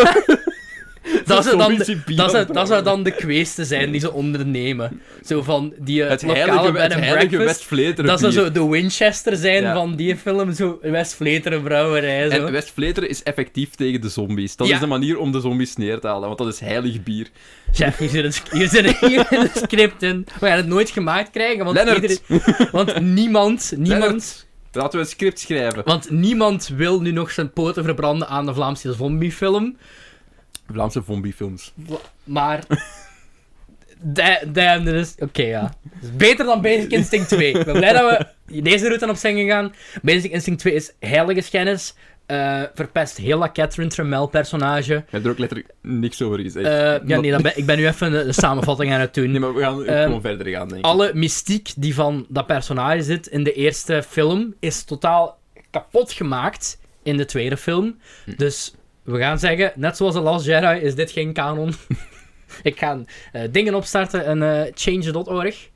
Dat zou, dan, Zombie bier dat, zou, aan dat zou dan brouwen. de kweesten zijn die ze ondernemen. Zo van die eh, Het heilige, lokale bed het and heilige breakfast. West-Vleteren Dat zou bier. zo de Winchester zijn Ja. van die film, zo West-Vleteren brouwerij. Zo. En West-Vleteren is effectief tegen de zombies. Dat Ja. is de manier om de zombies neer te halen, want dat is heilig bier. Chef, hier zit, het, hier zit het- hier zit het script in. We gaan het nooit gemaakt krijgen, want, Lennart! iedereen- want niemand, niemand, Lennart, Laten we een script schrijven. want niemand wil nu nog zijn poten verbranden aan de Vlaamse zombiefilm. Vlaamse zombiefilms. Maar... da- Damn, er is... Oké, ja. Het is beter dan Basic Instinct 2. Ik ben blij dat we deze route op zijn gegaan. Basic Instinct 2 is heilige schennis. eh, verpest heel dat Catherine Tremel-personage. Je hebt er ook letterlijk niks over gezegd. Eh, ja, Dat- nee, dan ben, ik ben nu even een, een samenvatting aan het doen. Nee, maar we gaan Ehm, gewoon verder gaan, denk ik. Alle mystiek die van dat personage zit in de eerste film is totaal kapot gemaakt in de tweede film. Hm. Dus we gaan zeggen, net zoals The Last Jedi is dit geen kanon. Ik ga eh, dingen opstarten en eh, change.org.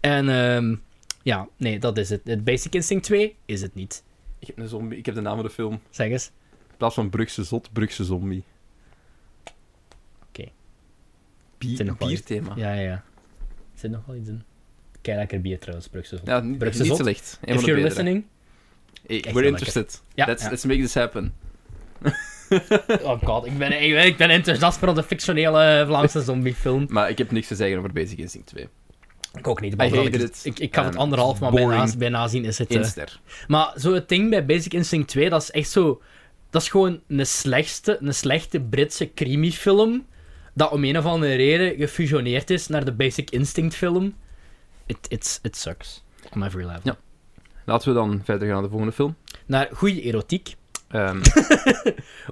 En ehm, ja, nee, dat is het. Het Basic Instinct 2 is het niet. Ik heb een zombie, ik heb de naam van de film. Zeg eens. In plaats van Brugse zot, Brugse zombie. Oké. Bier, Zijn nog wel bierthema. Ja, Ja, ja, ja. Zit nog wel iets in? Kijk, lekker bier trouwens, Brugse. ja niet, Brugse niet zot? slecht. Een If van de you're betere. listening, Hey, wel we're lekker. interested. Ja, let's, ja. let's make this happen. Oh god, ik ben, ik, ben- ik ben enthousiast voor de fictionele eh, Vlaamse zombiefilm. Maar ik heb niks te zeggen over Basic Instinct 2. Ik ook niet. I hated Ik, it. ik, ik gaf het Um, anderhalf, maar boring. bijna, bijna zien is het... eh, Eén ster. maar zo het ding bij Basic Instinct 2, dat is echt zo... Dat is gewoon een, slechtste, een slechte Britse crimifilm dat om een of andere reden gefusioneerd is naar de Basic Instinct film. It, it's, it sucks. On every level. Ja. Laten we dan verder gaan naar de volgende film. Naar goede erotiek. Ehm,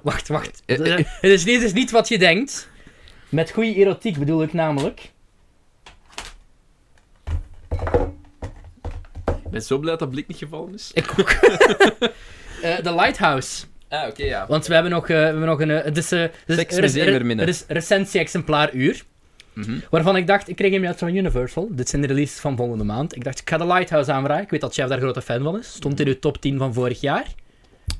Wacht, wacht. Eh, eh, Het is, niet- het is niet wat je denkt. Met goede erotiek bedoel ik namelijk. ik ben zo blij dat dat blik niet gevallen is. Ik ook. Eh, The Lighthouse. Ah, oké, ja. Want we hebben nog, eh, we hebben nog een. eh, Het is, eh, het is Seks met zeemerminnen. het is recensie-exemplaar uur. Mhm. Waarvan ik dacht, ik kreeg hem net van Universal. Dit zijn de releases van volgende maand. Ik dacht, ik ga The Lighthouse aanvragen. Ik weet dat Chef daar grote fan van is. Stond in uw top 10 van vorig jaar.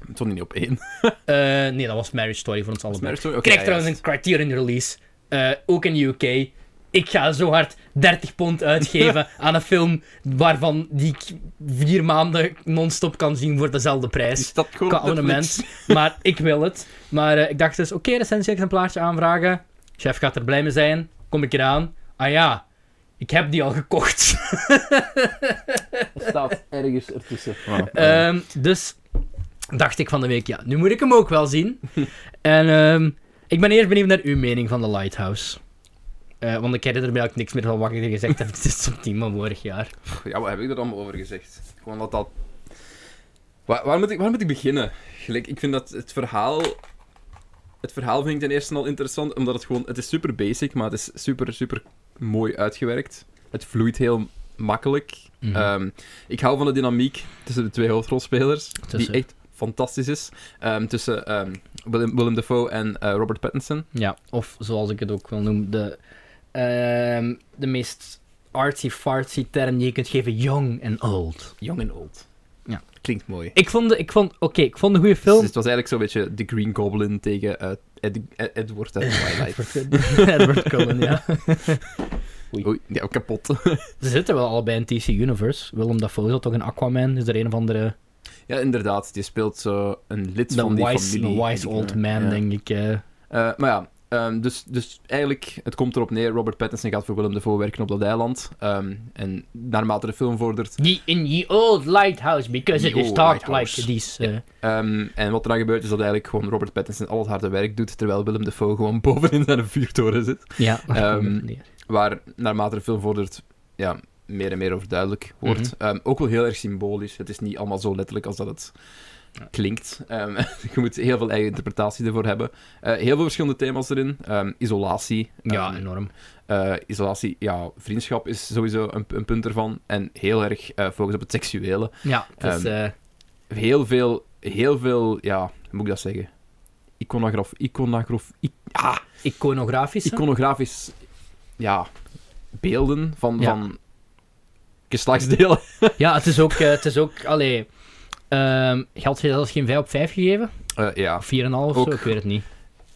Het stond niet op één. Eh, nee, dat was Marriage Story voor ons allemaal. Marriage Story? Oké, Ik kreeg ja, trouwens juist. een Criterion release. eh, ook in de UK. Ik ga zo hard 30 pond uitgeven aan een film waarvan die ik vier maanden non-stop kan zien voor dezelfde prijs. Is dat gewoon Qua op Netflix? abonnement. Maar ik wil het. Maar eh, ik dacht dus, oké, recensie-exemplaartje aanvragen. Chef gaat er blij mee zijn. Kom ik eraan. Ah ja, ik heb die al gekocht. staat ergens ertussen. Ehm, dus dacht ik van de week, ja, nu moet ik hem ook wel zien. en ehm, ik ben eerst benieuwd naar uw mening van The Lighthouse. Eh, want ik herinner me eigenlijk niks meer van wat ik er gezegd heb. Dit is op 10 van vorig jaar. ja, wat heb ik er allemaal over gezegd? Gewoon dat dat... Waar, waar, moet, ik, waar moet ik beginnen? Gelijk, ik vind dat het verhaal... Het verhaal vind ik ten eerste al interessant, omdat het gewoon... Het is super basic, maar het is super, super mooi uitgewerkt. Het vloeit heel makkelijk. Mhm. Ehm, ik hou van de dynamiek tussen de twee hoofdrolspelers, Tussen- die echt fantastisch is. Ehm, tussen ehm, Willem, Willem Dafoe en eh, Robert Pattinson. Ja, of zoals ik het ook wil noemen, de, ehm, de meest artsy-fartsy term die je kunt geven, young en old. Young en old. Ja. Klinkt mooi. Ik vond, de- ik vond, oké, ik vond een goede film. Dus het was eigenlijk zo'n beetje de Green Goblin tegen eh, Ed- Ed- Edward uit Twilight. Edward Cullen, ja. Oei, ja, kapot. Ze zitten wel allebei in TC Universe. Willem Dafoe zat toch in Aquaman? Is er een of andere... ja, inderdaad. Die speelt zo een lid The van die wise, familie. the wise weet ik old niet. man, Ja. denk ik. eh. Eh, maar ja, ehm, dus, dus eigenlijk, het komt erop neer. Robert Pattinson gaat voor Willem Dafoe werken op dat eiland. Ehm, en naarmate de film vordert... Ye in ye old lighthouse, because Ye it is old dark lighthouse. like this. eh. ehm, en wat er dan gebeurt, is dat eigenlijk gewoon Robert Pattinson al het harde werk doet, terwijl Willem Dafoe gewoon bovenin zijn vuurtoren zit. ja, daar komt Ehm, het neer. Waar naarmate de film vordert, ja, meer en meer over duidelijk wordt. Ehm, ook wel heel erg symbolisch. Het is niet allemaal zo letterlijk als dat het klinkt. Ehm, je moet heel veel eigen interpretatie ervoor hebben. Eh, heel veel verschillende thema's erin. Ehm, isolatie. ja, Ehm, enorm. eh, isolatie, ja, vriendschap is sowieso een, een punt ervan. En heel erg eh, focus op het seksuele. Ja, het is... ehm, eh, Heel veel, heel veel, ja, hoe moet ik dat zeggen? Iconograaf, iconograaf, i- ah, iconografisch. hè? iconografisch ja, beelden van, Ja. van geslachtsdelen. ja, het is ook... eh, het is ook allee, ehm, had je zelfs geen 5 op 5 gegeven? Eh, ja, Of 4,5 of Ook- zo? Ik weet het niet.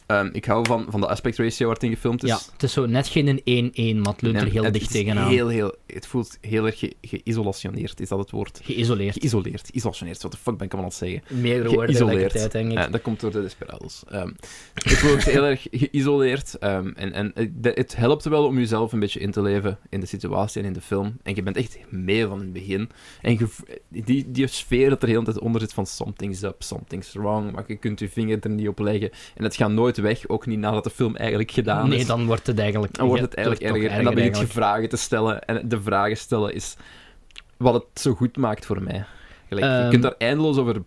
Ehm, ik hou van, van de aspect ratio waar het in gefilmd is. Ja, het is zo net geen een 1-1, maar het leunt er En heel het dicht is tegenaan. Heel, heel, het voelt heel erg ge- geïsolationeerd, is dat het woord? Geïsoleerd. Geïsoleerd, isolationeerd, wat de fuck ben ik allemaal aan het zeggen? Meerdere woorden Geïsoleerd. tegelijkertijd, denk ik. Eh, dat komt door de Desperados. Ehm, het voelt heel erg geïsoleerd ehm, en, en eh, de- het helpt wel om jezelf een beetje in te leven in de situatie en in de film. En je bent echt mee van het begin. En je v- die, die sfeer dat er heel de tijd onder zit van something's up, something's wrong, maar je kunt je vinger er niet op leggen. En het gaat nooit weg, ook niet nadat de film eigenlijk gedaan Nee, is. dan wordt het eigenlijk... Dan wordt ja, het eigenlijk toch erger. En dan begint je eigenlijk. vragen te stellen. En de vragen stellen is wat het zo goed maakt voor mij. Gelijk, Ehm. je kunt daar eindeloos over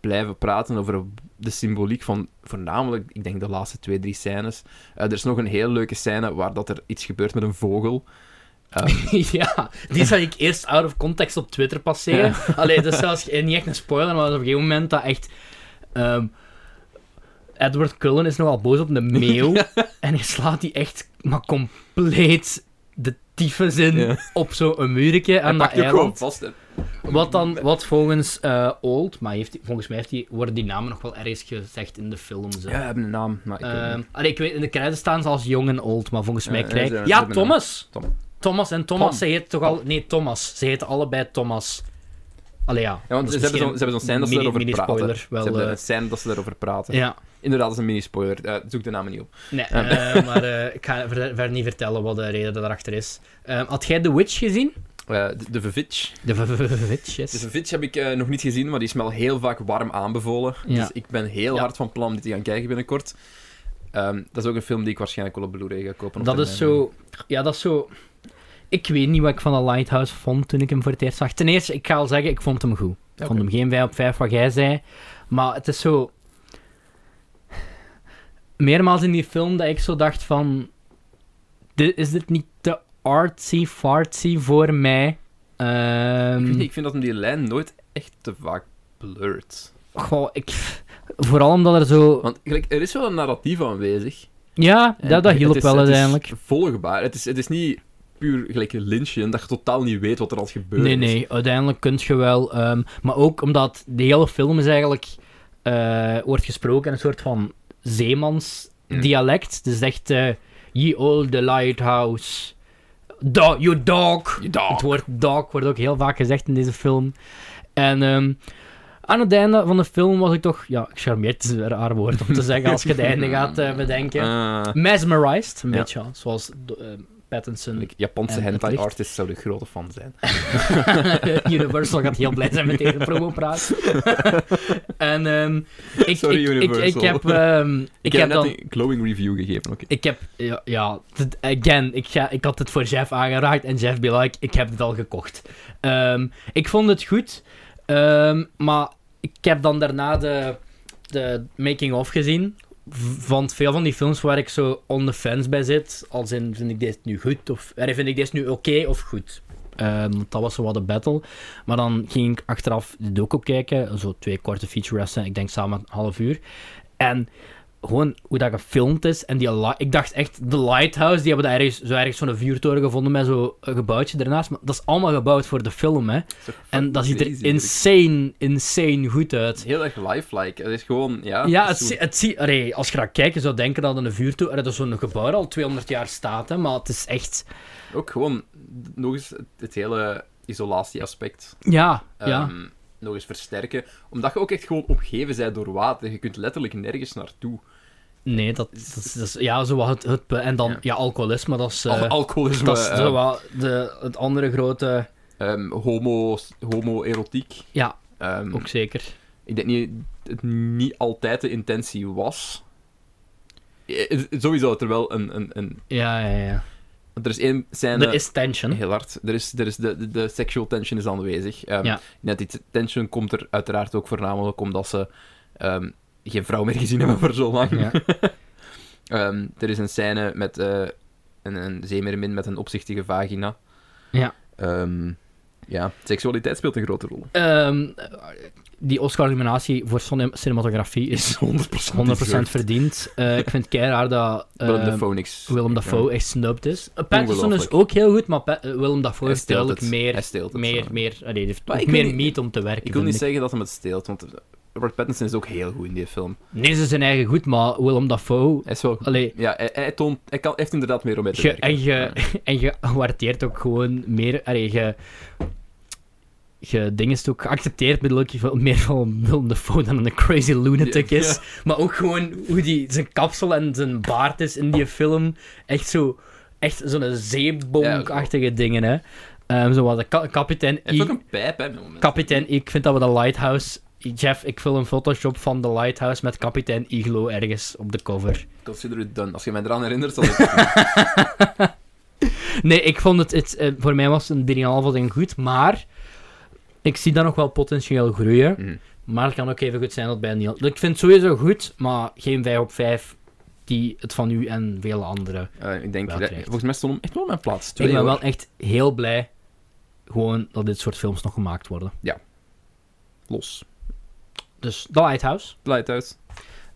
blijven praten, over de symboliek van voornamelijk, ik denk, de laatste twee, drie scènes. Eh, er is nog een heel leuke scène waar dat er iets gebeurt met een vogel. Ehm, ja, die zag ik eerst out of context op Twitter passeren. Allee, dus dat is zelfs geen- niet echt een spoiler, maar dat is op een gegeven moment dat echt... ehm, Edward Cullen is nogal boos op de meeuw. En hij slaat die echt maar compleet de tyfus in Ja. op zo'n muurtje hij aan dat pakt je gewoon eiland. vast. hè. Wat dan, wat volgens eh, Old, maar heeft die- volgens mij heeft die, worden die namen nog wel ergens gezegd in de films. hè. Ja, hij heeft een naam, maar ik weet Ehm, niet. allee, ik weet, in de credits staan ze als jong en old, maar volgens mij Ja, krijg ja, ze- ze Ja, hebben Thomas! Tom. Thomas en Thomas, Tom. ze heten toch al... Nee, Thomas. Ze heten allebei Thomas. Allee, ja. Ja, want ze hebben zo'n ze hebben zo'n scène dat ze dus mini- erover praten. mini-spoiler, Ze wel, hebben eh. een scène dat ze erover praten. Ja. Inderdaad, dat is een mini-spoiler. Eh, zoek de namen niet op. Nee, eh, maar eh, ik ga verder, verder niet vertellen wat de reden daarachter is. Ehm, had jij The Witch gezien? Eh, de, de Vivitch. De v- v- v- Witch, yes. Dus een Vitch heb ik eh, nog niet gezien, maar die is me al heel vaak warm aanbevolen. Ja. Dus ik ben heel Ja. hard van plan om dit te gaan kijken binnenkort. Ehm, dat is ook een film die ik waarschijnlijk wel op Blu-ray ga kopen. op Dat termijn. is zo... Ja, dat is zo... Ik weet niet wat ik van The Lighthouse vond toen ik hem voor het eerst zag. Ten eerste, ik ga al zeggen, ik vond hem goed. Ik Oké. vond hem geen 5 op 5 wat jij zei. Maar het is zo... meermaals in die film dat ik zo dacht van... "Di- is dit niet te artsy-fartsy voor mij? Ik, Ehm vind, ik vind dat hem die lijn nooit echt te vaak blurt. goh, ik... Vooral omdat er zo... Want gelijk, er is wel een narratief aanwezig. Ja, En dat, dat het hielp is- wel het is uiteindlijk. volgbaar. Het is, het is niet puur gelijk een lynchen, dat je totaal niet weet wat er al gebeurd Nee, is. nee, uiteindelijk kun je wel. ehm, maar ook omdat de hele film is eigenlijk. eh, wordt gesproken in een soort van Mm. zeemansdialect. Dus echt. eh Ye old lighthouse. Do you dog. Je dog. Het woord dog wordt ook heel vaak gezegd in deze film. En ehm, aan het einde van de film was ik toch. Ja, charmeerd is een raar woord om te zeggen als je het einde gaat eh, bedenken. Ah, Mesmerized, een Ja. beetje ja, zoals eh, Pattinson gelijk, Japanse En het hentai licht. artists zouden grote fan zijn. eh, Universal gaat heel blij zijn met deze promopraat. en ehm, ik, Sorry, ik, ik, ik Universal. heb, ehm, ik, Ik, heb heb net dan... een glowing review gegeven. oké. Ik heb, ja, ja dit- again, ik, ga, ik had het voor Jeff aangeraakt en Jeff be like, ik heb het al gekocht. Ehm, ik vond het goed, ehm, maar ik heb dan daarna de, de making-of gezien. V- Want veel van die films waar ik zo on the fence bij zit, als in vind ik dit nu goed of eh, vind ik dit nu oké of goed. Ehm, want dat was zo wat de battle. Maar dan ging ik achteraf de docu kijken, zo twee korte featurettes, ik denk samen een half uur. En gewoon hoe dat gefilmd is. En die li- ik dacht echt, de lighthouse, die hebben daar ergens, zo ergens zo'n vuurtoren gevonden met zo'n gebouwtje ernaast. Maar dat is allemaal gebouwd voor de film, hè. Dat is toch En dat ziet crazy, er insane, insane goed Het uit. is heel erg lifelike. Het is gewoon, ja... Ja, het het, is zie- het zie- allee, als je gaat kijken, zou je denken dat een vuurtoren, dat zo'n gebouw al 200 jaar staat, hè, maar het is echt, zo- Ook gewoon, nog eens, het, het hele isolatieaspect. ja, ja. ehm, nog eens versterken. Omdat je ook echt gewoon opgeven bent door water. Je kunt letterlijk nergens naartoe. Nee, dat, dat, is, dat is- ja, zo wat het, het, be- en dan, ja, Ja. alcoholisme, dat is, eh, Al- alcoholisme, dat is eh, zo wat de, het andere grote, ehm, homo, homoerotiek. ja, Ehm, ook zeker. Ik denk niet het niet altijd de intentie was. Eh, eh, Sowieso dat er wel een... een, een Ja, ja, ja. want er is één scène... Er is tension. Heel hard. Er is, er is de, de, de sexual tension is aanwezig. Ehm, Ja. Net die tension komt er uiteraard ook voornamelijk omdat ze ehm, geen vrouw meer gezien hebben voor zo lang. Ja. Ehm, er is een scène met eh, een, een zeemermin met een opzichtige vagina. Ja. Ehm, ja, seksualiteit speelt een grote rol. Ehm, die Oscar-nominatie voor cine- cinematografie is 100% verdiend. Eh, ik vind het keiraar dat eh, Willem Dafoe niks. Willem Dafoe echt snubbed is. Eh, Pattinson is Ongelooflijk. ook heel goed, maar Pa- eh, Willem Dafoe Hij heeft steelt duidelijk het. Hij meer, steelt het, meer, ja. meer, allee, die heeft Maar ook ik wil meer niet- meat om te werken. Ik wil niet vind zeggen dat hem het steelt, want Robert Pattinson is ook heel goed in die film. Nee, ze zijn eigen goed, maar Willem Dafoe... Hij is wel goed. Allee, Ja, hij, hij, toont, hij kan, heeft inderdaad meer om mee te ge- werken. en, Ja. je, en je waardeert ook gewoon meer... Allee, je... Je ding is ook geaccepteerd, bedoel ik, veel meer van Willem Dafoe dan een crazy lunatic Ja, is. Maar ook gewoon hoe die, zijn kapsel en zijn baard is in die film. Echt zo... Echt zo'n zeebonk-achtige dingen, hè. Ehm, zo wat de ka- kapitein Hij heeft ook I. een pijp, hè, met momenten. Kapitein I. Ik vind dat we de Lighthouse... Jeff, ik vul een Photoshop van de Lighthouse met kapitein Iglo ergens op de cover. Consider it done. Als je mij eraan herinnert, zal ik... Nee, ik vond het, het eh, voor mij was een 3,5 ding goed, maar ik zie dat nog wel potentieel groeien. Mhm. Maar het kan ook even goed zijn dat bij een heel- Ik vind het sowieso goed, maar geen 5 op 5 die het van u en vele anderen. Eh, ik denk, Wel dat, terecht. volgens mij stond hem echt wel op mijn plaats. Twee, ik ben hoor. wel echt heel blij gewoon dat dit soort films nog gemaakt worden. Los. Dus The Lighthouse. Lighthouse.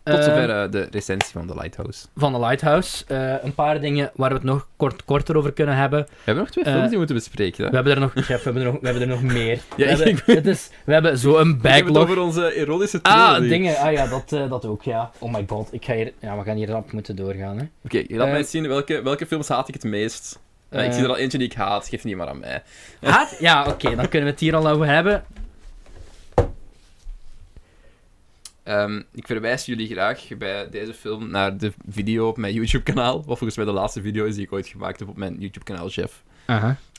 Tot Eh, zover eh, de recensie van The Lighthouse. Van The Lighthouse. Eh, een paar dingen waar we het nog kort, korter over kunnen hebben. We hebben nog twee eh, films die we moeten bespreken. Hè? We hebben er nog, Jeff, we hebben er nog, we hebben er nog meer. we, ik hebben, het is, we hebben zo een Ik heb het backlog. over onze erotische Ah, trilogie. dingen. Ah ja, dat, eh, dat ook, ja. Oh my god, ik ga hier... Ja, we gaan hier rap moeten doorgaan, hè. Oké, laat Eh, mij eens zien welke, welke films haat ik het meest. Eh, ik Eh. zie er al eentje die ik haat, geef niet maar aan mij. Haat? Ja, oké, dan kunnen we het hier al over hebben. Ehm, ik verwijs jullie graag bij deze film naar de video op mijn YouTube-kanaal. Wat volgens mij de laatste video is die ik ooit gemaakt heb op mijn YouTube-kanaal, Jeff.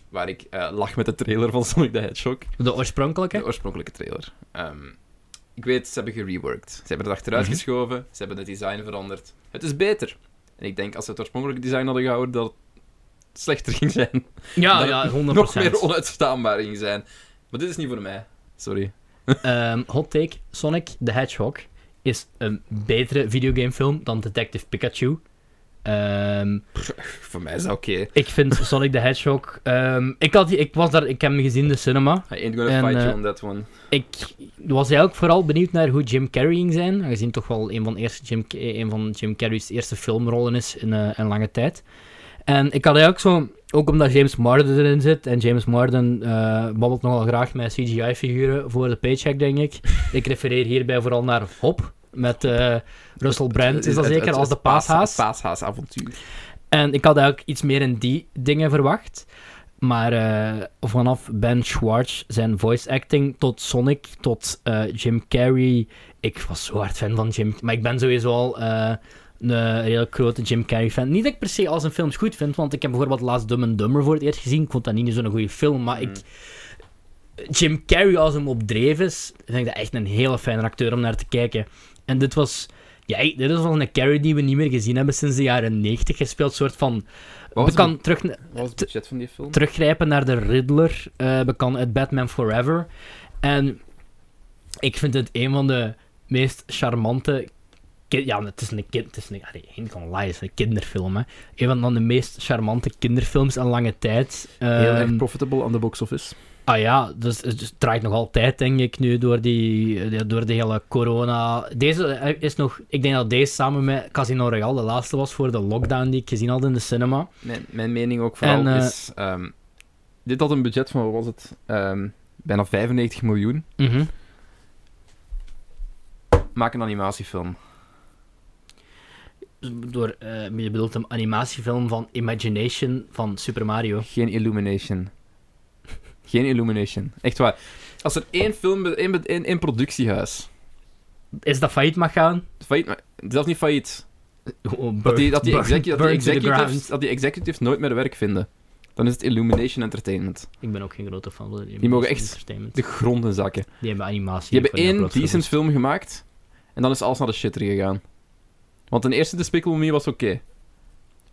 Waar ik eh, lach met de trailer van Sonic the Hedgehog. De oorspronkelijke? De oorspronkelijke trailer. Ehm, ik weet, ze hebben gereworked. Ze hebben het achteruit Mhm. geschoven, ze hebben het design veranderd. Het is beter. En ik denk, als ze het oorspronkelijke design hadden gehouden, dat het slechter ging zijn. Ja, dat ja, 100%. Nog meer onuitstaanbaar ging zijn. Maar dit is niet voor mij. Sorry. Ehm, hot take, Sonic the Hedgehog is een betere videogamefilm dan Detective Pikachu. Ehm, Voor mij is dat oké. ik vind Sonic the Hedgehog... ehm, ik, had, die- ik, was daar, ik heb hem gezien in de cinema. I ain't gonna En, fight you eh, on that one. Ik was eigenlijk vooral benieuwd naar hoe Jim Carrey ging zijn. Aangezien toch wel een van, de eerste Jim, een van Jim Carrey's eerste filmrollen is in eh, een lange tijd. En ik had eigenlijk zo... Ook omdat James Marden erin zit. En James Marden eh, babbelt nogal graag met CGI-figuren voor de paycheck, denk ik. Ik refereer hierbij vooral naar Hop. Met eh, Russell Brand is dat Het- zeker, het- als de het paas- paashaas. Het paashaasavontuur. En ik had eigenlijk iets meer in die dingen verwacht. Maar eh, vanaf Ben Schwartz, zijn voice acting, tot Sonic, tot eh, Jim Carrey. Ik was zo hard fan van Jim. Maar ik ben sowieso al eh, een heel grote Jim Carrey fan. Niet dat ik per se al zijn films goed vind, want ik heb bijvoorbeeld laatst Dumb and Dumber voor het eerst gezien. Ik vond dat niet zo'n goede film, maar ik... Jim Carrey, als hem op dreef is, vind ik dat echt een hele fijne acteur om naar te kijken. En dit was... Ja, dit is wel een Carrey die we niet meer gezien hebben sinds de jaren 90. Gespeeld soort van... Wat we was, kan terug, het, wat was het budget van die film? teruggrijpen naar de Riddler. eh we kan het Batman Forever. En ik vind het een van de meest charmante... ki- Ja, het is een kind... Het is een, allee, geen kan lie, het is een kinderfilm, hè. Een van de meest charmante kinderfilms in lange tijd. Heel erg Ehm, profitable aan de box office. Ah ja, dus het dus het draait nog altijd, denk ik, nu door, die, ja, door de hele corona. Deze eh, is nog, ik denk dat deze samen met Casino Royale de laatste was voor de lockdown die ik gezien had in de cinema. Mijn, mijn mening ook vooral En, eh, is... ehm, dit had een budget van, wat was het? Ehm, bijna 95 miljoen. Maak een animatiefilm. Dus Door, eh, je bedoelt een animatiefilm van Imagination van Super Mario. Geen Illumination. Geen Illumination. Echt waar. Als er één film, be- één, be- één, één productiehuis... Is dat failliet mag gaan? Failliet, ma- zelfs niet failliet. Oh, Dat die, dat, die burn- execu- dat, die burn to the executives, ground. dat die executives nooit meer werk vinden. Dan is het Illumination Entertainment. Ik ben ook geen grote fan van Die mogen echt- Entertainment. De gronden zakken. Die hebben animatie. Die hebben voor de één upload decent film gemaakt. En dan is alles naar de shitter gegaan. Want een eerste Despicable Me was oké.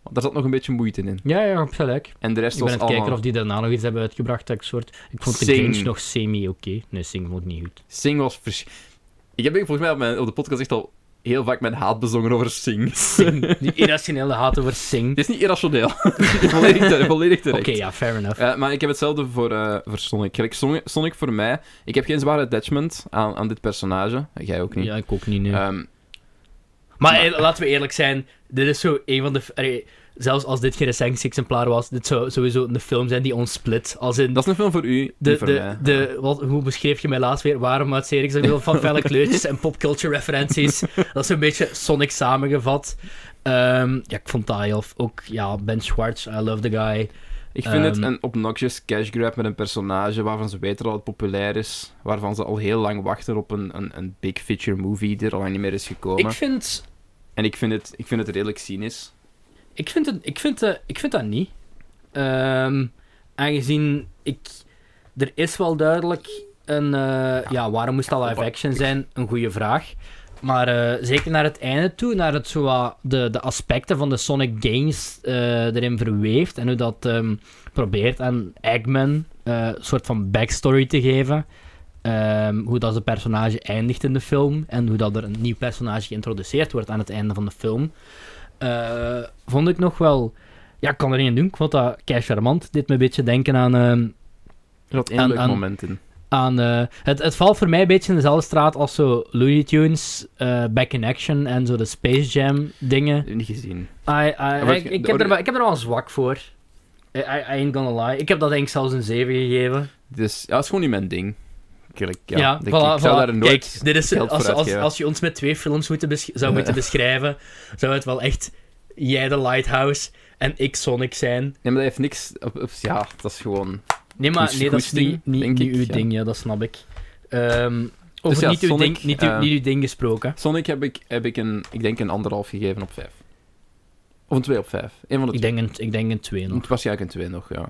Want daar zat nog een beetje moeite in. Ja, ja, op gelijk. En de rest Ik was ben aan het allemaal... kijken of die daarna nog iets hebben uitgebracht. Dat ik, soort... ik vond de Sing. Grinch nog semi-oké. Nee, Sing vond ik niet goed. Sing was vers... Ik heb volgens mij op, mijn, op de podcast echt al heel vaak mijn haat bezongen over Sing. Sing. Die irrationele haat over Sing. Het is niet irrationeel. volledig, te- volledig Oké, terecht. ja, fair enough. Eh, maar ik heb hetzelfde voor, eh, voor Sonic. Gelijk Sonic. Sonic voor mij... Ik heb geen zware attachment aan, aan dit personage. Jij ook niet. Ja, ik ook niet, nee. Ehm, maar eh, laten we eerlijk zijn. Dit is zo een van de... allee, zelfs als dit geen recensie-exemplaar was, dit zou sowieso een film zijn die ons split. Als in... dat is een film voor u, niet De, voor de, mij. de, wat, hoe beschreef je mij laatst weer? Waarom uitzeer ik zoveel van felle kleurtjes en popculture referenties? Dat is een beetje Sonic samengevat. Ehm, ja, ik vond dat heel... f- Ook, ja, Ben Schwartz, I love the guy. Ik vind het Ehm. een obnoxious cash grab met een personage waarvan ze weten dat het populair is. Waarvan ze al heel lang wachten op een, een, een big feature movie die er al lang niet meer is gekomen. Ik vind... En ik vind, het, ik vind het redelijk cynisch. Ik vind, het, ik vind, eh, ik vind dat niet. Ehm, aangezien ik... Er is wel duidelijk een... eh, ja. waarom moest dat live hoppa. action zijn? Een goede vraag. Maar eh, zeker naar het einde toe, naar het, zo, wat de, de aspecten van de Sonic Games eh, erin verweeft. En hoe dat ehm, probeert aan Eggman eh, een soort van backstory te geven. Ehm, hoe dat zijn personage eindigt in de film. En hoe dat er een nieuw personage geïntroduceerd wordt aan het einde van de film. Eh, vond ik nog wel... Ja, ik kan er niet aan doen. Ik vond dat kei charmant. Dit me een beetje denken aan... ehm, Er zat één Aan- leuk aan- moment in. aan eh, het, het valt voor mij een beetje in dezelfde straat als zo Looney Tunes, eh, Back in Action en zo de Space Jam dingen. Niet gezien. I, I, wat- Ah, ik, ik heb er, wel- ik heb er wel een zwak voor. I, I, I ain't gonna lie. Ik heb dat denk ik zelfs een 7 gegeven. Dus ja, dat is gewoon niet mijn ding. Eerlijk, ja, Ja, ik, voilà, ik zou voilà. daar nooit... Kijk, dit is, geld als, voor als, uitgeven. als je ons met twee films moeten besch- zou moeten beschrijven, zou het wel echt jij de Lighthouse en ik Sonic zijn. Nee, maar dat heeft niks... Op, op- ja, dat is gewoon... Nee, maar Goes- nee, dat is goesting, niet, niet, denk niet ik, uw ja. Dus ding, ja, dat snap ik. Ehm over ja, niet, uw Sonic, ding, niet, uw, eh, niet uw ding gesproken. Sonic heb ik, heb ik een... Ik denk een anderhalf gegeven op vijf. Of een twee op vijf. Eén van de Ik denk een, ik denk een 2 nog. Het was eigenlijk een twee nog, ja.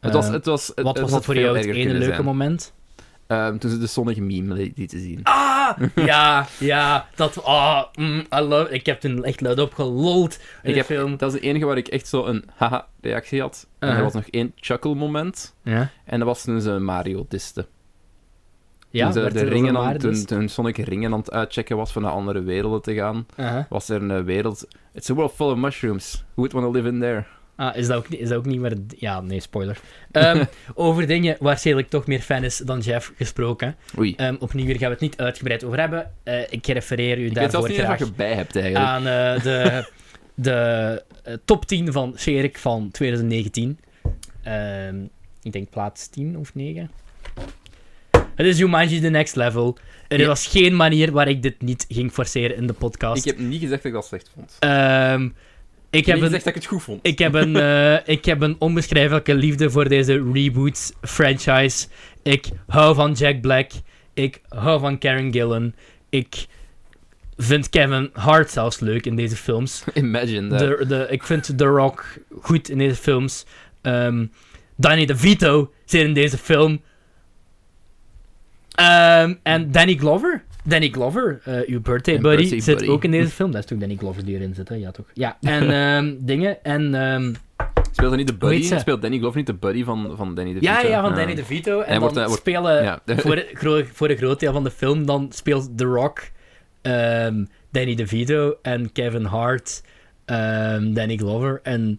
Het was, Eh, het was, het, Wat had was dat voor veel jou het erger ene kunnen leuke zijn. moment? Ehm, toen ze de zonnige meme li- lieten zien. Ah! Ja, ja, dat... Ah, mm, I love... Ik heb toen echt luid op gelold in Ik de heb- film. Dat is de enige waar ik echt zo een haha-reactie had. En Uh-huh. er was nog één chuckle-moment. Ja. En dat was toen ze Mario diste. Ja, toen ze werd de er ringen aan, overwaardig. toen, toen Sonic ringen aan het uitchecken was van naar andere werelden te gaan, Aha. was er een wereld... It's a world full of mushrooms. Who would want to live in there? Ah, is dat ook, niet- is dat ook niet meer... Ja, nee, spoiler. Ehm, over dingen waar Cedric toch meer fan is dan Jeff gesproken. Oei. Ehm, opnieuw, hier gaan we het niet uitgebreid over hebben. Eh, ik refereer u Ik weet daarvoor zelfs niet eens graag wat je bij hebt, eigenlijk. aan eh, de, de eh, top 10 van Cedric van 2019. Ehm, ik denk plaats 10 of 9. Het is Jumanji The Next Level. Er Ja. was geen manier waar ik dit niet ging forceren in de podcast. ik heb niet gezegd dat ik dat slecht vond. Ehm, ik Ik heb heb niet een- gezegd dat ik het goed vond. ik heb een, eh, ik heb een onbeschrijfelijke liefde voor deze reboot franchise. Ik hou van Jack Black. Ik hou van Karen Gillan. Ik vind Kevin Hart zelfs leuk in deze films. Imagine that. De, de, ik vind The Rock goed in deze films. Ehm Danny DeVito zit in deze film. Ehm, en Danny Glover. Danny Glover, eh, uw birthday Een buddy, birthday zit buddy. ook in deze film. Dat is toch Danny Glover die erin zit, hè? Ja, toch? Ja, en ehm, dingen. En ehm, Speelt hij niet de heet buddy? ze? Speelt Danny Glover niet de buddy van, van Danny DeVito? Ja, ja, van Danny eh, DeVito. En Hij wordt- dan hij wordt- spelen, ja. voor, het gro- voor een groot deel van de film, dan speelt The Rock, ehm, Danny DeVito en Kevin Hart, ehm, Danny Glover. En...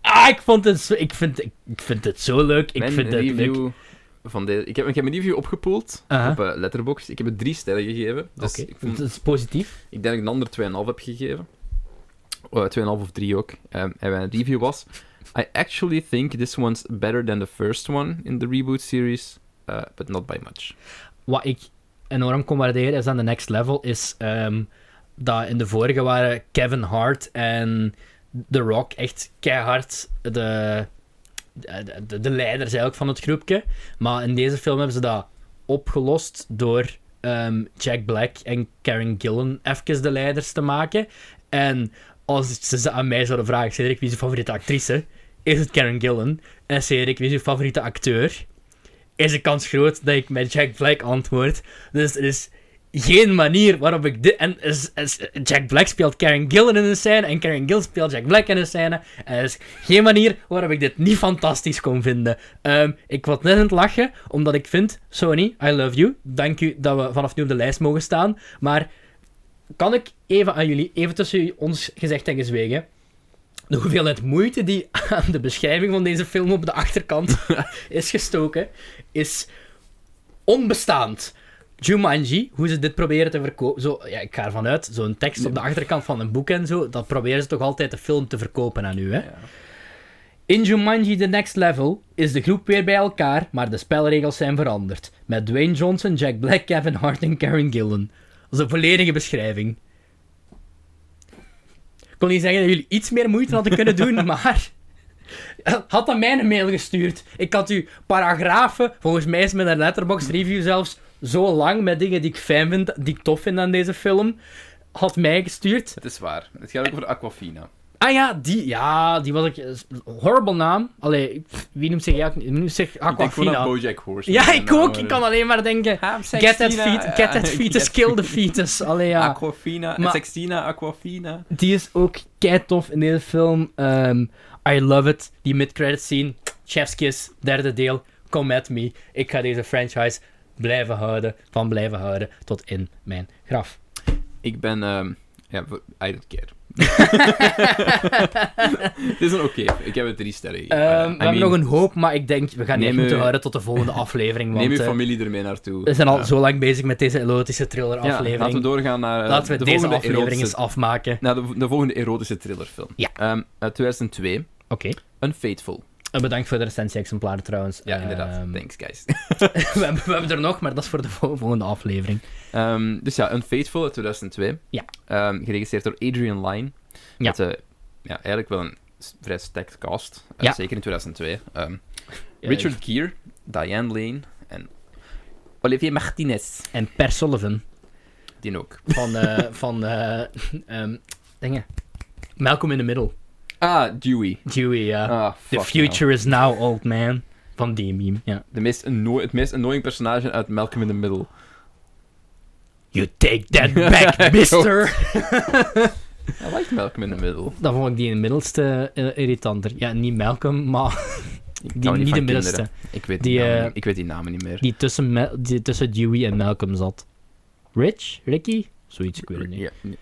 Ah, ik, vond het zo, ik, vind, ik, vind het zo leuk. Ik Mijn vind het leuk. review van deze... Ik heb, ik heb mijn review opgepoeld Aha. op eh, Letterboxd. Ik heb het drie sterren gegeven. Dus Oké, ik, vond- dat is positief. ik denk dat ik een ander 2,5 heb gegeven. Eh 2,5 of 3 ook. Ehm, en mijn review was... I actually think this one's better than the first one in the reboot series, eh, but not by much. Wat ik enorm kon waarderen is aan de next level, is ehm, dat in de vorige waren Kevin Hart en The Rock echt keihard de, de, de, de leiders eigenlijk van het groepje. Maar in deze film hebben ze dat opgelost door ehm, Jack Black en Karen Gillan even de leiders te maken. En als ze ze aan mij zouden vragen, Cedric, wie is je favoriete actrice? Is het Karen Gillan? En Cedric, wie is je favoriete acteur? Is de kans groot dat ik met Jack Black antwoord. Dus er is geen manier waarop ik dit... En is- is- Jack Black speelt Karen Gillan in een scène en Karen Gillan speelt Jack Black in een scène. En er is geen manier waarop ik dit niet fantastisch kon vinden. Ehm, ik was net aan het lachen, omdat ik vind... Sony, I love you. Dank u dat we vanaf nu op de lijst mogen staan. Maar kan ik even aan jullie, even tussen ons gezegd en gezwegen... De hoeveelheid moeite die aan de beschrijving van deze film op de achterkant is gestoken, is onbestaand. Jumanji, hoe ze dit proberen te verkopen. Zo, ja, ik ga ervan uit, zo'n tekst op de achterkant van een boek en zo, dat proberen ze toch altijd de film te verkopen aan u, hè? Ja. In Jumanji The Next Level is de groep weer bij elkaar, maar de spelregels zijn veranderd. Met Dwayne Johnson, Jack Black, Kevin Hart en Karen Gillan. Dat is een volledige beschrijving. Ik kon niet zeggen dat jullie iets meer moeite hadden kunnen doen, maar... Had dat mij een mail gestuurd. Ik had u paragrafen, volgens mij is mijn letterbox review zelfs zo lang met dingen die ik fijn vind, die ik tof vind aan deze film, had mij gestuurd. Het is waar. Het gaat ook over Aquafina. Ah ja, die, ja, die was ik. is een Horrible naam. Allee, pff, wie noemt zich, ja, wie noemt zich Ik denk gewoon aan Aquafina? Bojack Horseman. eh, Ja, ik ook. Ik kan alleen maar denken. Get that, feet, get that fetus, kill the fetus. Allee, ja. Aquafina, Maar- Sextina, Aquafina. Die is ook kei tof in deze film. Ehm, I love it. Die mid-credit scene. Chef's Kiss, derde deel. Come at me. Ik ga deze franchise blijven houden. Van blijven houden tot in mijn graf. Ik ben... ehm, ja, voor- I don't care. Het is een oké. Ik heb het drie sterren Ehm, gegeven. we hebben nog een hoop, maar ik denk we gaan die neem echt u- moeten houden tot de volgende aflevering. Want, Neem je eh, familie ermee naartoe. We zijn al Ja. zo lang bezig met deze erotische Ja, thriller-aflevering. laten we doorgaan naar eh, Laten we de deze volgende aflevering eens erotische- afmaken. naar de, de volgende erotische thrillerfilm. Ja. Ehm, uit 2002. Oké. Unfaithful. Eh, Bedankt voor de recensie-exemplaren trouwens. Ja, inderdaad. Ehm, Thanks, guys. we, hebben, we hebben er nog, maar dat is voor de vol- volgende aflevering. Ehm, dus ja, Unfaithful uit 2002. Ja. Ehm, geregisseerd door Adrian Lyne. Ja. Met, eh, ja, eigenlijk wel een s- vrij stacked cast. eh, Ja. Zeker in 2002. Ehm, Ja, Richard Gere, Diane Lane en Olivier Martinez. En Per Sullivan Die ook. van... eh, van eh, ehm, dingen. Malcolm in the Middle. Ah, Dewey. Dewey, ja. ah, the fuck future hell. is now, old man. Van die meme, ja. De meest anno- het meest annoying personage uit Malcolm in the Middle. You take that back, mister! I like Malcolm in the Middle. Dan vond ik die in het middelste eh, irritanter. Ja, niet Malcolm, maar... Ik Die hou niet van de middelste. kinderen. Ik weet die, Die, namen, eh, niet- ik weet die namen niet meer. Die tussen, Me- die tussen Dewey en Malcolm zat. Rich? Ricky? Zoiets, ik weet het niet. Ja, nee.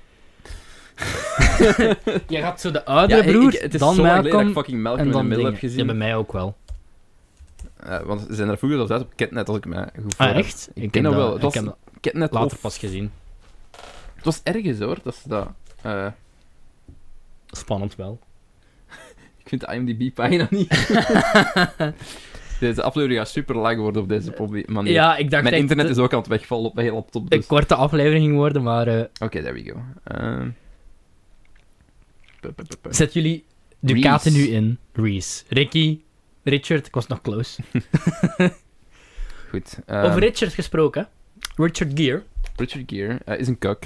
Je had zo de oudere Ja, ik- Oh, broer, ik- het is dan zo lang geleden dat Malcolm, ik fucking Malcolm en in de dan middel dingen. heb Ja, gezien. bij mij ook wel. Eh, want ze zijn er vroeger zelfs uit op Ketnet, als ik me goed voor Ah, heb. echt? Ik ken ken dat wel. Ik Het was heb dat Ketnet later of... pas gezien. Het was ergens hoor, dat ze dat... eh, Spannend wel. ik vind de IMDb-pagina niet... deze aflevering gaat super lang worden op deze proble- manier. Ja, ik dacht Mijn echt internet dat is ook aan het wegvallen op mijn hele laptop, het dus... een korte aflevering ging worden, maar eh, Oké, there we go. Ehm. Pu- pu- pu- pu. zet jullie Ducati nu in. Reese. Ricky. Richard, ik was nog close. Goed. ehm, Over Richard gesproken. Richard Gere. Richard Gere eh, is een kak.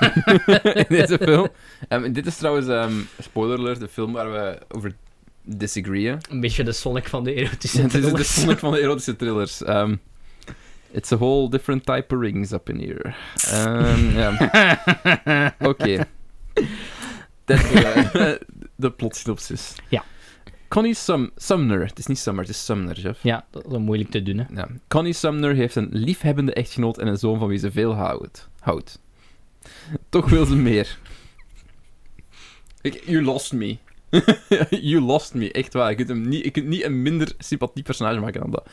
in deze film. Ehm, dit is trouwens, ehm, spoiler alert, de film waar we over disagreeën. Een beetje de Sonic van de erotische Het is de thrillers. Sonic van de erotische thrillers. Ehm, it's a whole different type of rings up in here. Ehm, ja. Oké. Dat is eh, de plotsynopsis. Ja. Connie Sum Sumner. Het is niet Summer, het is Sumner, Jeff. Ja, dat is wel moeilijk te doen, hè. Ja. Connie Sumner heeft een liefhebbende echtgenoot en een zoon van wie ze veel houdt. houdt. Toch wil ze meer. Ik, you lost me. you lost me, echt waar. Je kunt, hem niet, je kunt niet een minder sympathiek personage maken dan dat.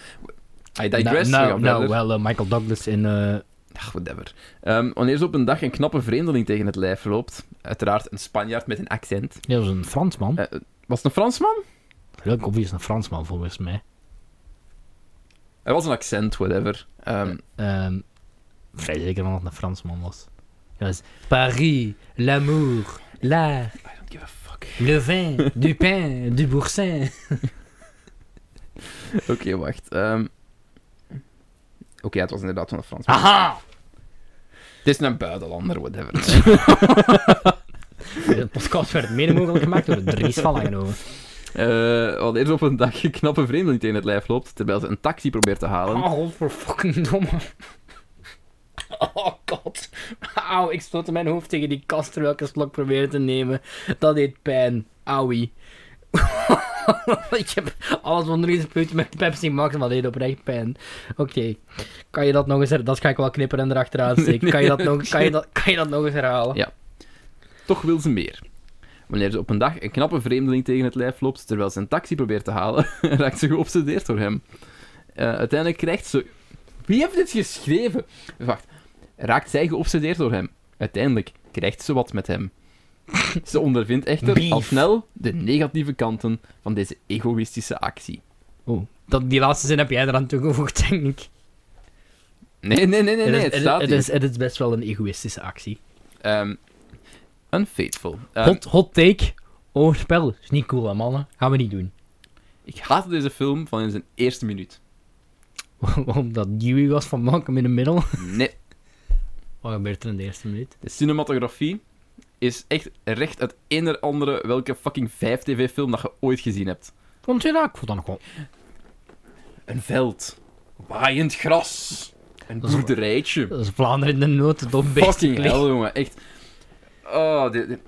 I digress, we Nou, gaan nou verder. wel, eh, Michael Douglas in... eh, Ach, whatever. Ehm, wanneer ze op een dag een knappe vreemdeling tegen het lijf loopt, uiteraard een Spanjaard met een accent. dat was een Fransman. Eh, Was het een Fransman? Leuk, of is een Fransman, volgens mij. Hij was een accent, whatever. Ehm, Ehm, vrij zeker van dat het een Fransman was. Dat was Paris, l'amour, l'art, I don't give a fuck. le vin, du pain, du boursin. Oké, wacht. Ehm, Oké, het was inderdaad van een Fransman. Aha! Het is een buitenlander, whatever. De podcast werd mede mogelijk gemaakt door Dries van Langenhoven. Eh, Want eerst op een dag een knappe vreemdeling tegen het lijf loopt, terwijl ze een taxi probeert te halen. Oh, voor fucking domme. Oh god. Auw, ik stootte mijn hoofd tegen die kast terwijl ik een slok probeerde te nemen. Dat deed pijn. Auwie. ik heb alles onder deze puntje met Pepsi Max, maar dat deed oprecht pijn. Oké. Kan je dat nog eens herhalen? Dat ga ik wel knippen en erachteraan steken. Kan je dat nog, kan je dat, kan je dat nog eens herhalen? Ja. Toch wil ze meer. Wanneer ze op een dag een knappe vreemdeling tegen het lijf loopt, terwijl ze een taxi probeert te halen, raakt ze geobsedeerd door hem. Eh, uiteindelijk krijgt ze... Wie heeft dit geschreven? Wacht. Raakt zij geobsedeerd door hem? Uiteindelijk krijgt ze wat met hem. Ze ondervindt echter al Beef. snel de negatieve kanten van deze egoïstische actie. Oh. Dat, die laatste zin heb jij eraan toegevoegd, denk ik. Nee, nee, nee, nee, nee het is- staat het, hier. is, het is best wel een egoïstische actie. Ehm, unfaithful. Ehm, Hot, hot take over het spel. Is niet cool, hè, mannen. Gaan we niet doen. Ik haatte deze film van in zijn eerste minuut. Waarom dat Dewey was van Malcolm in de middel. Nee, Wat gebeurt er in de eerste minuut? de cinematografie is echt recht uit eender andere welke fucking 5 tv-film dat je ooit gezien hebt. Want ja, ik vond dat nog wel... Een veld, waaiend gras, een Dat is- boerderijtje. Dat is Vlaanderen in de notendop, Fucking basically. hell, jongen, echt. Oh, dit- dit-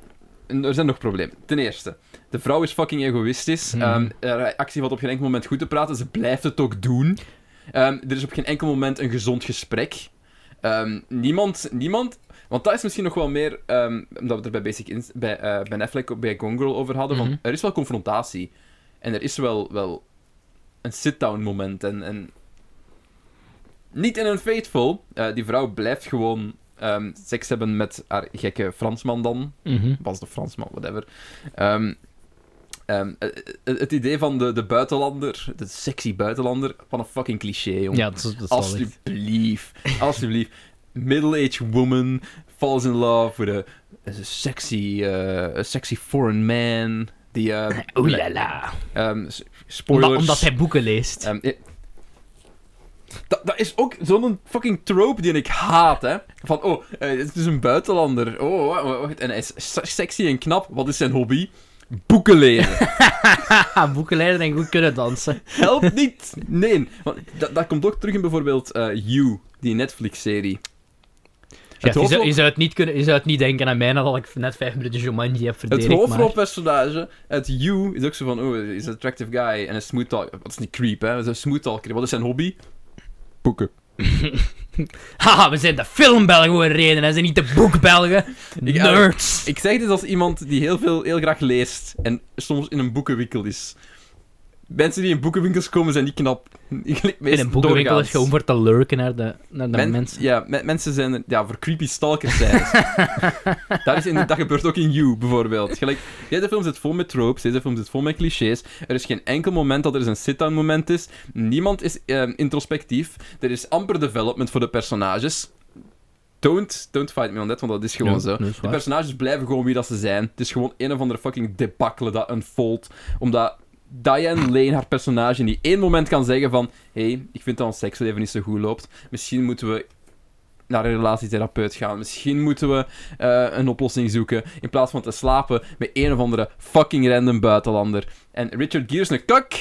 en Er zijn nog problemen. Ten eerste, de vrouw is fucking egoïstisch. Mhm. Ehm, haar actie valt op geen enkel moment goed te praten. Ze blijft het ook doen. Ehm, er is op geen enkel moment een gezond gesprek. Ehm, niemand, niemand... Want dat is misschien nog wel meer... ehm, omdat we het er bij, Basic Inst- bij, eh Ben Affleck op- bij Gone Girl over hadden. Mhm. Want er is wel confrontatie. En er is wel, wel een sit-down moment. En, en... Niet in een faithful. Eh, die vrouw blijft gewoon ehm, seks hebben met haar gekke Fransman dan. Mhm. Bas de Fransman, whatever. Ehm, ehm, eh, eh, het idee van de, de buitenlander, de sexy buitenlander, van een fucking cliché, jongen. Ja, dat is, dat is wel echt- alsjeblieft, alsjeblieft. Middle-aged woman falls in love with a, a sexy, eh, a sexy foreign man. Die, eh, Oeh la la. ehm, s- spoilers. Omdat, omdat hij boeken leest. Ehm, eh, dat, dat is ook zo'n fucking trope die ik haat, hè. Van, oh, eh, het is een buitenlander. Oh, wa- wa- wacht, en hij is se- sexy en knap. Wat is zijn hobby? Boeken lezen. Haha, boeken lezen en goed kunnen dansen. Help niet! Nee, want dat, dat komt ook terug in bijvoorbeeld eh You, die Netflix-serie. Ja, je, zou, hoofdrol- je, zou het niet kunnen, je zou het niet denken aan mij nadat ik net vijf minuten Jumanji heb Het verdedigd. maar... hoofdrolpersonage uit You is ook zo van, oh, hij is een attractive guy en een smooth talker. Wat is niet creep, hè? Hij is een smooth talker. Wat is zijn hobby? Boeken. Haha, we zijn de filmbelgen voor een reden en zijn niet de boekbelgen. Ik- Nerds. Ik zeg dit als iemand die heel veel, heel graag leest en soms in een boekenwinkel is. Mensen die in boekenwinkels komen zijn niet knap. In een boekenwinkel is gewoon voor te lurken naar de, naar de Men- mensen. Ja, me- mensen zijn er- ja, voor creepy stalkers zijn. het. dat, is in, dat gebeurt ook in You, bijvoorbeeld. Gelijk, deze film zit vol met tropes, deze film zit vol met clichés. Er is geen enkel moment dat er eens een sit-down moment is. Niemand is ehm, introspectief. Er is amper development voor de personages. Don't, don't fight me on that, want dat is gewoon Ja, zo. dat is De waar. personages blijven gewoon wie dat ze zijn. Het is gewoon een of andere fucking debacle dat unfoldt. Omdat Diane Lane, haar personage, in die één moment kan zeggen van... Hé, hey, ik vind dat ons seksleven niet zo goed loopt. Misschien moeten we naar een relatietherapeut gaan. Misschien moeten we eh, een oplossing zoeken. In plaats van te slapen met een of andere fucking random buitenlander. En Richard Gere is een kak!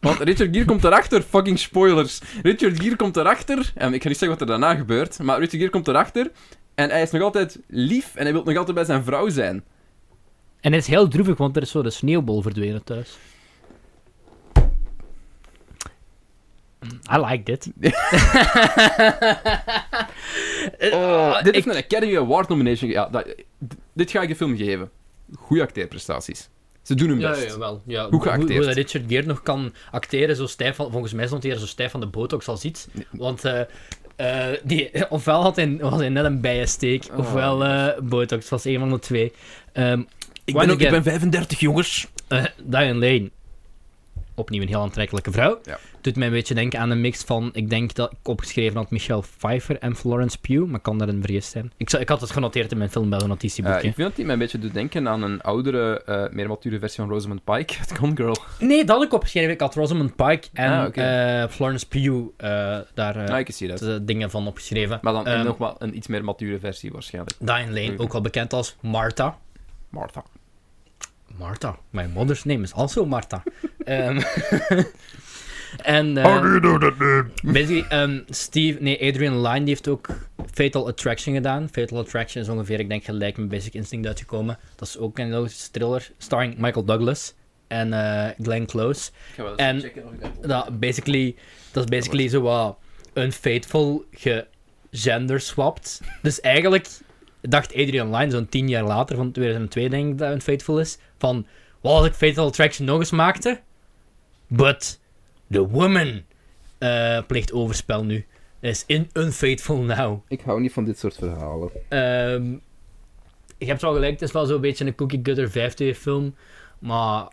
Want Richard Gere komt erachter, fucking spoilers. Richard Gere komt erachter, en ik ga niet zeggen wat er daarna gebeurt, maar Richard Gere komt erachter en hij is nog altijd lief en hij wil nog altijd bij zijn vrouw zijn. En het is heel droevig, want er is zo de sneeuwbol verdwenen thuis. I like dit. Oh, dit Eh, ah, ik- heeft een Academy Award nomination. ge- Ja, dat, d- dit ga ik de film geven. Goeie acteerprestaties. Ze doen hun Ja, best. ja, wel. Ja, Hoe geacteerd. dat Richard Gere nog kan acteren zo stijf van... Volgens mij stond hij er zo stijf van de botox als iets. Want eh, eh, die, ofwel had hij, was hij net een bijensteek, Oh, ofwel eh botox. Het was een van de twee. Ehm Ik, Once ben ook, ik again. ben 35, jongens. eh Diane Lane. Opnieuw een heel aantrekkelijke vrouw. Ja. Doet mij een beetje denken aan een mix van... Ik denk dat ik opgeschreven had Michelle Pfeiffer en Florence Pugh. Maar kan daar een vergis zijn. Ik, zal- ik had het genoteerd in mijn filmbel Eh, notitieboekje. ik vind dat die mij een beetje doet denken aan een oudere, eh, meer mature versie van Rosamund Pike uit Gone Girl. Nee, dat had ik opgeschreven. Ik had Rosamund Pike en Ah, oké. eh, Florence Pugh eh, daar eh, Ah, ik zie dat. de dingen van opgeschreven. Maar dan Ehm, nog wel een iets meer mature versie waarschijnlijk. Diane Hmm. Lane, ook wel bekend als Martha. Martha. Martha. Mijn mothers name is also Martha. Ehm, en eh, How do you know that name? basically, ehm, Steve, nee, Adrian Lyne die heeft ook Fatal Attraction gedaan. Fatal Attraction is ongeveer, ik denk, gelijk met Basic Instinct uitgekomen. Dat is ook een logische thriller, starring Michael Douglas en eh, Glenn Close. Ik ga wel En- checken of ik dat- dat, basically, dat is basically zo wat een faithful gegenderswapt. Dus eigenlijk dacht Adrian Lyne zo'n tien jaar later, van 2002 denk ik dat Unfaithful is, van, wat als ik Fatal Attraction nog eens maakte? But the woman eh, pleegt overspel nu. Is in Unfaithful now. Ik hou niet van dit soort verhalen. Ehm ik heb het wel gelijk, het is wel zo'n beetje een cookie cutter 5D film. Maar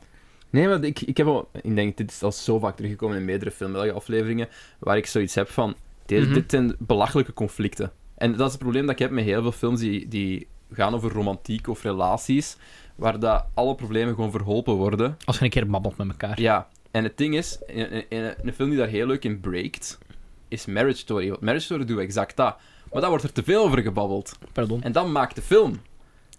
Nee, maar ik, ik heb al... Ik denk, dit is al zo vaak teruggekomen in meerdere filmbelgen afleveringen, waar ik zoiets heb van... Dit, Mhm. dit zijn belachelijke conflicten. En dat is het probleem dat ik heb met heel veel films die, die gaan over romantiek of relaties, waar dat alle problemen gewoon verholpen worden. als je een keer babbelt met elkaar. Ja, en het ding is, een, een- een, een film die daar heel leuk in breekt, is Marriage Story. Want Marriage Story doet exact dat. Maar daar wordt er te veel over gebabbeld. Pardon. En dat maakt de film.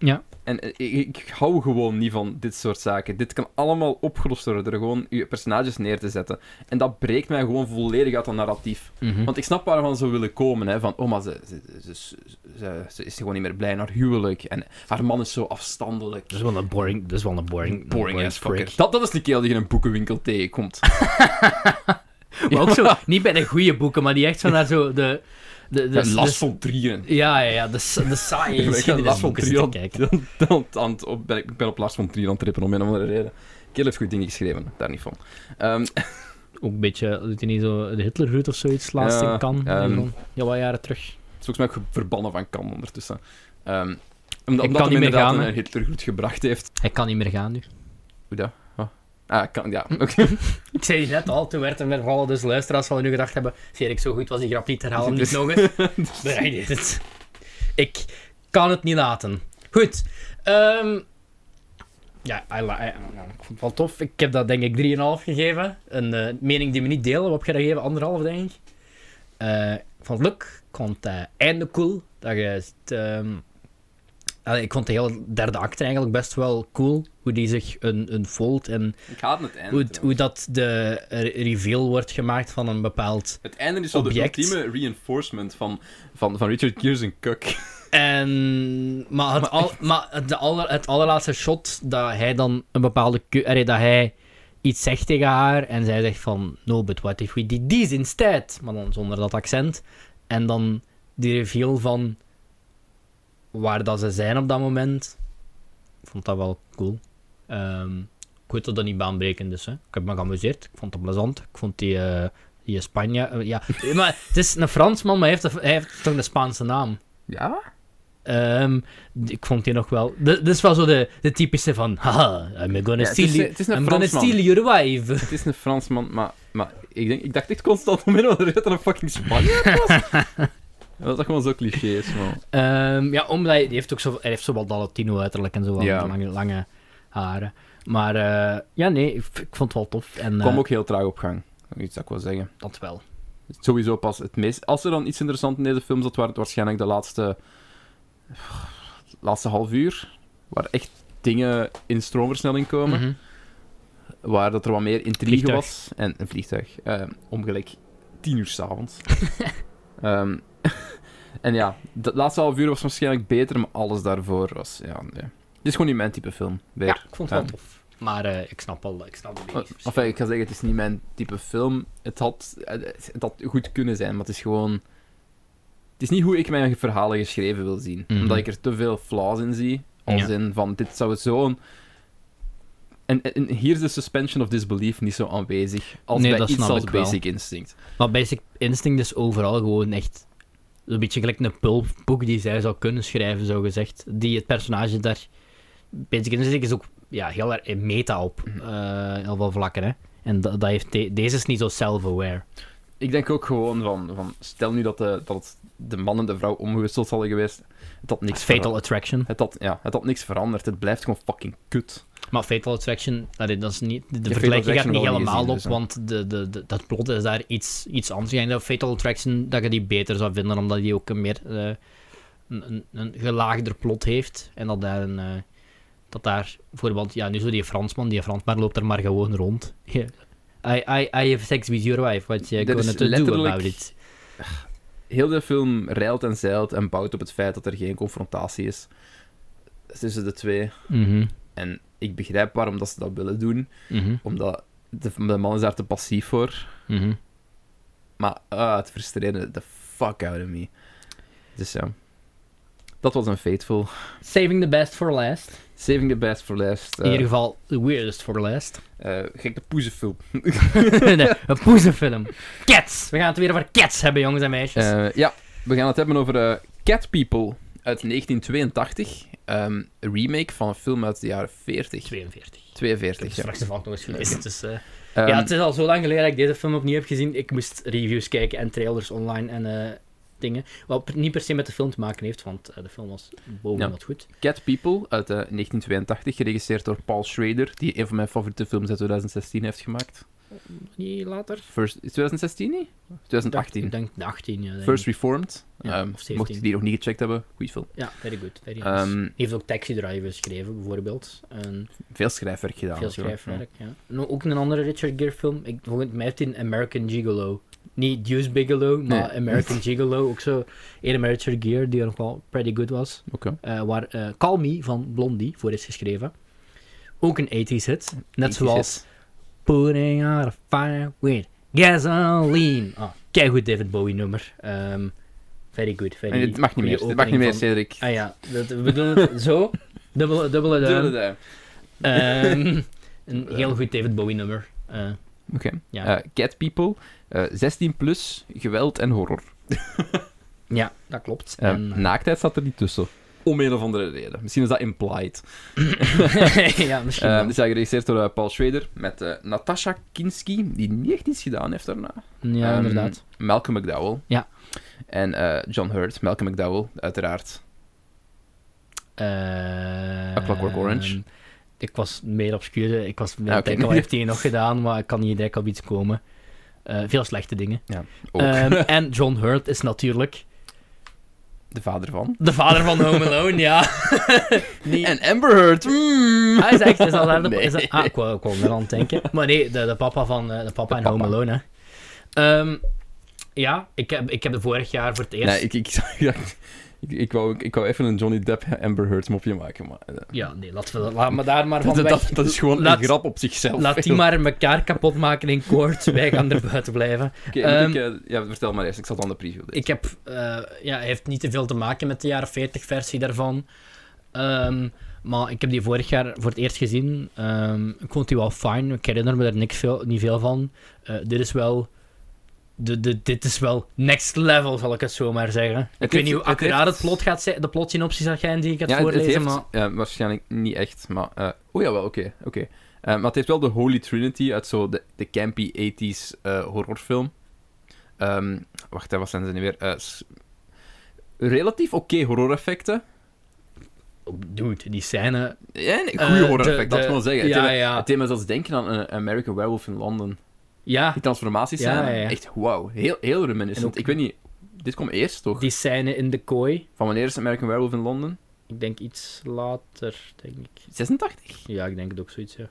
Ja. En eh, ik, ik hou gewoon niet van dit soort zaken. Dit kan allemaal opgelost worden door gewoon je personages neer te zetten. En dat breekt mij gewoon volledig uit dat narratief. Mhm. Want ik snap waarvan ze willen komen. Hè? Van, oh, maar ze, ze, ze, ze, ze- ze is gewoon niet meer blij in haar huwelijk. En haar man is zo afstandelijk. Dat is wel een boring, dat is wel een boring, Boring ass prick. fucker. Dat, dat is de kerel die je in een boekenwinkel tegenkomt. Maar ook zo, niet bij de goede boeken, maar die echt zo naar zo de... de, de, Dus, de- last van drieën. Ja, ja, ja, de, sa- de saaie Ik ben last van geschiedenisboeken Trier zitten aan- kijken. aan- aan het op- ben Ik ik ben op last van Trier aan het trippen om een of andere reden. Kill heeft goed dingen geschreven, daar niet van. Ehm, Ook een beetje, doet hij niet zo de Hitlerhut of zoiets, laatst Ja, in kan. ehm, ja, wat jaren terug. het is volgens mij ook verbannen van kan ondertussen. Ehm, omdat kan omdat niet hem meer inderdaad gaan, hè. een Hitler goed gebracht heeft. Hij kan niet meer gaan nu. Hoe dat? Huh? Ah, kan, ja. Oké. Ik zei net al, toen werd hem weer vallen, dus luisteraars zullen nu gedacht hebben, Erik, zo goed was die grap niet, herhaal hem niet nog eens. Maar hij deed het. Ik kan het niet laten. Goed. ehm, ja, I li- I- ik vond het wel tof. Ik heb dat denk ik 3,5 gegeven. Een eh, mening die we niet delen. Wat heb je dat gegeven? Anderhalf, denk ik. Eh, ik vond het leuk. Ik vond het eh, einde cool. Dat je, het, ehm, allee, ik vond de hele derde acte eigenlijk best wel cool. Hoe die zich een, een volt en Ik haat het einde. hoe, het- trouwens. hoe dat de re- reveal wordt gemaakt van een bepaald Het einde is zo de object. ultieme reinforcement van, van, van Richard Gere's een kuk. En, maar het, al, maar het, de aller, het allerlaatste shot dat hij dan een bepaalde keu- allee, dat hij iets zegt tegen haar en zij zegt van no but what if we did this instead, maar dan zonder dat accent en dan die reveal van waar dat ze zijn op dat moment. Ik vond dat wel cool. Ehm, ik weet dat dat niet baanbrekend is. Hè? Ik heb me geamuseerd. Ik vond het plezant. Ik vond die, eh, die Spanje... eh, ja. maar het is een Fransman, maar hij heeft, een- hij heeft toch een Spaanse naam. Ja? Ehm, d- ik vond die nog wel. d- Dit is wel zo de, de typische van. Haha, I'm gonna Ja, het is- steal, you- het is een I'm gonna Fransman. steal your wife. Het is een Fransman, maar, maar ik, denk, ik dacht echt constant om middel dat er een fucking Spanjaard was. Dat is toch gewoon zo clichés, man. Ehm, ja, omdat hij, die heeft ook zo, hij heeft zo wat dat Latino uiterlijk en zo. wat Ja. lange, lange haren. Maar eh, ja, nee, ik, v- ik vond het wel tof. En eh, Kwam ook heel traag op gang. Iets dat ik wil zeggen. dat wel. Sowieso pas het meest... Als er dan iets interessants in deze film zat, waren het waarschijnlijk de laatste... Laatste half uur. Waar echt dingen in stroomversnelling komen. Mhm. Hm. Waar dat er wat meer intrigue Vliegtuig. was. En een vliegtuig. eh, om gelijk tien uur s'avonds. Ehm en ja, dat laatste half uur was waarschijnlijk beter, maar alles daarvoor was... Ja, nee. Het is gewoon niet mijn type film. Weer. Ja, ik vond het wel Ja. Oh, tof. Maar eh, ik snap wel, ik snap het niet. Enfin, ik ga zeggen, het is niet mijn type film. Het had, eh, het had goed kunnen zijn, maar het is gewoon... Het is niet hoe ik mijn verhalen geschreven wil zien. Mhm. Omdat ik er te veel flaws in zie. Als Ja. in van, dit zou zo'n... En, en en hier is de suspension of disbelief niet zo aanwezig als Nee, bij dat iets snap als ik wel. Basic Instinct. Maar Basic Instinct is overal gewoon echt een beetje gelijk een pulpboek die zij zou kunnen schrijven, zo gezegd. Die het personage daar. Basic Instinct is ook ja, heel erg meta op. eh, heel veel vlakken, hè. En dat, dat heeft de- deze is niet zo self-aware. Ik denk ook gewoon van, van stel nu dat de, dat het de man en de vrouw omgewisseld hadden geweest. Het had niks Fatal veranderd. Attraction. Het had, ja, het had niks veranderd. Het blijft gewoon fucking kut. Maar Fatal Attraction, dat is, dat is niet, de Fatal vergelijking gaat Attraction niet nog niet helemaal gezien, op, dus, hè. want de, de, de- dat plot is daar iets, iets anders. Ik denk dat Fatal Attraction, dat je die beter zou vinden, omdat die ook een meer eh, een, een, een gelaagder plot heeft. En dat daar, een, eh, dat daar bijvoorbeeld, ja, nu zo die Fransman, die Fransman loopt er maar gewoon rond. I, I, I have sex with your wife, what you Dat is gonna to do letterlijk- about it? heel de film rijlt en zeilt en bouwt op het feit dat er geen confrontatie is tussen de twee. Mhm, En ik begrijp waarom dat ze dat willen doen, mhm, omdat de, de man is daar te passief voor. mhm. Maar ah, het frustreerde de fuck out of me. Dus ja, dat was een fateful. Saving the best for last. Saving the best for last. In eh ieder geval, the weirdest for last. eh, gek de poezenfilm. Nee, een poezenfilm. Cats! We gaan het weer over cats hebben, jongens en meisjes. Eh, ja, we gaan het hebben over eh, Cat People uit 1982. Ehm, een remake van een film uit de jaren 40. 42. Ik 42, heb ja. straks de nog eens gelezen. Dus, eh, Ehm, ja, het is al zo lang geleden dat ik deze film opnieuw heb gezien. Ik moest reviews kijken en trailers online en eh, dingen. Wat per- niet per se met de film te maken heeft, want eh, de film was boven Ja. wat goed. Cat People uit eh, 1982, geregisseerd door Paul Schrader, die een van mijn favoriete films uit 2016 heeft gemaakt. Niet later. First, is 2016 niet? Ik 2018. denk de 18, ja. denk First ik. Reformed. Ja, Ehm, of 17. mocht je die nog niet gecheckt hebben, goede film. Ja, very good. Very nice. Ehm, Hij heeft ook Taxi Driver geschreven, bijvoorbeeld. En veel schrijfwerk gedaan. veel natuurlijk. schrijfwerk, ja. En ook een andere Richard Gere film. Ik, volgens mij heeft hij een American Gigolo. Niet Deuce Bigelow, maar Nee. American Gigolo. Ook zo een met Richard Gere, die nog wel pretty good was. Ja. Oké. Eh, waar eh Call Me van Blondie voor is geschreven. Ook een 80s hit. Net 80s zoals Putting out a fire with gasoline. Ah, kijk goed David Bowie nummer. Ehm, very good. Very En dit mag niet goede meer, dit mag niet meer, opening Cedric. van- Ah ja, dat, we doen het zo. Dubbele, dubbele duim. Dubbele duim. Ehm, een heel goed David Bowie nummer. Eh, Oké. ja. Eh, Cat People, eh, 16 plus, geweld en horror. ja, dat klopt. Eh, En, naaktheid zat er niet tussen. Om een of andere reden. Misschien is dat implied. ja, misschien Eh, wel. Dit is geregisseerd door eh, Paul Schrader met eh, Natasha Kinski, die niet echt iets gedaan heeft daarna. Ja, Ehm, inderdaad. Malcolm McDowell. Ja. En eh, John Hurt, Malcolm McDowell, uiteraard. Eh, A Clockwork Orange. ehm, Ik was meer obscuur. eh, Ik was meer aan Ah, het oké. denken, wat heeft hij nog gedaan? Maar ik kan niet direct op iets komen. Eh, veel slechte dingen. Ook Ehm, en John Hurt is natuurlijk de vader van. de vader van Home Alone, ja. Die- En Amber Hurt. mm. Hij Ah, is echt, is al daar de, Nee. is dat- ah, ik wou- ik wou wel aan het denken. Maar nee, de, de papa van eh, de papa De en papa. Home Alone, hè. Ehm, Ja, ik heb, ik heb de vorig jaar voor het eerst. Nee, ik, ik, ja, ik, ik, wou, ik wou even een Johnny Depp Amber Heard mopje maken, maar... eh, Ja, nee, laten we dat, laat me daar maar van dat, weg. dat, dat is gewoon Laat- een grap op zichzelf. Laat die maar elkaar kapot maken in koorts. Wij gaan er buiten blijven. Oké, moet ik, Ehm, eh, ja, vertel maar eerst. Ik zal dan de preview doen. Ik heb, eh, ja, hij heeft niet te veel te maken met de jaren 40 versie daarvan. Ehm, maar ik heb die vorig jaar voor het eerst gezien. Ehm, ik vond die wel fijn. Ik herinner me daar niks veel, niet veel van. Eh, dit is wel. De, de, dit is wel next level, zal ik het zo maar zeggen. ik heeft- weet niet hoe het accuraat het, heeft- plot gaat zijn, de plotsynopsis gaat zijn die ik ga ja, het- voorlezen, het heeft, maar... eh, waarschijnlijk niet echt, maar... eh oh ja, wel, oké. oké. Eh, maar het heeft wel de Holy Trinity uit zo de, de campy 80s eh, horrorfilm. Ehm, wacht, hè, wat zijn ze nu weer? Eh, s- relatief oké horror-effecten. Oh, Dude, die scène... Ja, nee, eh, goede de- horror-effecten, dat de- wil ik zeggen. Ja, het, ja. het deed me zelfs denken aan een American Werewolf in London. Ja, Die transformaties Ja, zijn ja, ja. echt wauw. Heel, heel reminiscent. En ook- Ik weet niet... Dit komt eerst, toch? die scène in de kooi. Van wanneer is American Werewolf in Londen? Ik denk iets later, denk ik. 86? Ja, ik denk het ook zoiets, ja.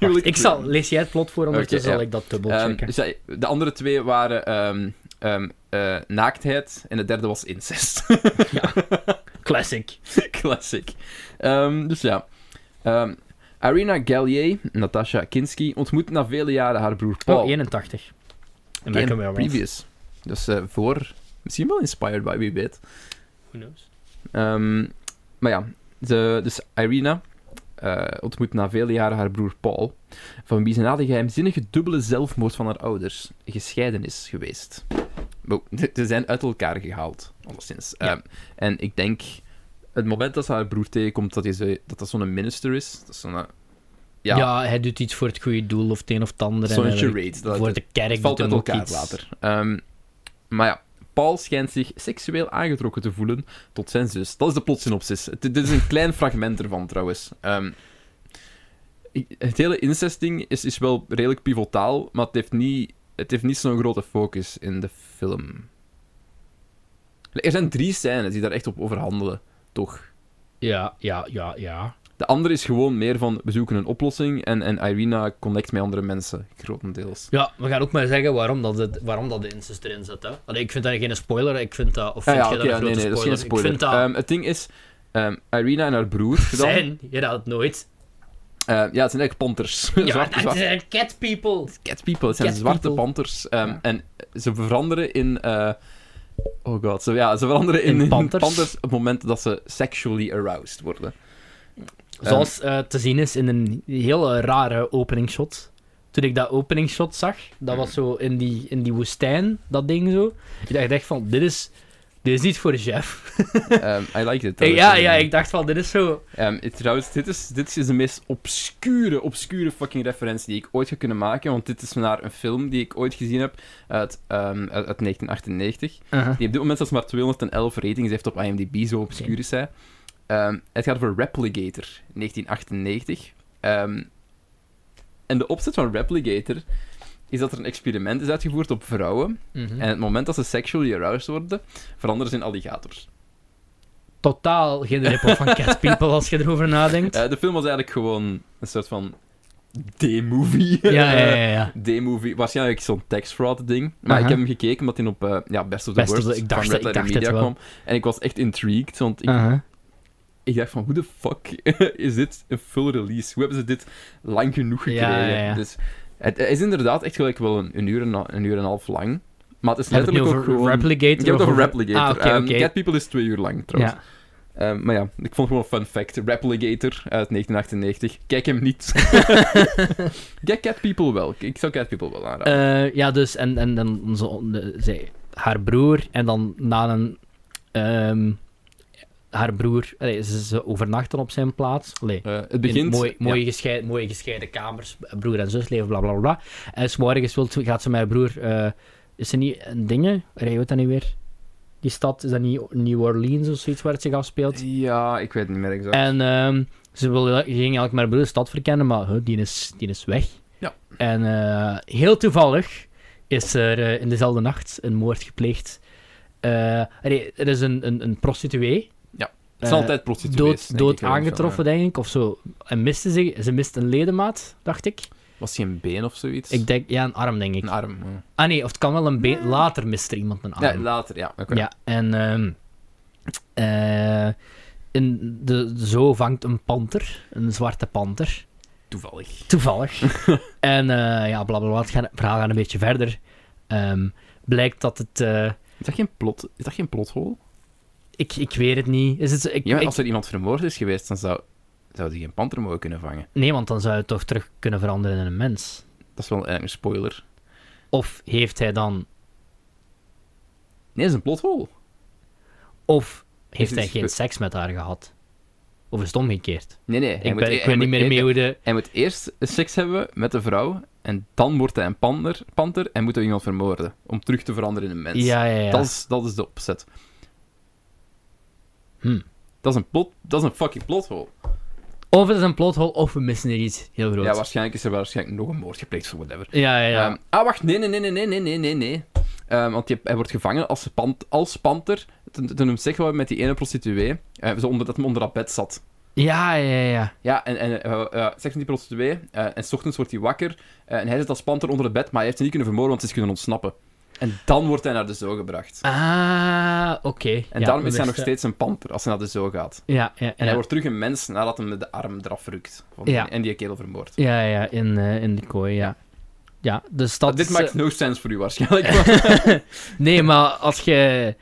Wacht, ik zal, lees jij het plot voor, ondertussen Oké, ja. zal ik dat Ehm, dubbelchecken. zij- de andere twee waren ehm, ehm, eh, naaktheid en de derde was incest. Classic. Classic. Ehm, dus ja. Ehm Arina Gallier, Natasha Kinski, ontmoet na vele jaren haar broer Paul. Oh, 81. En Oké, Malcolm en Werewolf. previous. Dus eh, voor... Misschien wel inspired by, wie weet. Who knows? Ehm, maar ja, ze, dus Irina eh, ontmoet na vele jaren haar broer Paul, van wie ze na de geheimzinnige dubbele zelfmoord van haar ouders gescheiden is geweest. Wow, ze- ze zijn uit elkaar gehaald, alleszins. Ja. Ehm, en ik denk, het moment dat ze haar broer tegenkomt, dat hij ze- dat, dat zo'n minister is, dat is zo'n... eh, Ja. Ja, hij doet iets voor het goede doel of het een of het ander. en zo'n hij werkt charade. Dat, voor de kerk het valt doet uit hem ook elkaar iets. later. Ehm, maar ja, Paul schijnt zich seksueel aangetrokken te voelen tot zijn zus. Dat is de plotsynopsis. Het- Dit is een klein fragment ervan trouwens. Ehm, ik- het hele incesting is, is wel redelijk pivotaal, maar het heeft niet, het heeft niet zo'n grote focus in de film. Er zijn drie scènes die daar echt op overhandelen, toch? Ja, ja, ja, ja. De andere is gewoon meer van we zoeken een oplossing en, en Irina connect met andere mensen, grotendeels. Ja, we gaan ook maar zeggen waarom dat, het, waarom dat de incest erin zit. Hè? Allee, ik vind dat geen spoiler. Ik vind dat, of Ah vind ja, je dat oké, ja, een nee, grote nee, dat is geen spoiler? spoiler. Ik vind dat... Ehm, het ding is, ehm, Irina en haar broer... dan, zijn, je raadt het nooit. eh, ja, het zijn eigenlijk panters. Ja, zwarte, dat zwarte zijn cat people. cat people. Het zijn Cat zwarte people. panters. ehm, Ja. En ze veranderen in... eh, oh god, ze, ja, ze veranderen in, In panters. op het moment dat ze sexually aroused worden. Zoals eh, te zien is in een heel eh, rare openingsshot. Toen ik dat openingsshot zag, dat was zo in die, in die woestijn, dat ding zo. Ik dacht echt van, dit is, dit is niet voor Jeff. Ehm, I like it. trouwens. ja, ja, ik dacht van, dit is zo... Ehm, het- trouwens, dit is, dit is de meest obscure, obscure fucking referentie die ik ooit heb kunnen maken. Want dit is naar een film die ik ooit gezien heb uit, ehm, uit, uit 1998. Die op dit moment zelfs maar 211 ratings heeft op IMDb, zo obscuur is hij. Ehm, het gaat over Replicator, 1998. Ehm, en de opzet van Replicator is dat er een experiment is uitgevoerd op vrouwen. Mhm. En het moment dat ze sexually aroused worden, veranderen ze in alligators. Totaal geen ripple van cat people, als je erover nadenkt. Eh, de film was eigenlijk gewoon een soort van D-movie. ja, ja, ja, ja, ja. Eh, D-movie, waarschijnlijk zo'n tax fraud ding. Maar Aha. ik heb hem gekeken omdat hij op eh, ja, Best of the Best of the- Worst ik dacht- van Red ik Letter dacht het Media wel. Uh-huh. kwam. En ik was echt intrigued, want ik, Aha. ik dacht van, hoe de fuck is dit een full release? Hoe hebben ze dit lang genoeg Ja, gekregen? ja, ja. Dus het is inderdaad echt gelijk wel een, een, uur en, een- een uur en een half lang. Maar het is Heb je het nu letterlijk over ook gewoon... Replicator? Ik heb het of over Replicator. Ah, oké, Ehm, oké. Cat People is twee uur lang, trouwens. Ja. Ehm, maar ja, ik vond het gewoon een fun fact. Replicator uit 1998. Kijk hem niet. Kijk Cat People wel. Ik zou Cat People wel aanraden. Eh, ja, dus, en, en dan zo, de- zij, haar broer, en dan na een... ehm, haar broer, allee, ze, ze overnachten op zijn plaats. Allee, Eh, het in begint... mooi, ja. mooie, gescheiden, mooie gescheiden kamers, broer en zus leven, bla bla bla. En s'morgens wil ze- gaat ze met haar broer. eh, is ze niet een dingen? Rijdt dat niet weer? Die stad, is dat niet New Orleans of zoiets waar het zich afspeelt? Ja, ik weet het niet meer exact. En ehm, ze wil, ging eigenlijk maar broer de stad verkennen, maar huh, die, is, die is weg. Ja. En eh, heel toevallig is er eh, in dezelfde nacht een moord gepleegd. Eh, nee, er is een, een, een prostituee. Ja, het Eh, zijn altijd prostituees. dood, denk dood ik wel, of zo, aangetroffen, denk ik, of zo. En miste ze, ze mist een ledemaat, dacht ik. ja. Was hij een been of zoiets? Ik denk, ja, een arm, denk ik. Een arm. ja. Ah nee, of het kan wel een been. Later mist er iemand een Ja, arm. later, ja. oké. Ja, en ehm, eh, in de, zo vangt een panter, een zwarte panter, Toevallig. toevallig. en eh, ja, blablabla, het gaat- het verhaal gaat een beetje verder. Ehm, blijkt dat het... eh, Is dat geen plot? Is dat geen plothol? ik, ik weet het niet. Is het, ik, Ja, maar ik- als er iemand vermoord is geweest, dan zou, zou die geen panter mogen kunnen vangen. Nee, want dan zou het toch terug kunnen veranderen in een mens. Dat is wel eigenlijk een spoiler. Of heeft hij dan... Nee, dat is een plothol. Of heeft Is hij het- geen seks met haar gehad? Of is het omgekeerd? Nee, nee. hij Ik, moet- ben, ik hij weet niet moet- meer hij- mee hoe de... Hij moet eerst seks hebben met de vrouw, en dan wordt hij een panter, panter en moet hij iemand vermoorden. Om terug te veranderen in een mens. Ja, ja, ja. Dat, is, dat is de opzet. Hm. Dat is een, plot, dat is een fucking plothol. Of het is een plothol, of we missen er iets heel groot. Ja, waarschijnlijk is er waarschijnlijk nog een moord gepleegd of whatever. ja, ja. ja. Ehm, ah, wacht, nee, nee, nee, nee, nee, nee, nee, nee, nee. Ehm, want je- hij wordt gevangen als, pant, als panter. Toen, toen hem zeggen we met die ene prostituee, eh, zo onder, dat hem onder dat bed zat. Ja, ja, ja. Ja, en, en eh, eh, seks met die prostituee. eh, en s ochtends wordt hij wakker. eh, en hij zit als panter onder het bed, maar hij heeft ze niet kunnen vermoorden, want ze is kunnen ontsnappen. En dan wordt hij naar de zoo gebracht. Ah, oké. En Ja, daarom is bewust, hij nog ja. steeds een panter als hij naar de zoo gaat. eh, Ja, ja, En ja. hij wordt terug een mens nadat hij met de arm eraf rukt. Van- Ja. Dus- En die kerel vermoordt. Ja, ja, in, eh, in de kooi, ja. Ja, dus dat Dit is, maakt eh, no sense voor u waarschijnlijk. maar- Nee, maar als je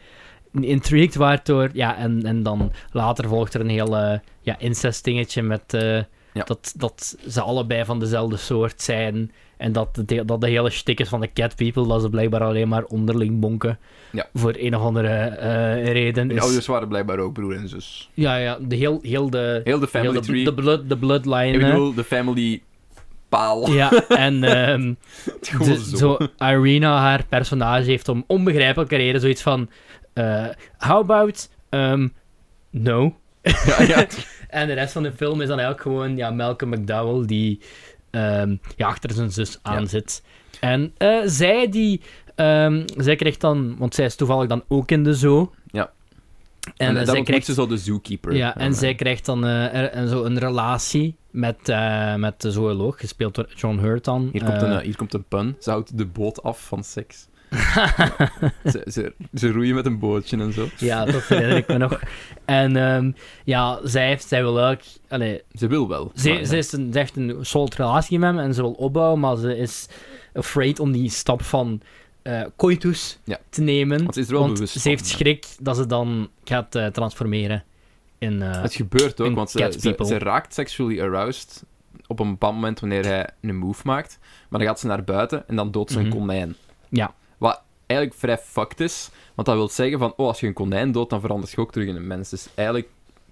intrigued waart door... Ja, en, en dan later volgt er een heel eh, ja, incest dingetje met... eh, Ja. dat, dat ze allebei van dezelfde soort zijn. En dat de, dat de hele shtick is van de cat people. Dat ze blijkbaar alleen maar onderling bonken. Ja. Voor een of andere eh, reden. De is- ouders waren blijkbaar ook broer en zus. ja, ja, de heel, heel de... Heel de family heel de, tree. de, blood, de bloodline. ik eh. bedoel, de family paal. Ja, en ehm, Gewoon de- zo. zo Irina, haar personage, heeft om onbegrijpelijke reden zoiets van... eh, how about... ehm, no. Ja, ja. En eh, de rest van de film is dan eigenlijk gewoon ja, Malcolm McDowell die ehm, ja, achter zijn zus aan Ja. zit. En eh, zij die... ehm, zij krijgt dan... Want zij is toevallig dan ook in de zoo. Ja. En, dan eh, zij ontmoet krijgt ze zo de zookeeper. ja, en zij krijgt dan eh, er- en zo een relatie met, eh, met de zooloog, gespeeld door John Hurt dan. Hier komt, een, Eh, eh, hier komt een pun. Ze houdt de boot af van seks. ze, ze, ze roeien met een bootje en zo. Ja, dat herinner ik me nog. En ehm, ja, zij, heeft, zij wil ook... Allee, Ze wil wel. ze, maar- ze, is een, ze heeft een solid relatie met hem en ze wil opbouwen, maar ze is afraid om die stap van eh coitus Ja. te nemen. Want ze is er wel want bewust ze heeft van. schrik dat ze dan gaat eh, transformeren in... eh, Het gebeurt ook, in want ze, Cat ze, People. ze raakt sexually aroused op een bepaald moment wanneer hij een move maakt. Maar dan gaat ze naar buiten en dan doodt ze een Mhm. konijn. Ja. Wat eigenlijk vrij fucked is, want dat wil zeggen van, oh, als je een konijn doodt, dan verandert je ook terug in een mens. Dus eigenlijk,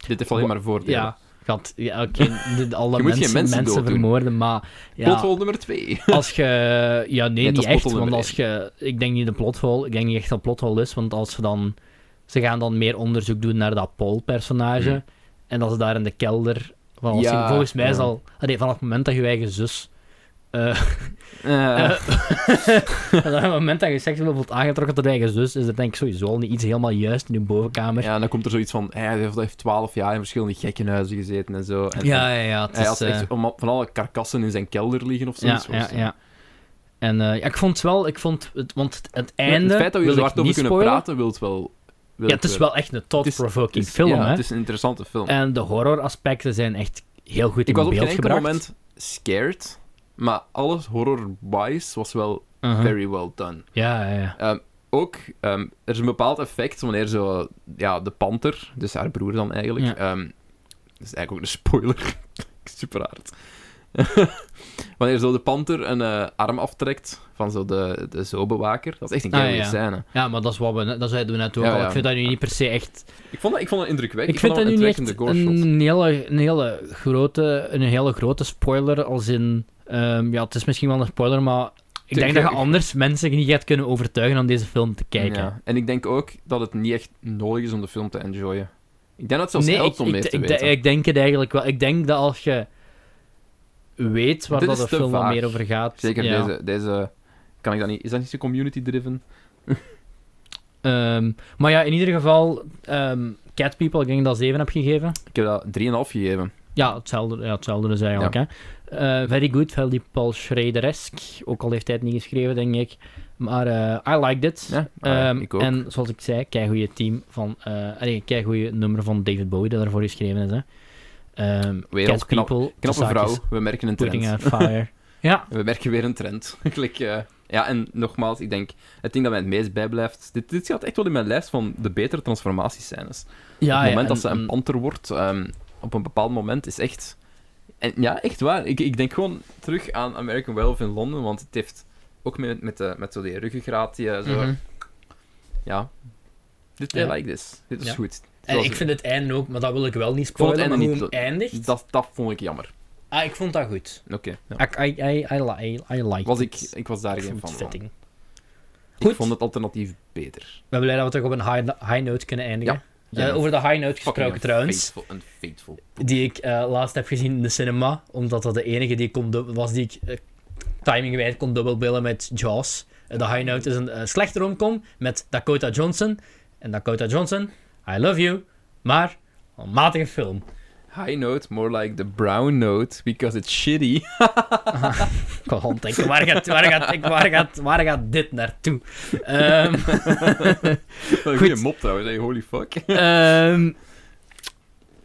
dit heeft alleen maar voordelen. ja, gaat... Ja, oké, de- alle Je moet geen mensen, mensen mensen dooddoen. vermoorden, maar... Ja, Plothol nummer 2. Als je... Ja, nee, Nee, dat niet is echt. plothol Want nummer als je... Ik denk niet de plothol. Ik denk niet echt dat plothol is. Want als ze dan... Ze gaan dan meer onderzoek doen naar dat Paul-personage. Hmm. En dat ze daar in de kelder... Van als Ja, je, volgens mij ja. zal... Allee, vanaf het moment dat je eigen zus... eh, Ah. eh, vanaf het moment dat je seksueel wordt aangetrokken tot je eigen zus, is dat denk ik sowieso al niet iets helemaal juist in je bovenkamer. Ja, en dan komt er zoiets van, hij heeft- hij heeft 12 jaar in verschillende gekkenhuizen gezeten en zo. En, en ja, ja. ja, het hij is, had eh, echt om- van alle karkassen in zijn kelder liggen of ja, zoiets. ja, ja. En eh, ja, ik vond het wel... Ik vond het, want het, het En einde... het feit dat we wil er ik hard over niet kunnen spoilen. praten, wilt wel... wil Ja, ik het is wel echt een eh, Het thought-provoking is- film, ja, hè. het is een interessante film. En de horroraspecten zijn echt heel goed ik in was op geen beeld enkel gebracht. moment scared, maar alles horror-wise was wel Uh-huh. very well done. Ja, ja, ja. Ehm, ook, ehm, er is een bepaald effect wanneer zo, ja, de panter, dus haar broer dan eigenlijk, Ja. ehm, dat is eigenlijk ook een spoiler, super hard. wanneer zo de panter een eh, arm aftrekt van zo de, de zoobewaker, dat is echt een Ah, keer ja. scène. Ja, maar dat is wat we net, dat zeiden we net ook Ja, al. ja. Ik vind dat nu niet per se echt... Ik vond dat, ik vond dat Ik, indrukwekkend. vind dat nu vond niet het echt indrukwekkende gore shot. een hele, een, hele grote, een hele grote spoiler, als in... ehm, ja, het is misschien wel een spoiler, maar... Ik Ik- denk dat je ik- anders mensen niet gaat kunnen overtuigen om deze film te kijken. Ja. En ik denk ook dat het niet echt nodig is om de film te enjoyen. Ik denk dat het zelfs nee, helpt ik, om ik, meer te ik, weten. ik denk het eigenlijk wel. Ik denk dat als je weet waar Dit dat is de te film wat vaag. meer over gaat... Zeker ja. deze, deze... Kan ik dat niet... Is dat niet zo community-driven? Ehm, maar ja, in ieder geval, ehm, Cat People, ik denk dat ik dat 7 heb gegeven. Ik heb dat 3,5 gegeven. Ja, hetzelfde, ja, hetzelfde dus eigenlijk. Hè. eh very good, wel die Paul Schrader-esque. Ook al heeft hij het niet geschreven, denk ik. Maar eh, I liked it. Ja, ah, Ehm, ik ook. En zoals ik zei, kei goede team van. eh allee, kei goede nummer van David Bowie dat ervoor geschreven is. Hè. Ehm, Weer Cat ons knap- People, The Knappe vrouw, Saakjes, we merken een Putting trend. Out Fire. ja, We merken weer een trend. Klik, eh, ja, en nogmaals, ik denk, het ding dat mij het meest bijblijft... Dit, dit gaat echt wel in mijn lijst van de betere transformatiescènes. ja, op het moment ja, dat ze en- Mhm. een panter wordt, ehm, op een bepaald moment, is echt... En, ja, echt waar. Ik, ik denk gewoon terug aan American Werewolf in Londen, want het heeft ook met, met, de, met zo die ruggengraat, die, eh, zo... Mhm. Ja. Dit, Ja. I like this. Dit is Ja. goed. En Zoals- ik vind het einde ook, maar dat wil ik wel niet vond het spoilen, maar einde hoe niet Mm. hem eindigt. Dat, dat vond ik jammer. Ah, ik vond dat goed. Oké. ja. Ik- I, I, I, li- I, I like Was ik, it. ik was daar Ik geen vond fan het van. vetting. Ik Goed. vond het alternatief beter. Ik ben blij dat we toch op een high, high note kunnen eindigen. Ja. Eh, over de high note Fucking gesproken een trouwens, Fateful, een fateful. die ik eh, laatst heb gezien in de cinema, omdat dat de enige die ik kon dub- was die ik eh, timing timingwijd kon dubbelbillen met Jaws. Eh, de high note is een eh, slechte romcom met Dakota Johnson. En Dakota Johnson, I love you, maar een matige film. High note, more like the brown note, because it's shitty. Ik was aan het denken, waar gaat, waar gaat, ik- waar gaat, waar gaat dit naartoe? Ehm, Goeie mop trouwens, hey, holy fuck. ehm,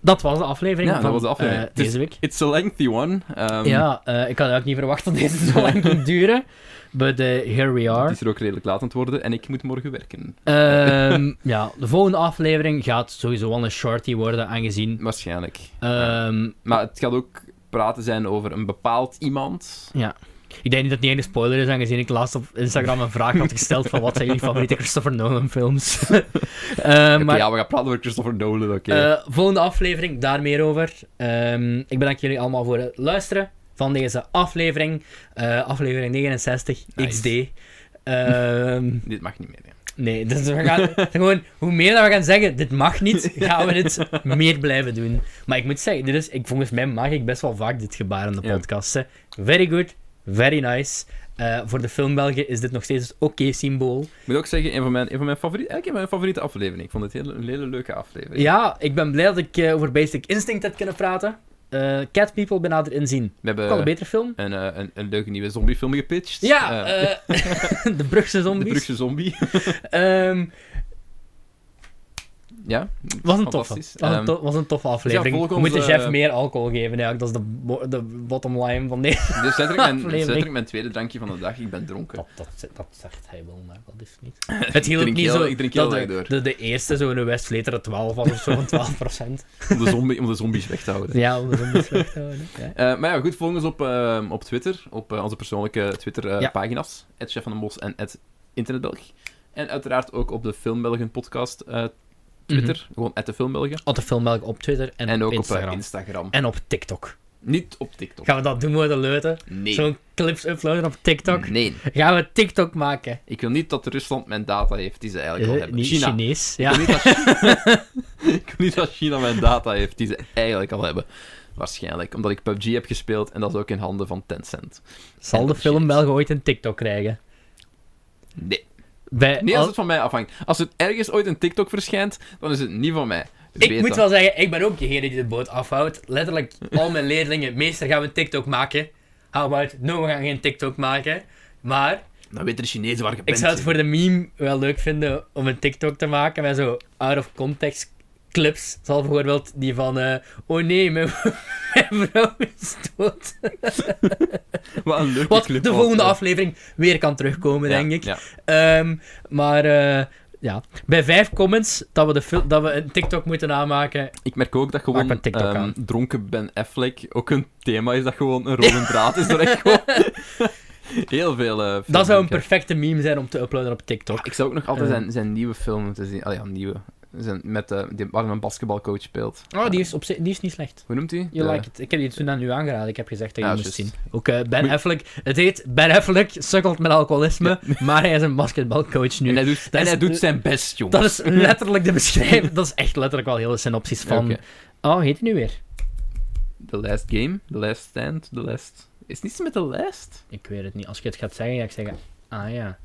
dat was de aflevering Ja, van dat was de aflevering. eh, Het is- deze week. It's a lengthy one. Ehm, ja, eh, ik had ook niet verwacht dat deze zo lang ging duren. But eh, here we Het are. is er ook redelijk laat aan het worden en ik moet morgen werken. Ehm, ja, de volgende aflevering gaat sowieso wel een shorty worden, aangezien... Waarschijnlijk. ehm, Maar het gaat ook praten zijn over een bepaald iemand. ik denk niet dat het niet een spoiler is, aangezien ik laatst op Instagram een vraag had gesteld van wat zijn jullie favoriete Christopher Nolan films? Eh, Oké, maar ja, we gaan praten over Christopher Nolan, oké. Eh, volgende aflevering, daar meer over. Ehm, ik bedank jullie allemaal voor het luisteren van deze aflevering. Eh, aflevering 69, Nice. XD. Ehm, Dit mag niet meer, hè. nee, dus we gaan gewoon, hoe meer dat we gaan zeggen, dit mag niet, gaan we dit meer blijven doen. Maar ik moet zeggen, dit is, ik, volgens mij mag ik best wel vaak dit gebaar in de Ja. podcast. hè. Very good, very nice. Eh, voor de filmbelgen is dit nog steeds het oké-symbool. Ik moet ook zeggen, een van mijn, een van mijn, favoriete, eigenlijk een van mijn favoriete afleveringen. Ik vond het hele, een hele leuke aflevering. Ja, ik ben blij dat ik eh, over Basic Instinct heb kunnen praten. Eh, Cat People benader inzien. We hebben Ook al een betere film. een, eh, een, een leuke nieuwe zombiefilm gepitcht. Ja, Eh, eh, de Brugse de zombies. Brugse zombie. Ehm, ja, was een toffe. Fantastisch. Was een, Ehm, eh, to- was een toffe aflevering. volg We moeten onze- Jeff meer alcohol geven, eigenlijk. Dat is de, bo- de bottom line van deze. dit is Dus letterlijk mijn, dit is Aflevering. letterlijk mijn tweede drankje van de dag. Ik ben dronken. Dat, dat, dat zegt hij wel, maar dat is niet. Het hield drink niet heel- zo. ik drink dat heel de, erg De, de eerste, zo'n Westfleter 12 was of zo, van 12 Om de, zombie, om de zombies weg te houden. Ja, om de zombies weg te houden. Ja. Eh, maar ja, goed, volg ons op, eh, op Twitter. Op eh, onze persoonlijke Ja. Twitter-pagina's. Het Chef van de Mos en het Internetbelg. En uiteraard ook op de Filmbelgen podcast eh, Twitter. Gewoon at de Filmbelgen. Op de filmmelk op Twitter en, En, ook op Instagram. op eh, Instagram. en op TikTok. Niet op TikTok. Gaan we dat doen, worden leuten? Nee. Zo'n clips uploaden op TikTok? Nee. Gaan we TikTok maken? Ik wil niet dat Rusland mijn data heeft die ze eigenlijk al Eh, hebben. niet China. Chinees, Ik, ja. wil niet dat China... ik wil niet dat China mijn data heeft die ze eigenlijk al hebben. Waarschijnlijk, omdat ik PUBG heb gespeeld en dat is ook in handen van Tencent. Zal de dat shit. film wel ooit een TikTok krijgen? Nee. Bij, Nee, als al- het van mij afhangt. Als het ergens ooit een TikTok verschijnt, dan is het niet van mij. ik moet wel zeggen, ik ben ook degene die de boot afhoudt. Letterlijk, al mijn leerlingen, meester, gaan we een TikTok maken. Hou uit, no, we gaan geen TikTok maken. Maar Dan weten de Chinezen waar je bent. ik zou het voor de meme wel leuk vinden om een TikTok te maken met zo out of context clips. Zoals bijvoorbeeld die van, eh, oh nee, mijn, mijn vrouw is dood. Wat een leuke Wat clip de was volgende dat. aflevering weer kan terugkomen, eh, Ja, denk ik. ja. Ehm, maar eh, ja, bij vijf comments dat we, de fil- dat we een TikTok moeten aanmaken. Ik merk ook dat Maak gewoon maar TikTok ehm, aan. dronken Ben Affleck ook een thema is dat gewoon een rode draad is. Dat echt gewoon heel veel... eh, Dat zou een filmpjes. perfecte meme zijn om te uploaden op TikTok. Ik zou ook nog altijd Eh. zijn, zijn nieuwe film moeten zien. Ah ja, nieuwe. Zijn, met, eh, die, waar een basketbalcoach speelt. Oh, die is, op zich- die is niet slecht. Hoe noemt hij? Je like it. Ik heb die toen aan u aangeraden. Ik heb gezegd dat je Ja, die moest zien. juist. Ook eh, Ben Moet- Affleck. Het heet Ben Affleck sukkelt met alcoholisme, maar hij is een basketbalcoach nu. En hij doet, en is- hij doet zijn best, jongen. Dat is letterlijk de beschrijving. Dat is echt letterlijk wel hele synopsis van... Oké. Oh, heet hij nu weer? The Last Game, The Last Stand, The Last... Is niets met de Last? Ik weet het niet. Als je het gaat zeggen, ga ik zeggen... Ah ja.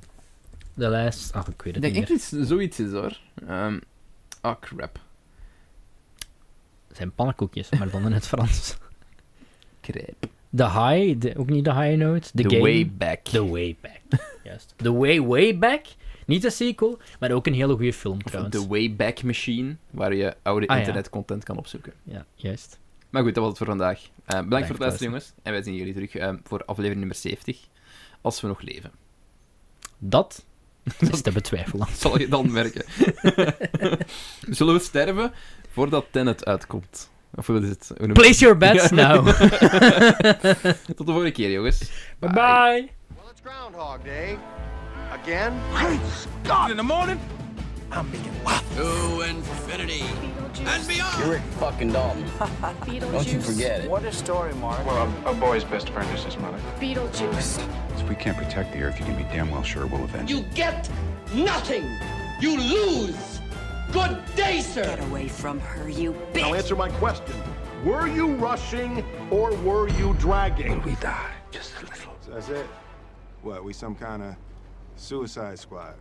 De lijst... Ah, ik weet Ik het denk echt niet meer. dat het zoiets is, hoor. Ehm, ah, crap. Het zijn pannenkoekjes, maar dan in het Frans. Crap. The High, de- ook niet The High Note. The, The Game. Way Back. The Way Back. Juist. The Way Way Back. Niet de sequel, maar ook een hele goede film Of trouwens. de Wayback Machine, waar je oude Ah, ja. internetcontent kan opzoeken. Ja, juist. Maar goed, dat was het voor vandaag. Eh, bedankt Bedankt voor het voor luisteren, het jongens. En wij zien jullie terug eh, voor aflevering nummer 70. Als we nog leven. Dat is te betwijfelen. Dat zal je dan merken. Zullen we sterven voordat Tenet uitkomt? Of wat is het? Hoe noem je Place your bets Ja. now. het? Tot de volgende keer, jongens. Bye bye. Well, it's Groundhog Day. Again? In the morning, To infinity and beyond. You're Rick fucking Dalton. Don't you forget it. What a story, Mark. well, a, a boy's best friend is his mother. Beetlejuice. If we can't protect the Earth, you can be damn well sure we'll avenge it. You get nothing. You lose. Good day, sir. Get away from her, you Now bitch! answer my question. Were you rushing or were you dragging? We die just a little. That's it. What, we some kind of suicide squad?